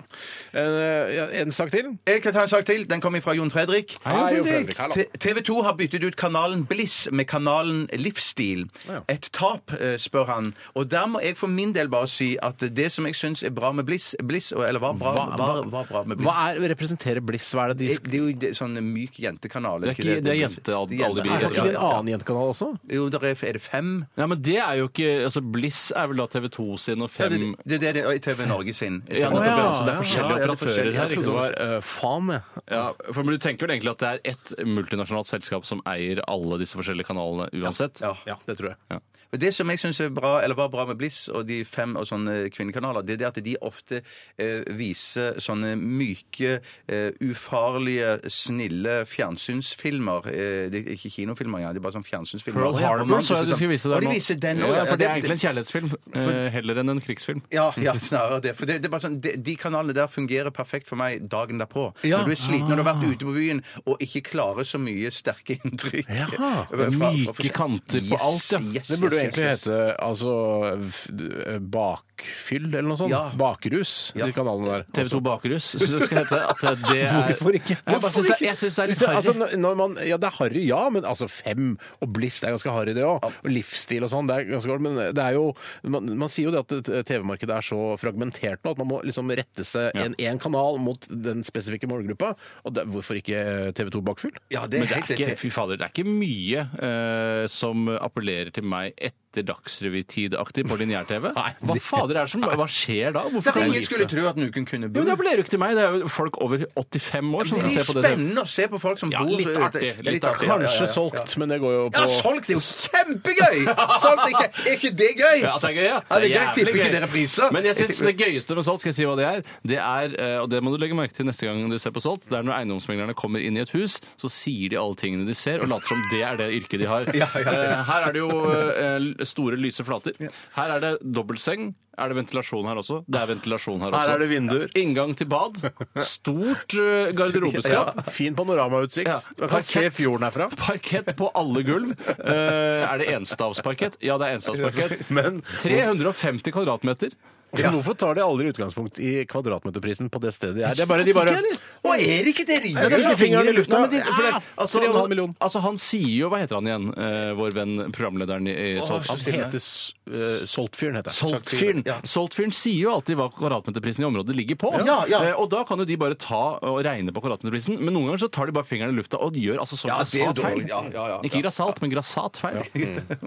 Speaker 4: Eh, ja, En sak til.
Speaker 6: Jeg kan ta en sak til. Den kommer fra Jon Fredrik.
Speaker 4: Hei, Jon Fredrik. Hallo.
Speaker 6: TV 2 har byttet ut kanalen Bliss med kanalen Livsstil. Et tap, eh, spør han. Og der må jeg for min del bare si at det som jeg syns er bra med Bliss, Bliss og- eller var bra,
Speaker 4: Hva-
Speaker 6: var,
Speaker 4: hva-
Speaker 6: var bra med Bliss
Speaker 4: Hva er, representerer Bliss? Hva er det de
Speaker 6: Det det er jo det- sånn myk jentekanal.
Speaker 5: Det er ikke- det er
Speaker 6: Bliss?
Speaker 5: jente- alle
Speaker 6: Det er jente-
Speaker 5: de-
Speaker 4: Er det
Speaker 5: Ja,
Speaker 4: ikke det en annen jentekanal også?
Speaker 6: Jo, der er, er det fem?
Speaker 5: Nei, men det er jo ikke altså Bliss er vel da TV 2 sin og
Speaker 6: Ja, det,
Speaker 5: fem
Speaker 6: det, det, det, og i TV Norge sin. I TV
Speaker 5: Ja, nettopp,
Speaker 6: Norge.
Speaker 5: ja. Så det er
Speaker 6: Ja,
Speaker 5: forskjellige
Speaker 6: ja, det er
Speaker 5: operatører
Speaker 6: forskjellige.
Speaker 5: her. ikke
Speaker 4: Jeg trodde det
Speaker 5: sant?
Speaker 4: var eh, faen, jeg.
Speaker 5: Ja, for men Du tenker vel egentlig at det er ett multinasjonalt selskap som eier alle disse forskjellige kanalene uansett?
Speaker 6: Ja.
Speaker 4: Ja, det tror jeg.
Speaker 6: Men Det som jeg syns er bra, eller var bra med Bliss og de fem og sånne kvinnekanaler, det er det at de ofte eh, viser sånne myke, eh, ufarlige, snille fjernsynsfilmer. Eh, det er ikke kinofilmer engang, det er bare sånn fjernsynsfilmer.
Speaker 5: Pearl
Speaker 6: Og
Speaker 5: Harbor
Speaker 6: romantisk
Speaker 5: så jeg du
Speaker 6: og sånn.
Speaker 5: skulle vise deg
Speaker 6: Og de
Speaker 5: nå.
Speaker 6: viser den
Speaker 5: ja,
Speaker 6: også, ja.
Speaker 5: for det er
Speaker 6: Ja, det-
Speaker 5: egentlig en kjærlighetsfilm eh, heller enn en krigsfilm.
Speaker 6: Ja, ja, snarere det. For det, det er bare sånn, de, de kanalene der fungerer perfekt for meg dagen derpå.
Speaker 4: Ja.
Speaker 6: Når du er sliten, når du har
Speaker 5: Ah.
Speaker 6: vært ute på byen og ikke klarer så mye sterke inntrykk.
Speaker 4: Jaha.
Speaker 6: (laughs) Fra- fra-
Speaker 5: Myke kanter på alt, ja.
Speaker 6: Yes,
Speaker 4: Det burde jo
Speaker 6: yes,
Speaker 4: egentlig
Speaker 6: yes, yes.
Speaker 4: hete altså f- d- eh, bakfyll eller noe sånt.
Speaker 6: Ja.
Speaker 4: Bakrus,
Speaker 6: Ja.
Speaker 4: de kanalene der.
Speaker 5: TV 2 Bakerus syns det skal hete at det er
Speaker 4: Hvorfor ikke?
Speaker 5: Jeg bare syns det, jeg syns det er litt harry.
Speaker 4: Altså, når- når man, ja, det er harry, ja, men altså fem og Bliss det er ganske harry, det òg. Og livsstil og sånn, det er ganske godt. Men det er jo man, man sier jo det at eh, TV-markedet er så fragmentert nå at man må liksom rette seg
Speaker 5: Ja.
Speaker 4: en, en kanal mot den spesifikke målgruppa. Og det, hvorfor ikke TV 2 bakfyll?
Speaker 6: Ja, det er
Speaker 5: Men det
Speaker 6: helt
Speaker 5: er ikke, fy fader, det er ikke mye eh, som appellerer til meg etter Dagsrevy-tidaktig på lineær-TV. Hva fader er det som Hva skjer da? Hvorfor
Speaker 6: Det er
Speaker 5: kan
Speaker 6: ingen
Speaker 5: jeg-
Speaker 6: skulle tro at Nuken kunne
Speaker 5: Jo,
Speaker 6: bo
Speaker 5: men Det appellerer jo ikke til meg. Det er jo folk over 85 år som
Speaker 6: Det
Speaker 5: skal
Speaker 6: er
Speaker 5: se på det.
Speaker 6: spennende å se sånn. på folk som
Speaker 5: Ja,
Speaker 6: bor
Speaker 5: litt
Speaker 6: så-
Speaker 5: artig,
Speaker 6: det er
Speaker 5: litt artig.
Speaker 6: ja, ja, ja,
Speaker 4: Kanskje
Speaker 6: ja.
Speaker 4: solgt, men det går jo på
Speaker 6: Ja, solgt er jo kjempegøy! Solgt er, ikke, er ikke det gøy?
Speaker 5: Ja, at det er gøy, ja.
Speaker 6: Ja, det er gøy.
Speaker 5: jævlig
Speaker 6: Tipper ikke
Speaker 5: gøy.
Speaker 6: dere priser.
Speaker 5: Men jeg synes
Speaker 6: Jeg
Speaker 5: det gøyeste med Salt, skal jeg si hva det er, det er, eh, og det må du legge merke til neste gang du ser på Salt, det er når eiendomsmeglerne kommer inn i et hus, så sier de alle tingene de ser, og later som det er det yrket de har.
Speaker 6: (laughs) Ja, ja, ja.
Speaker 5: Eh, Her er det jo eh, store, lyse flater. Her er det dobbeltseng. Er det ventilasjon her også? Det er ventilasjon her også.
Speaker 4: Her er det vinduer.
Speaker 5: Inngang til bad. Stort eh, garderobeskap.
Speaker 4: Fin panoramautsikt.
Speaker 5: Ja.
Speaker 4: Man kan se
Speaker 5: Parkett.
Speaker 4: fjorden herfra.
Speaker 5: Parkett på alle gulv. Eh, er det enstavsparkett? Ja, det er enstavsparkett.
Speaker 4: Men-
Speaker 5: 350 kvadratmeter.
Speaker 4: Men Hvorfor tar de aldri utgangspunkt i kvadratmeterprisen på det stedet de er? Det er bare de bare
Speaker 6: Å, er det ikke det de
Speaker 4: Jeg
Speaker 6: gjør?
Speaker 4: tror ikke fingeren i lufta.
Speaker 5: Nei, men de-
Speaker 4: For det er
Speaker 5: altså,
Speaker 4: 3,5
Speaker 5: han,
Speaker 4: million.
Speaker 5: altså, han sier jo Hva heter han igjen, eh, vår venn programlederen i, i Salt?
Speaker 6: så
Speaker 4: Han
Speaker 6: stille.
Speaker 4: heter S- eh, Soltfyren, heter han.
Speaker 5: Soltfyren.
Speaker 6: Ja.
Speaker 5: Soltfyren sier jo alltid hva kvadratmeterprisen i området ligger på.
Speaker 6: Ja, ja.
Speaker 5: Eh, Og da kan jo de bare ta og regne på kvadratmeterprisen, men noen ganger så tar de bare fingeren i lufta og gjør altså så
Speaker 6: Ja, det er jo
Speaker 5: grassat feil.
Speaker 6: dårlig. Ja, ja, ja.
Speaker 5: Ikke grassat, men grassat feil.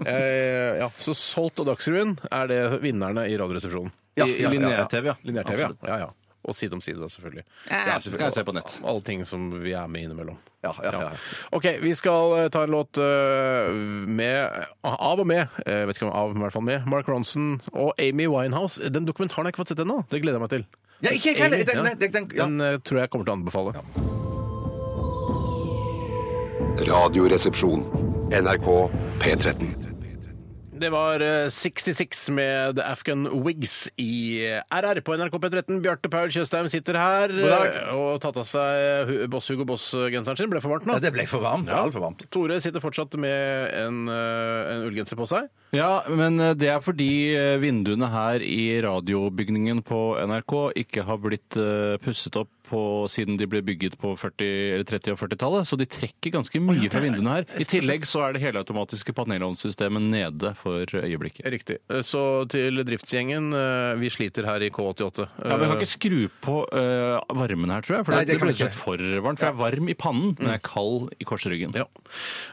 Speaker 5: (laughs)
Speaker 4: Eh, ja, så Salt og Dagsrevyen er det vinnerne i Radioresepsjonen.
Speaker 5: I, i lineær-TV, ja.
Speaker 4: Linjær-TV, ja.
Speaker 5: Absolutt.
Speaker 4: ja, ja. Og Side om side, da, selvfølgelig.
Speaker 5: Ja, det kan jeg se på nett.
Speaker 4: Alle ting som vi er med innimellom.
Speaker 6: Ja, ja, ja.
Speaker 4: OK, vi skal eh, ta en låt eh, med Av og med, eh, vet ikke om av, men i hvert fall med, Mark Ronson og Amy Winehouse. Den dokumentaren har jeg ikke fått sett ennå. Det gleder jeg meg til.
Speaker 6: Ja, ikke jeg heller. Den- den- den- ja.
Speaker 4: Den eh, tror jeg kommer til å anbefale.
Speaker 1: Radioresepsjon. NRK P13.
Speaker 4: Det var eh, 66 med The Afghan Wigs i eh, RR på NRK P13. Bjarte Paul Tjøstheim sitter her eh, og tatt av seg eh, hu- Boss Hugo Boss-genseren sin. Ble for varmt nå.
Speaker 6: Ja, det ble for varmt. Altfor varmt.
Speaker 4: Tore sitter fortsatt med en, eh, en ullgenser på seg.
Speaker 5: Ja, men eh, det er fordi eh, vinduene her i radiobygningen på NRK ikke har blitt eh, pusset opp på, siden de ble bygget på 40, eller 30- og 40-tallet, så de trekker ganske mye fra vinduene her. I tillegg så er det helautomatiske panelovnsystemet nede for øyeblikket.
Speaker 4: Riktig. Eh, Så til driftsgjengen. eh, Vi sliter her i K88.
Speaker 5: Ja, men Jeg kan ikke Eh, skru på eh, varmen her, tror jeg. For
Speaker 6: Nei,
Speaker 5: det,
Speaker 6: det kan
Speaker 5: blir rett
Speaker 6: jeg
Speaker 5: og slett for varmt. For jeg er varm i pannen, men jeg er kald i korsryggen.
Speaker 4: Ja.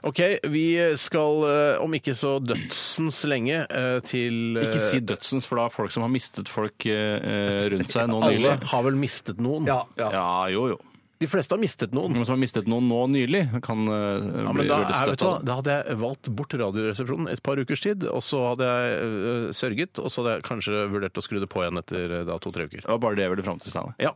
Speaker 4: OK, vi skal eh, om ikke så dødsens lenge eh, til eh,
Speaker 5: Ikke si dødsens, for da er folk som har mistet folk eh, rundt seg nå
Speaker 4: Alle
Speaker 5: nylig.
Speaker 4: har vel mistet noen?
Speaker 6: Ja, ja.
Speaker 5: Ja, jo, jo.
Speaker 4: De fleste har mistet noen.
Speaker 5: Noen som har mistet noen nå nylig, kan eh,
Speaker 4: Ja,
Speaker 5: bli
Speaker 4: men da,
Speaker 5: veldig
Speaker 4: er, vet du
Speaker 5: støtt
Speaker 4: hva,
Speaker 5: av det.
Speaker 4: da hadde jeg valgt bort Radioresepsjonen et par ukers tid, og så hadde jeg øh, sørget, og så hadde jeg kanskje vurdert å skru det på igjen etter øh, da to-tre uker.
Speaker 5: Det var bare det jeg ville fram til, Steinar.
Speaker 4: Ja.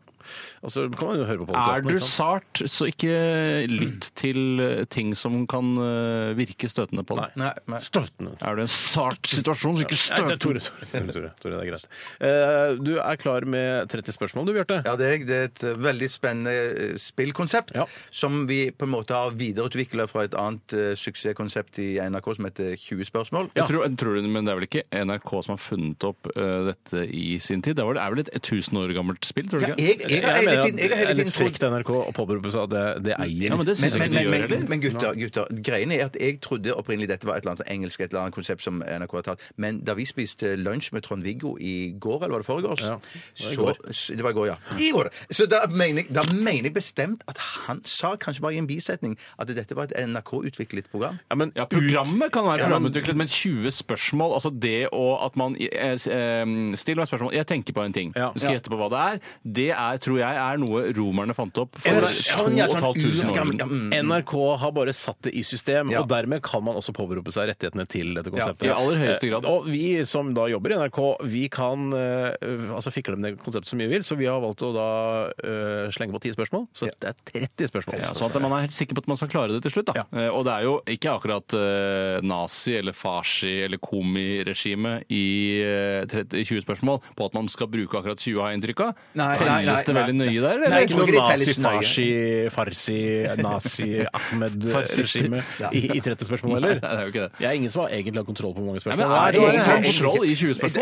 Speaker 4: Og så kan man jo høre på
Speaker 5: Er
Speaker 4: podkasten.
Speaker 5: du sart, så ikke lytt til eh, ting som kan eh, virke støtende på deg.
Speaker 6: Nei, men-
Speaker 4: Støtende.
Speaker 5: Er du i en sart situasjon, så ikke
Speaker 4: Nei, det er
Speaker 5: støt.
Speaker 4: Tore, Tore, Tore, Tore, Tore, det er greit. Eh, du er klar med 30 spørsmål, du, Bjarte?
Speaker 6: Ja, det er, jeg. det er et eh, veldig spennende eh, spillkonsept
Speaker 4: Ja.
Speaker 6: som vi på en måte har videreutvikla fra et annet eh, suksesskonsept i NRK som heter 20 spørsmål.
Speaker 5: Jeg tror, jeg tror, men det er vel ikke NRK som har funnet opp eh, dette i sin tid? Det var- det er vel et 1000 år gammelt spill, tror du
Speaker 6: Ja,
Speaker 5: ikke?
Speaker 6: jeg, jeg har hele tiden, jeg
Speaker 4: det
Speaker 6: har
Speaker 4: er
Speaker 6: hele tiden
Speaker 4: litt
Speaker 6: trodd
Speaker 4: frekt av NRK å påberope seg at det, det eier
Speaker 5: Ja, men det syns jeg ikke de
Speaker 6: men, men, men,
Speaker 5: gjør heller.
Speaker 6: men, men gutter, gutter, greien er at jeg trodde opprinnelig dette var et eller annet sånn engelsk et eller annet konsept som NRK har tatt. Men da vi spiste lunsj med Trond-Viggo i går, eller var det foregårs?
Speaker 4: Ja,
Speaker 6: det var i går. Så, s- det var i går, ja. I går! Så da mener jeg, da mener jeg bestemt at han sa, kanskje bare i en bisetning, at dette var et NRK-utviklet program.
Speaker 4: Ja, men
Speaker 5: Ja, Programmet kan være
Speaker 4: Ja, men-
Speaker 5: programutviklet, men 20 spørsmål Altså det og at man eh, s- eh, stiller meg spørsmål Jeg tenker på en ting.
Speaker 4: Ja.
Speaker 5: Du skal gjette på hva det er. Det er, tror jeg er noe romerne fant opp for
Speaker 4: Eller
Speaker 6: sånn, ja, sånn
Speaker 5: 2500 år
Speaker 6: urgammel- ja,
Speaker 5: siden.
Speaker 6: mm.
Speaker 4: NRK har bare satt det i system,
Speaker 6: Ja.
Speaker 4: og dermed kan man også påberope seg rettighetene til dette konseptet.
Speaker 5: i aller høyeste grad.
Speaker 4: Eh, Og vi som da jobber i NRK, vi kan eh, altså fikle med det konseptet så mye vi vil, så vi har valgt å da eh, slenge på ti spørsmål. Så det er 30 spørsmål.
Speaker 5: Ja, sånn at man er helt sikker på at man skal klare det til slutt. Da.
Speaker 4: Ja.
Speaker 5: Eh, Og det er jo ikke akkurat eh, nazi- eller farsi- eller komiregimet i, eh, 30 i 20 spørsmål på at man skal bruke akkurat 20 har jeg inntrykk av.
Speaker 6: Nei, nei, nei,
Speaker 5: Telles det veldig
Speaker 6: nei.
Speaker 5: nøye der?
Speaker 4: Det
Speaker 5: Eller?
Speaker 4: er
Speaker 6: jeg
Speaker 4: ikke
Speaker 6: tror
Speaker 4: noe
Speaker 6: ikke de
Speaker 4: nazi,
Speaker 6: telles nøye.
Speaker 4: farsi, farsi, nazi,
Speaker 5: (laughs)
Speaker 4: Ahmed-regime
Speaker 5: Farsi-regime.
Speaker 4: i, i 30 spørsmål, eller?
Speaker 5: Nei, det er jo ikke det.
Speaker 4: Jeg er ingen som har egentlig hatt kontroll på hvor mange
Speaker 5: Nei,
Speaker 4: spørsmål.
Speaker 5: men er det
Speaker 4: Nei,
Speaker 5: egentlig
Speaker 4: jeg-
Speaker 5: sånn kontroll i 20
Speaker 6: Jeg,
Speaker 5: spørsmål?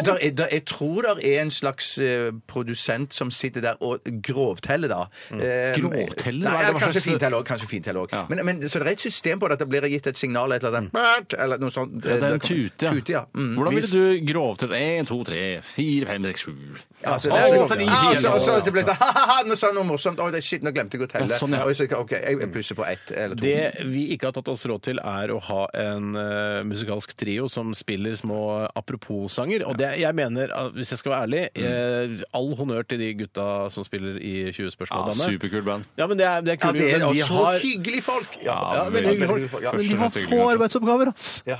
Speaker 6: jeg tror det er en slags eh, produsent som sitter der og grovteller, da.
Speaker 5: Mm.
Speaker 6: Eh,
Speaker 5: Grovteller?
Speaker 6: Nei,
Speaker 5: Hva er
Speaker 6: ja,
Speaker 5: det- hva
Speaker 6: kanskje
Speaker 5: slags-
Speaker 6: finteller òg. Kanskje finteller også.
Speaker 5: Ja. Mm.
Speaker 6: Men, men så det er et system på det, at det blir gitt et signal et eller annet Bert! Eller noe sånt.
Speaker 5: Ja, det er
Speaker 6: Da
Speaker 5: en
Speaker 6: kan-
Speaker 5: tute, ja.
Speaker 6: Tute, ja. Mm.
Speaker 5: Hvordan ville du grovtelle 1, 2, 3, 4, 5, 6, 7
Speaker 6: Ja, så det
Speaker 5: Å,
Speaker 6: er-
Speaker 5: for de
Speaker 6: Ah,
Speaker 5: fire.
Speaker 6: så- og så- og så ble det sånn (laughs) ha-ha, nå sa han noe morsomt. Oi, det er shit, nå glemte jeg å telle.
Speaker 5: Ja, sånn, ja.
Speaker 6: Oi, så, OK, jeg plusser på ett eller to.
Speaker 4: Det vi ikke har tatt oss råd til, er å ha en eh, musikalsk trio som spiller små apropos-sanger. Og det, jeg mener, at, hvis jeg skal være ærlig, eh, all honnør til de gutta som spiller i 20
Speaker 5: Mm. Ja,
Speaker 4: spørsmål. Danne.
Speaker 5: Superkul band.
Speaker 4: ja, men det er, det er
Speaker 6: Ja,
Speaker 4: kule,
Speaker 6: det er
Speaker 4: men de
Speaker 6: også
Speaker 4: har
Speaker 6: hyggelige folk! Ja,
Speaker 4: ja, veldig hyggelige folk.
Speaker 6: Ja,
Speaker 5: Først
Speaker 4: Men
Speaker 5: og
Speaker 4: de har
Speaker 5: fremst hyggelige
Speaker 4: få
Speaker 5: folk.
Speaker 4: arbeidsoppgaver, ass!
Speaker 6: Ja.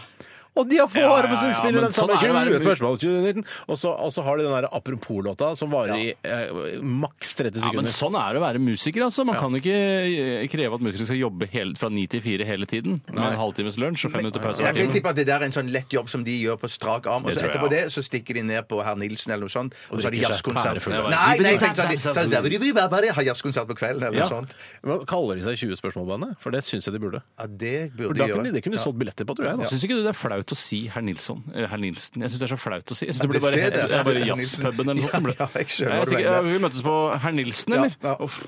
Speaker 4: Og de har få
Speaker 5: Ja, ja, ja,
Speaker 4: arbeidsspillere,
Speaker 5: men
Speaker 4: den samme
Speaker 5: sånn er det å være
Speaker 4: 20 spørsmål, 2019. Og så og så har de den der apropos-låta som varer i eh, maks 30
Speaker 5: Ja, men
Speaker 4: sekunder.
Speaker 5: sånn er det å være musiker, altså. Man kan ikke eh, kreve at musikere skal jobbe helt, fra ni til fire hele tiden. Med en halvtimes lunsj og fem minutter pause
Speaker 6: Jeg
Speaker 5: hver
Speaker 6: vil
Speaker 5: time.
Speaker 6: tippe at det der er en sånn lett jobb som de gjør på strak arm. Og
Speaker 5: Det
Speaker 6: så
Speaker 5: tror jeg,
Speaker 6: etterpå
Speaker 5: ja.
Speaker 6: det så stikker de ned på herr Nilsen eller noe sånt. Og så har de
Speaker 4: drikker seg
Speaker 6: jazzkonsert.
Speaker 4: pærefulle.
Speaker 6: Nei, nei, tenk sånn, de- sånn, sånn, de- bare Har jazzkonsert på kvelden eller
Speaker 4: Ja.
Speaker 6: noe sånt.
Speaker 4: Men Kaller de seg 20 spørsmål-bandet? For det syns jeg de burde.
Speaker 6: Ja, det
Speaker 4: For
Speaker 6: burde de
Speaker 4: da kunne de, det
Speaker 6: gjøre.
Speaker 4: kunne de solgt billetter på, tror jeg. da.
Speaker 5: Syns ikke du det er flaut å si herr Nilsson? Eller herr Nilsen? Jeg syns det er så flaut å si. Jeg syns det
Speaker 6: det
Speaker 5: burde bare
Speaker 6: stedet,
Speaker 5: jeg synes det er bare
Speaker 6: herr Nilsen.
Speaker 5: jazzpuben eller noe sånt. det
Speaker 6: Ja,
Speaker 5: burde.
Speaker 6: jeg skjønner
Speaker 5: Nei, jeg
Speaker 6: hva du
Speaker 5: sikker- ja,
Speaker 6: mener.
Speaker 5: Vi møtes på herr Nilsen, eller?
Speaker 6: Ja, ja.
Speaker 5: Uff.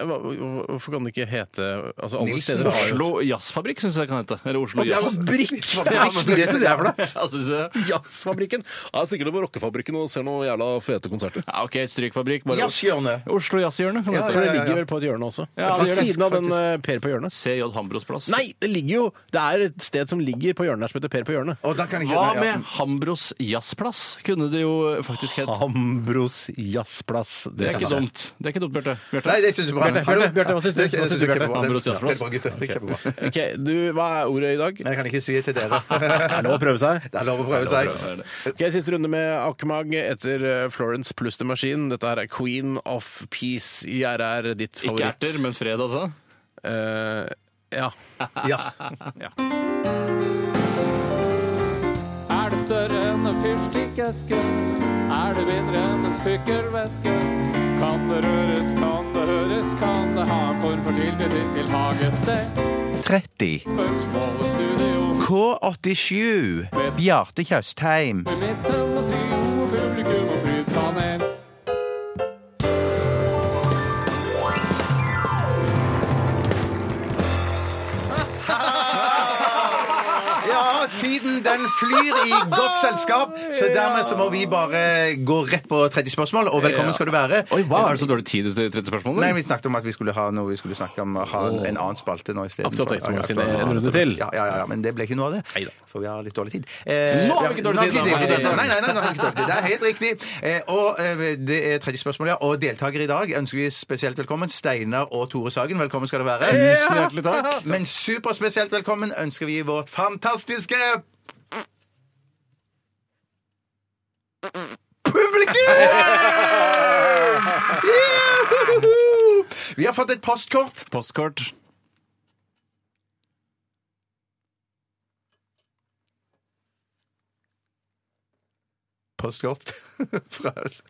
Speaker 4: Ja, hva- hva- Hvorfor kan det ikke hete altså, alle
Speaker 6: Nilsen
Speaker 4: steder har jo-
Speaker 5: Oslo Jazzfabrikk syns jeg det kan hete. Eller Oslo
Speaker 6: Ja,
Speaker 5: Jazz.
Speaker 6: men Brikk!
Speaker 4: Ja, men det synes jeg (laughs) er flaut.
Speaker 5: Ja, synes jeg.
Speaker 4: Jazzfabrikken! Ja, jeg er sikkert på rockefabrikken og ser noen jævla fete konserter.
Speaker 5: Ja, OK, strykfabrikk. bare-
Speaker 6: Jazzhjørnet.
Speaker 5: Oslo Jazzhjørne. kan det
Speaker 6: Ja,
Speaker 5: hete.
Speaker 4: For det
Speaker 6: ja, ja.
Speaker 4: ligger vel på et hjørne også?
Speaker 5: Ja, det
Speaker 4: Ved
Speaker 5: gjør det,
Speaker 4: siden av den
Speaker 6: faktisk.
Speaker 4: eh, Per på hjørnet?
Speaker 5: CJ Hambros plass.
Speaker 4: Nei, det ligger jo Det er et sted som ligger på hjørnet her som heter Per på hjørnet.
Speaker 6: Og da kan jeg ikke-
Speaker 5: Hva
Speaker 6: nei, ja.
Speaker 5: med Hambros jazzplass? Kunne det jo faktisk hett.
Speaker 4: Hambros jazzplass. sånn.
Speaker 5: Det er
Speaker 4: synes
Speaker 5: ikke
Speaker 4: jeg.
Speaker 5: dumt. Det er ikke dumt, Bjarte. Bjarte?
Speaker 6: Nei, det syns jeg bra.
Speaker 4: Bjarte, Bjarte, Bjarte, hva syns du?
Speaker 6: Det- det
Speaker 4: Hva syns du,
Speaker 6: jeg
Speaker 4: Bjarte?
Speaker 6: kjempebra. Det-
Speaker 5: Andros jazzplass.
Speaker 6: Det er bra, gutter. Det er kjempebra.
Speaker 4: sånn. Ok, du, Hva er ordet i dag?
Speaker 6: Men jeg kan ikke si det til dere.
Speaker 4: (laughs) Er det lov å prøve seg?
Speaker 6: Det er lov å prøve seg.
Speaker 4: Ok, Siste runde med Akmag etter eh, Florence pluss The Machine. Dette her er Queen of Peace i RR, ditt
Speaker 5: Ikke
Speaker 4: favoritt.
Speaker 5: erter, men fred, altså.
Speaker 4: Eh, ja.
Speaker 6: Ja.
Speaker 9: Er det større enn en fyrstikkeske? Er det mindre enn en sykkelveske? Kan det røres, kan det høres, kan det ha en form for tilknytning til hagested?
Speaker 10: 30.
Speaker 9: Spørsmål og studio
Speaker 10: K87. Bjarte Tjøstheim.
Speaker 9: med midten og trio, publikum og flypanel.
Speaker 6: Ja, tiden den flyr i godt selskap, så dermed så må vi bare gå rett på 30 spørsmål, og velkommen skal du være.
Speaker 5: Oi, hva er det så dårlig tid i 30 spørsmål?
Speaker 6: Nei, vi snakket om at vi skulle ha noe, vi skulle snakke om å ha en, en annen spalte nå i stedet.
Speaker 4: Aktuelt Tekstmagasin,
Speaker 6: Ja, ja,
Speaker 4: en runde til.
Speaker 6: Ja, ja, ja, men det ble ikke noe av det.
Speaker 4: Neida.
Speaker 6: For vi har litt dårlig tid. Eh,
Speaker 4: Nå har vi ikke dårlig
Speaker 6: ja,
Speaker 4: tid,
Speaker 6: nå har vi
Speaker 4: da.
Speaker 6: ikke dårlig tid. Nei, nei, nei, nå har vi ikke dårlig tid. Det er helt riktig. Eh, og eh, det er tredje spørsmål, ja. Og deltaker i dag ønsker vi spesielt velkommen. Steinar og Tore Sagen, velkommen skal du være.
Speaker 5: Tusen hjertelig takk.
Speaker 6: Men superspesielt velkommen ønsker vi vårt fantastiske
Speaker 5: (laughs)
Speaker 6: Publikum! Juhu! Vi har fått et postkort.
Speaker 5: Postkort.
Speaker 6: Postkort (laughs) fra Jeg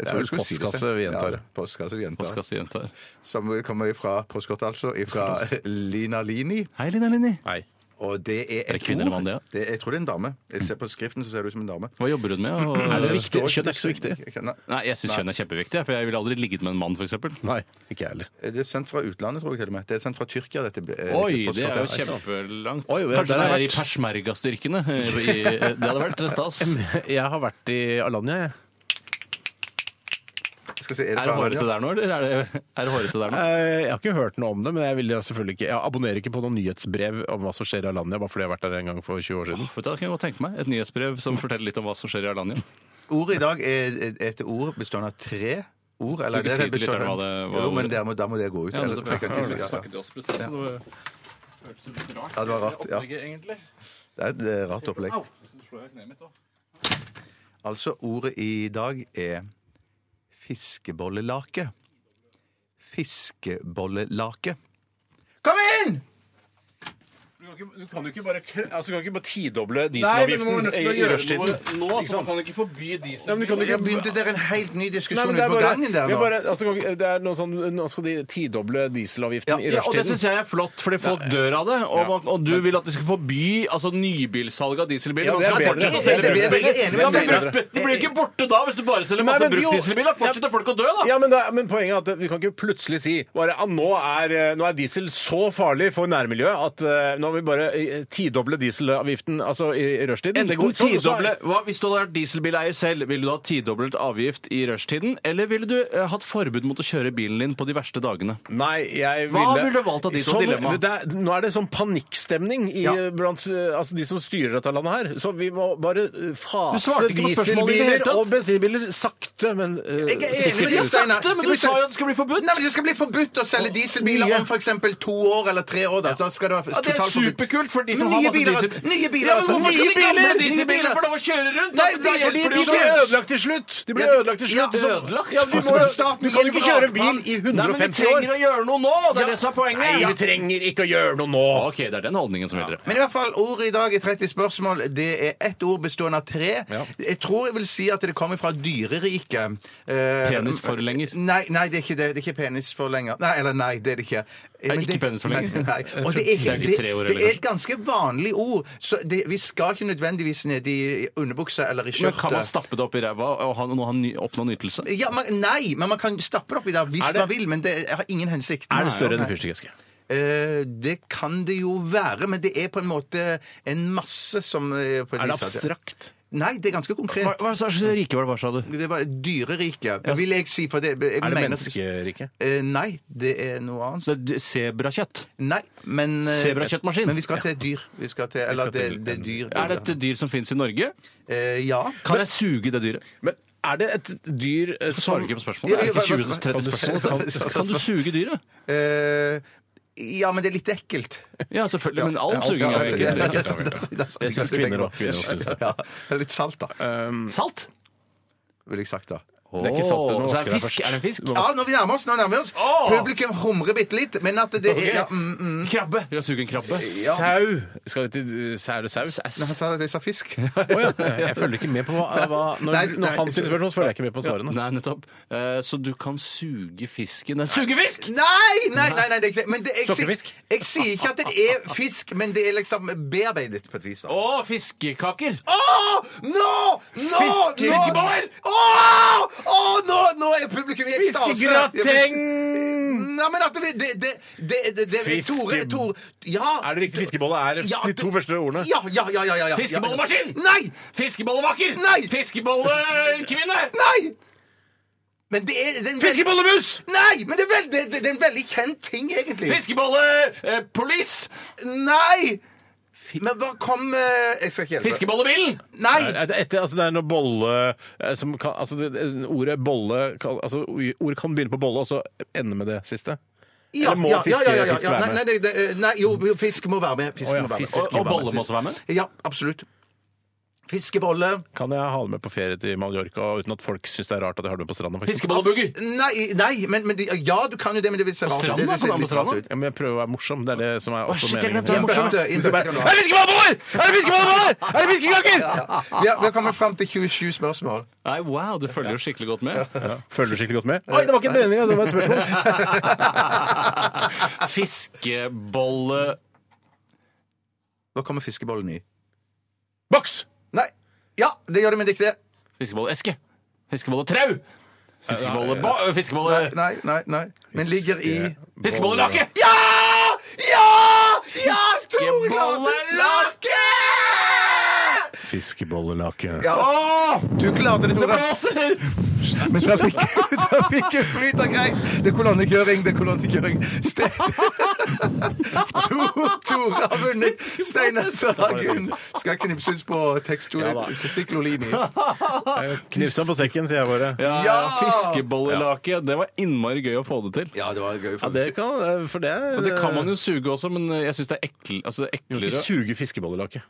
Speaker 4: Det er vel postkasse vi gjentar.
Speaker 6: Ja, postkasse vi gjentar.
Speaker 5: Postkasse jenter.
Speaker 6: Som kommer fra postkort, altså. Fra Lina Lini.
Speaker 5: Hei, Lina Linni.
Speaker 4: Nei.
Speaker 6: Og det er
Speaker 5: Er det kvinne eller mann, det, ja?
Speaker 6: det- Jeg tror det er en dame. Jeg ser på skriften, så ser det ut som en dame.
Speaker 5: Hva jobber hun med? Og...
Speaker 4: Er det viktig?
Speaker 6: står ikke-
Speaker 4: Kjønn er ikke så viktig.
Speaker 6: Nei,
Speaker 5: Nei, jeg syns kjønn er kjempeviktig, for jeg ville aldri ligget med en mann, f.eks.
Speaker 4: (laughs) Nei, ikke jeg heller.
Speaker 6: Det er sendt fra utlandet, tror jeg til og med. Det er sendt fra Tyrkia, dette eh,
Speaker 5: Oi, det er jo
Speaker 6: postkortet.
Speaker 5: kjempelangt.
Speaker 4: Oi, ja,
Speaker 5: Kanskje
Speaker 4: der
Speaker 5: det
Speaker 4: har
Speaker 5: er i
Speaker 4: jeg vært.
Speaker 5: persmergastyrkene. eh, i- Det hadde vært stas.
Speaker 4: Jeg har vært i Alanya, jeg.
Speaker 6: skal jeg si, er
Speaker 5: Er
Speaker 6: det
Speaker 5: det
Speaker 6: fra
Speaker 5: hårete
Speaker 6: radio?
Speaker 5: der nå, eller er det, er det hårete der nå?
Speaker 4: Eh, Jeg har ikke hørt noe om det, men jeg, vil da selvfølgelig ikke, jeg abonnerer ikke på noen nyhetsbrev om hva som skjer i Alanya, bare fordi jeg har vært der en gang for 20 år siden.
Speaker 5: Vet du, hva, det kan jeg godt tenke meg. Et nyhetsbrev som forteller litt om hva som skjer i Arlania.
Speaker 6: Ordet i dag er er et ord bestående av tre ord.
Speaker 5: Skal
Speaker 6: Eller
Speaker 5: vi
Speaker 6: det
Speaker 5: si
Speaker 6: er
Speaker 5: til lytterne
Speaker 6: bestående-
Speaker 5: hva det- hva
Speaker 6: Jo, men
Speaker 5: ordet-
Speaker 6: der må, da må det gå ut.
Speaker 5: Ja,
Speaker 6: eller-
Speaker 5: nettopp,
Speaker 6: jeg kan ikke si-
Speaker 5: ja.
Speaker 6: ja,
Speaker 5: Snakket til oss plutselig, så det hørtes litt rart
Speaker 6: Ja, det var rart, ja.
Speaker 5: opplegget, egentlig.
Speaker 6: Det er et eh, rart opplegg.
Speaker 5: Au! Så slår jeg kneet mitt, da.
Speaker 6: Altså, ordet i dag er fiskebollelake. Fiskebollelake. Kom inn!
Speaker 4: Du kan ikke, bare, tidoble
Speaker 5: nå, så man kan ikke forby diesel.
Speaker 4: men du kan
Speaker 6: Jeg
Speaker 4: ikke
Speaker 6: begynte der en helt ny
Speaker 4: Nei,
Speaker 6: diskusjon
Speaker 4: men
Speaker 6: ute
Speaker 4: det er
Speaker 6: på
Speaker 4: bare,
Speaker 6: gangen der
Speaker 4: vi er
Speaker 6: nå.
Speaker 4: bare altså, kan ikke- det er noe sånn, nå skal de tidoble dieselavgiften i
Speaker 5: Ja, og det
Speaker 4: rushtiden.
Speaker 5: syns jeg er flott, fordi folk dør av det. Og,
Speaker 4: Ja.
Speaker 5: man, og du vil at vi skal forby altså, nybilsalg av dieselbiler.
Speaker 4: Ja,
Speaker 5: Man
Speaker 4: det er
Speaker 5: skal
Speaker 4: bedre.
Speaker 5: fortsette å selge
Speaker 4: Ja, det er
Speaker 5: bruktbiler.
Speaker 6: bedre. Jeg er enig med
Speaker 5: Ja, men
Speaker 6: Steinar.
Speaker 5: bruktbiler blir ikke borte da, hvis du bare selger
Speaker 4: Nei,
Speaker 5: masse
Speaker 4: men jo-
Speaker 5: bruktdieselbiler. Fortsetter folk å dø, da?
Speaker 4: Ja, men, da, men poenget er at vi kan ikke plutselig si bare at nå er, eh, nå er diesel så farlig for nærmiljøet at eh, nå må vi bare eh, tidoble dieselavgiften altså i, i rushtiden. Det går-
Speaker 5: Enten
Speaker 4: så- så-
Speaker 5: tidoble, hva, Hvis du hadde vært dieselbileier selv, ville du ha tidoblet avgift i rushtiden? Eller ville du eh, hatt forbud mot å kjøre bilen din på de verste dagene?
Speaker 4: Nei, jeg ville
Speaker 5: Hva ville du valgt av de som
Speaker 4: Sånn-
Speaker 5: dilemma?
Speaker 4: det er- Nå er det sånn panikkstemning i, blant eh, altså, de som styrer dette landet her. Så vi må bare eh, fase
Speaker 5: svarte ikke på spørsmålet i det hele
Speaker 4: dieselbiler
Speaker 5: tatt.
Speaker 4: og bensinbiler sakte, men eh,
Speaker 6: Jeg er enig med
Speaker 4: sikkert.
Speaker 6: deg, Steinar.
Speaker 5: Sakte, men du sa jo at det skal bli forbudt.
Speaker 6: Nei, men Det skal bli forbudt å selge dieselbiler om f.eks. to år eller tre år. Da. Så skal det, være
Speaker 5: Ja, det er
Speaker 6: totalforbudt.
Speaker 5: superkult for de som
Speaker 6: Men
Speaker 5: har
Speaker 6: nye
Speaker 5: masse
Speaker 6: biler,
Speaker 5: diesel.
Speaker 6: Nye biler,
Speaker 5: Ja, men hvorfor skal
Speaker 6: Nye
Speaker 5: de gamle
Speaker 6: biler,
Speaker 5: dieselbiler få lov å kjøre rundt?
Speaker 4: Nei,
Speaker 5: Da
Speaker 4: det er fordi
Speaker 5: hjelper det
Speaker 4: de
Speaker 5: jo
Speaker 4: ble
Speaker 5: ikke.
Speaker 4: ødelagt til slutt! De ble
Speaker 6: Ja, de-
Speaker 4: ødelagt til slutt.
Speaker 5: ja,
Speaker 4: så-
Speaker 5: ødelagt.
Speaker 4: Ja, vi må,
Speaker 6: Staten
Speaker 4: du kan
Speaker 6: gir
Speaker 4: ikke kjøre bil
Speaker 6: vrakplan.
Speaker 4: i
Speaker 5: Nei, men vi
Speaker 4: 150 år!
Speaker 5: trenger å gjøre noe nå! Det er det som er poenget.
Speaker 4: Nei, vi trenger ikke å gjøre noe nå!
Speaker 5: OK, det er den holdningen som gjelder.
Speaker 6: Men i hvert fall, ordet i dag i 30 spørsmål, det er ett ord bestående av tre. Jeg tror jeg vil si at det kommer fra dyreriket. Eh,
Speaker 5: Penisforlenger.
Speaker 6: Nei, nei, det er ikke det. Det er ikke penisforlenger. Nei, eller nei, det er det ikke. Eh, men
Speaker 5: ikke
Speaker 6: det-
Speaker 5: penisforlenger. (laughs)
Speaker 6: Nei, nei. Og det er,
Speaker 5: Det er
Speaker 6: ikke-
Speaker 5: de tre ordene,
Speaker 6: det, det er et ganske vanlig ord, så det, vi skal ikke nødvendigvis ned i underbuksa eller i
Speaker 5: Men kan man
Speaker 6: skjørtet.
Speaker 5: stappe det opp i ræva og ha, nå ha ny, oppnå nytelse?
Speaker 6: Ja, man, nei, men man kan stappe det oppi der hvis
Speaker 4: Er det-
Speaker 6: man vil, men det har ingen hensikt.
Speaker 4: Er det større enn
Speaker 6: Nei,
Speaker 4: en fyrstikkeske?
Speaker 6: Eh, det kan det jo være, men det er på en måte en masse som eh, på et
Speaker 4: Er det
Speaker 6: vis at-
Speaker 4: abstrakt?
Speaker 6: Nei, det er ganske
Speaker 5: Hva,
Speaker 6: konkret.
Speaker 5: hva slags rike var det, hva sa du?
Speaker 6: Det var dyreriket, vil jeg si. For det, jeg
Speaker 4: Er det
Speaker 6: mener-
Speaker 4: menneskerike?
Speaker 6: Eh, nei, det er noe annet.
Speaker 5: Så det er Sebrakjøtt.
Speaker 6: Nei, men eh,
Speaker 5: Sebrakjøttmaskin.
Speaker 6: Men vi skal til et dyr. Vi skal til, eller
Speaker 4: skal til
Speaker 6: det, det er dyr.
Speaker 5: Er det et dyr som fins i Norge?
Speaker 6: Eh, ja.
Speaker 5: Kan jeg suge det dyret?
Speaker 4: Men er det et dyr
Speaker 5: Svarer
Speaker 4: eh, som
Speaker 5: ikke på spørsmålet. Det er ikke 20
Speaker 6: Ja, ja,
Speaker 5: til 30 spørsmål. Kan- Kan du suge dyret?
Speaker 6: Eh, ja, men det er litt ekkelt.
Speaker 5: Ja, selvfølgelig. Men all
Speaker 6: Ja,
Speaker 5: suging
Speaker 6: ja,
Speaker 5: er
Speaker 6: det-
Speaker 5: jo
Speaker 6: det-
Speaker 5: ikke
Speaker 6: det-
Speaker 5: ekkelt.
Speaker 6: det- det- det- det-
Speaker 4: Det synes
Speaker 6: det-
Speaker 4: kvinner også, kvinner også synes det.
Speaker 6: Ja, det er litt salt, da,
Speaker 5: Salt?
Speaker 6: ville jeg sagt da.
Speaker 4: Det er ikke sant, du må
Speaker 5: Åh, så er det
Speaker 4: vaske deg
Speaker 5: fisk?
Speaker 4: først.
Speaker 5: Er det en fisk?
Speaker 6: Ja, nå vi nærmer oss, nå nærmer vi oss. Publikum humrer bitte litt, men at det er ja, mm, mm.
Speaker 5: Krabbe. Skal jeg suge en krabbe?
Speaker 4: Sau? Skal vi til eh, sau eller sau?
Speaker 6: Nei, jeg sa, jeg sa
Speaker 4: (laughs)
Speaker 6: fisk.
Speaker 4: Å ja. Jeg følger ikke med på hva, hva når,
Speaker 6: Nei, nei.
Speaker 4: når han stiller spørsmål, så følger jeg ikke med på svarene.
Speaker 5: (laughs) Nei, nettopp. Eh, Så du kan suge fisken Nei, Suge fisk!
Speaker 6: Nei, nei, nei, nei det er ikke det. Men det, jeg, sier-
Speaker 4: Sokkefisk?
Speaker 6: jeg sier ikke at det er fisk, men det er liksom bearbeidet på et vis. da.
Speaker 5: Å, fiskekaker!
Speaker 6: Åh, Nå! Nå!
Speaker 4: Fiske-
Speaker 6: nå-
Speaker 4: fiskeboller!
Speaker 6: Åh! Åh, Nå, nå er publikum i ekstase.
Speaker 4: Fiskegrateng!
Speaker 6: Nei, men at det det, det, det, det, det
Speaker 4: Fiske-
Speaker 6: Tore, Tore, ja.
Speaker 4: Er det riktig fiskebolle er
Speaker 6: Ja,
Speaker 4: de to
Speaker 6: du-
Speaker 4: første ordene?
Speaker 6: Ja, ja, ja. ja, ja, ja.
Speaker 5: Fiskebollemaskin!
Speaker 6: Nei!
Speaker 5: Fiskebollevakker!
Speaker 6: Nei!
Speaker 5: Fiskebollekvinne!
Speaker 6: Nei! Men det er, det er en veld-
Speaker 5: Fiskebollemus!
Speaker 6: Nei, men det er, veld, det, det er en veldig kjent ting, egentlig.
Speaker 5: Fiskebollepolis!
Speaker 6: Nei! Men hva kom eh, Jeg skal ikke hjelpe.
Speaker 5: Fiskebollebilen!
Speaker 6: Nei!
Speaker 4: Er det, etter, altså det er noe bolle eh, som kan, altså det, det- Ordet bolle kan, altså Ord kan begynne på bolle og så ende med det siste.
Speaker 6: Ja,
Speaker 4: eller må
Speaker 6: ja, ja, ja, ja,
Speaker 4: fisk
Speaker 6: ja.
Speaker 4: være
Speaker 6: Nei, nei,
Speaker 4: med?
Speaker 6: nei, det, det, nei, jo, jo, fisk må være med. Fisk
Speaker 4: Å ja,
Speaker 6: må være med.
Speaker 4: fisk
Speaker 6: Og-
Speaker 5: Og bolle må også være med.
Speaker 6: og- Ja, absolutt. Fiskebolle
Speaker 4: Kan jeg ha det med på ferie til Mallorca uten at folk syns det er rart at jeg har det med på stranda? for eksempel?
Speaker 5: Fiskebolleboogie!
Speaker 6: Nei, nei men, men ja, du kan jo det, men det vil se rart ut.
Speaker 5: stranden,
Speaker 6: Det vil
Speaker 5: da,
Speaker 6: se
Speaker 5: kan du ha på
Speaker 6: litt rart
Speaker 5: stranden.
Speaker 6: ut.
Speaker 4: Ja, men jeg prøver å være morsom. Det er det som er også
Speaker 5: shit, jeg
Speaker 4: meningen.
Speaker 5: glemte å være
Speaker 4: morsom.
Speaker 6: morsom.
Speaker 4: Hvis jeg bare, Er det fiskeballebord?! Er det fiskeballebord?! Er det fiskekaker?!
Speaker 6: Vi har, vi har kommet fram til 27 spørsmål.
Speaker 5: Nei, wow, du følger jo skikkelig godt med.
Speaker 4: Følger du skikkelig godt med? Oi, det var ikke en mening, det var et (laughs) spørsmål.
Speaker 5: (laughs) Fiskebolle...
Speaker 6: Hva kommer fiskebollen i?
Speaker 4: Boks!
Speaker 6: Nei! Ja, det gjør det, men det er ikke det.
Speaker 5: Fiskebolleeske. Fiskebolletrau! Fiskebolle... Fiskebolle...
Speaker 6: Nei, nei, nei. Men ligger i
Speaker 5: Fiskebollelake!
Speaker 6: Ja! Ja! Ja! Tore klarte
Speaker 5: Fiskebollelake!
Speaker 4: Fiskebollelake. (laughs)
Speaker 6: Ja. Du klarte det, Tore. (laughs)
Speaker 5: Blåser!
Speaker 6: Men trafikk- trafikken flyter greit. Det er kolonnekjøring, det er kolonnekjøring. (laughs) Ste- To, Tore har vunnet. Steinar Sagen skal knipses på testikkelolini.
Speaker 4: Knips ham på sekken, sier jeg bare.
Speaker 5: Ja,
Speaker 6: Ja!
Speaker 5: Fiskebollelake. Det var innmari gøy å få det til.
Speaker 6: Ja, det var gøy.
Speaker 4: Ja, det kan, eh, for det,
Speaker 5: Og det kan man jo suge også, men jeg syns det er ekkel, altså det er
Speaker 4: Ikke
Speaker 5: eklere
Speaker 4: suge fiskebollerlake.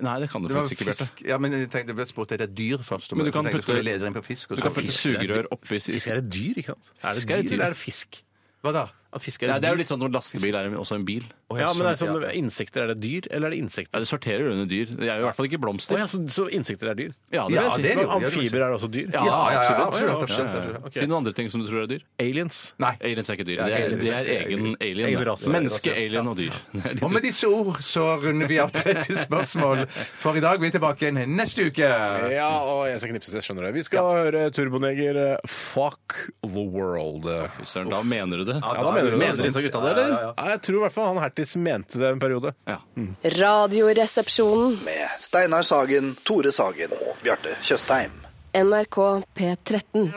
Speaker 5: Nei, det kan du
Speaker 6: Det var
Speaker 5: faktisk ikke, Bjarte.
Speaker 6: fisk. Ja, men jeg tenkte jeg spurte er det dyr først.
Speaker 5: Men du kan
Speaker 6: så tenkte jeg,
Speaker 5: putte-
Speaker 6: skulle jeg lede deg inn på fisk. og
Speaker 5: Du
Speaker 6: så
Speaker 5: kan putte
Speaker 6: fisk.
Speaker 5: sugerør oppi
Speaker 4: Fisk er et dyr, ikke sant? Er det
Speaker 5: Fisk er et
Speaker 4: dyr,
Speaker 5: dyr.
Speaker 4: eller er det fisk?
Speaker 6: Hva da?
Speaker 4: At fisk
Speaker 5: Nei,
Speaker 4: et
Speaker 5: det er jo
Speaker 4: dyr?
Speaker 5: litt sånn når lastebil er en- også en bil.
Speaker 6: Å,
Speaker 4: ja,
Speaker 6: ja,
Speaker 4: men det er
Speaker 6: sånn,
Speaker 4: sånn, Insekter, er det dyr, eller er det
Speaker 5: Ja,
Speaker 4: insekter?
Speaker 5: det sorterer jo under dyr. Det er jo i hvert fall ikke blomster.
Speaker 4: Å ja, så, så insekter er dyr?
Speaker 5: Ja, det vil
Speaker 6: Ja,
Speaker 5: jeg si.
Speaker 6: det er det jo.
Speaker 4: Amfibier er også dyr?
Speaker 5: Ja,
Speaker 6: Ja, ja, ja,
Speaker 5: absolutt.
Speaker 6: absolutt.
Speaker 4: Ja, ja,
Speaker 6: absolutt.
Speaker 4: ja, ja. Ok.
Speaker 5: Si noen andre ting som du tror er dyr.
Speaker 4: Aliens?
Speaker 6: Nei.
Speaker 5: Aliens er ikke dyr. Det er, det er egen alien.
Speaker 4: Egen rase.
Speaker 5: Menneske, alien og dyr.
Speaker 6: Og med disse ord så runder vi av 30 spørsmål for i dag. Vi er tilbake igjen neste uke.
Speaker 4: Ja, og jeg skal knipses, jeg skjønner det. Vi skal høre Turboneger eh, Fuck the World.
Speaker 5: Fy Søren, da mener du det.
Speaker 4: Ja, da mener du det.
Speaker 5: Mener disse gutta det, eller?
Speaker 4: Ja, Jeg tror i hvert fall han Hertis mente det en periode.
Speaker 5: Ja.
Speaker 7: Radioresepsjonen.
Speaker 3: Med Steinar Sagen, Tore Sagen og Bjarte Tjøstheim.
Speaker 7: NRK P13.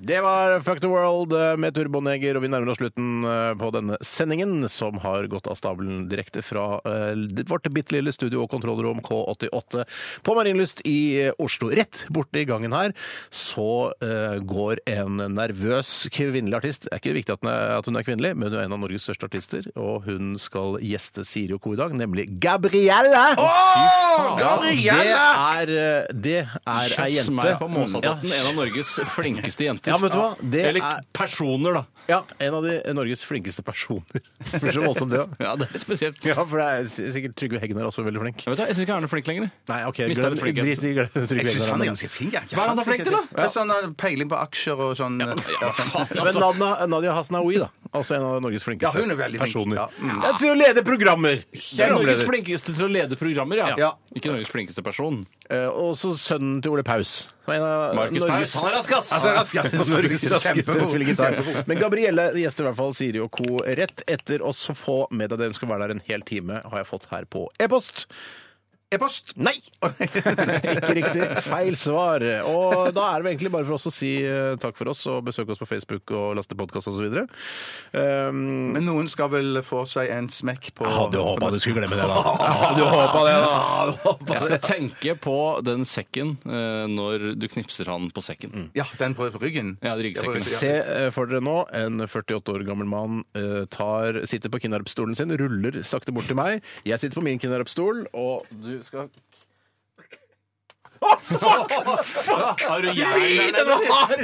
Speaker 4: Det var Fuck the World eh, med Turboneger, og vi nærmer oss slutten eh, på denne sendingen, som har gått av stabelen direkte fra eh, vårt bitte lille studio og kontrollrom K88 på Marienlyst i eh, Oslo. Rett borte i gangen her så eh, går en nervøs kvinnelig artist. Det er ikke viktig at hun er, at hun er kvinnelig, men hun er en av Norges største artister, og hun skal gjeste Siri og Co i dag, nemlig Gabrielle!
Speaker 5: Altså,
Speaker 4: Det er, eh, det er ei
Speaker 5: Kjøss
Speaker 4: jente. Mm.
Speaker 5: meg på Måsatletten, en av Norges flinkeste jenter.
Speaker 4: Ja, men vet du hva? Det
Speaker 5: Eller
Speaker 4: er-
Speaker 5: personer, da.
Speaker 4: Ja, en av de eh, Norges flinkeste personer. (laughs) Det blir så voldsomt, det òg.
Speaker 5: Ja, det er litt spesielt.
Speaker 4: Ja, for det er s- sikkert Trygve Heggen er også veldig flink.
Speaker 5: Jeg, vet, jeg syns ikke han er flink lenger.
Speaker 4: Nei, OK,
Speaker 5: Mistet
Speaker 4: glem,
Speaker 5: litt flinkhet.
Speaker 4: drit i glem Trygve
Speaker 6: Jeg syns han er
Speaker 4: Hegnar.
Speaker 6: ganske flink.
Speaker 5: Hva er han da flink til, da?
Speaker 6: Ja. Sånn eh, peiling på aksjer og sånn. Ja,
Speaker 5: Faen,
Speaker 4: Men
Speaker 5: altså.
Speaker 4: Nadia, Nadia Hasnaoui, da. Altså en av Norges flinkeste
Speaker 6: Ja, hun er veldig flink.
Speaker 4: personer.
Speaker 6: Ja. Mm.
Speaker 4: Jeg tror å lede programmer!
Speaker 5: Det er Norges
Speaker 4: Programleder.
Speaker 5: flinkeste til å lede programmer, ja.
Speaker 6: Ja.
Speaker 5: Ikke Norges flinkeste person.
Speaker 4: Eh, Og så sønnen til Ole Paus. En av
Speaker 5: Markus Paus.
Speaker 4: Norges-
Speaker 5: Han er rask, ass!
Speaker 6: Altså, raskere.
Speaker 4: (laughs) Norges raskeste
Speaker 6: Kjempefort.
Speaker 4: spiller gitar. Men Gabrielle gjester i hvert fall Siri og co. rett etter oss. Så få med deg det. Hun skal være der en hel time, har jeg fått her på e-post.
Speaker 6: E-post.
Speaker 4: Nei! Ikke riktig. Feil svar. Og da er det vel egentlig bare for oss å si eh, takk for oss og besøke oss på Facebook og laste podkast osv. Um,
Speaker 6: Men noen skal vel få seg en smekk på
Speaker 4: håpa du skulle glemme det, da. Jeg (laughs) hadde håpa det, da.
Speaker 5: Jeg skal tenke på den sekken eh, når du knipser han på sekken.
Speaker 6: Ja, den på ryggen.
Speaker 5: Ja, det er ryggsekken.
Speaker 6: Ja,
Speaker 4: Se eh, for dere nå en 48 år gammel mann eh, tar, sitter på kinarpstolen sin, ruller sakte bort til meg. Jeg sitter på min kinarpstol, og du skal
Speaker 5: Har du
Speaker 4: Fy, den var hard!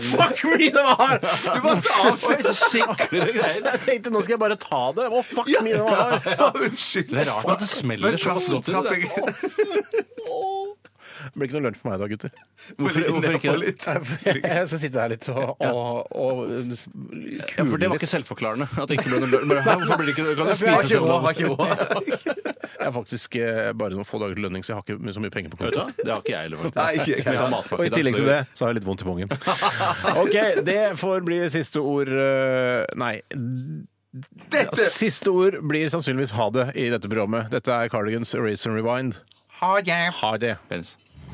Speaker 4: Fuck me, den var hard! Du var så avslørt. Jeg tenkte nå skal jeg bare ta det. Å, fuck me, den var hard!
Speaker 6: Ja, Unnskyld.
Speaker 5: Det er rart at det smeller
Speaker 6: Men traff-
Speaker 5: såpass godt. i
Speaker 6: traff
Speaker 5: det.
Speaker 6: jeg-
Speaker 4: Det blir ikke noe lunsj for meg i dag, gutter.
Speaker 5: Hvorfor, hvorfor ikke det?
Speaker 4: (laughs) Jeg skal sitte her litt og, og, og
Speaker 5: Ja, for det var ikke selvforklarende. At det ikke ble noe lønn. Men her, Hvorfor blir det ikke Kan du
Speaker 4: Jeg har
Speaker 5: spise
Speaker 4: ikke råd,
Speaker 5: selv?
Speaker 4: har ikke råd.
Speaker 5: (laughs)
Speaker 4: Jeg har faktisk eh, bare noen få dager til lønning, så jeg har ikke så mye penger på
Speaker 5: Vet du
Speaker 4: konto.
Speaker 5: hva? Det har ikke jeg heller, faktisk.
Speaker 6: Nei, ikke jeg.
Speaker 5: Men jeg har
Speaker 4: Og
Speaker 5: matpakke
Speaker 4: i
Speaker 5: i dag,
Speaker 4: tillegg
Speaker 5: så-
Speaker 4: til det så har jeg litt vondt i
Speaker 5: (laughs)
Speaker 4: pungen. OK, det får bli siste ord eh, Nei.
Speaker 6: Dette
Speaker 4: Siste ord blir sannsynligvis ha det i dette programmet. Dette er Cardigans Erase and Rewind.
Speaker 6: har jeg.
Speaker 4: Ha det.
Speaker 5: Pens.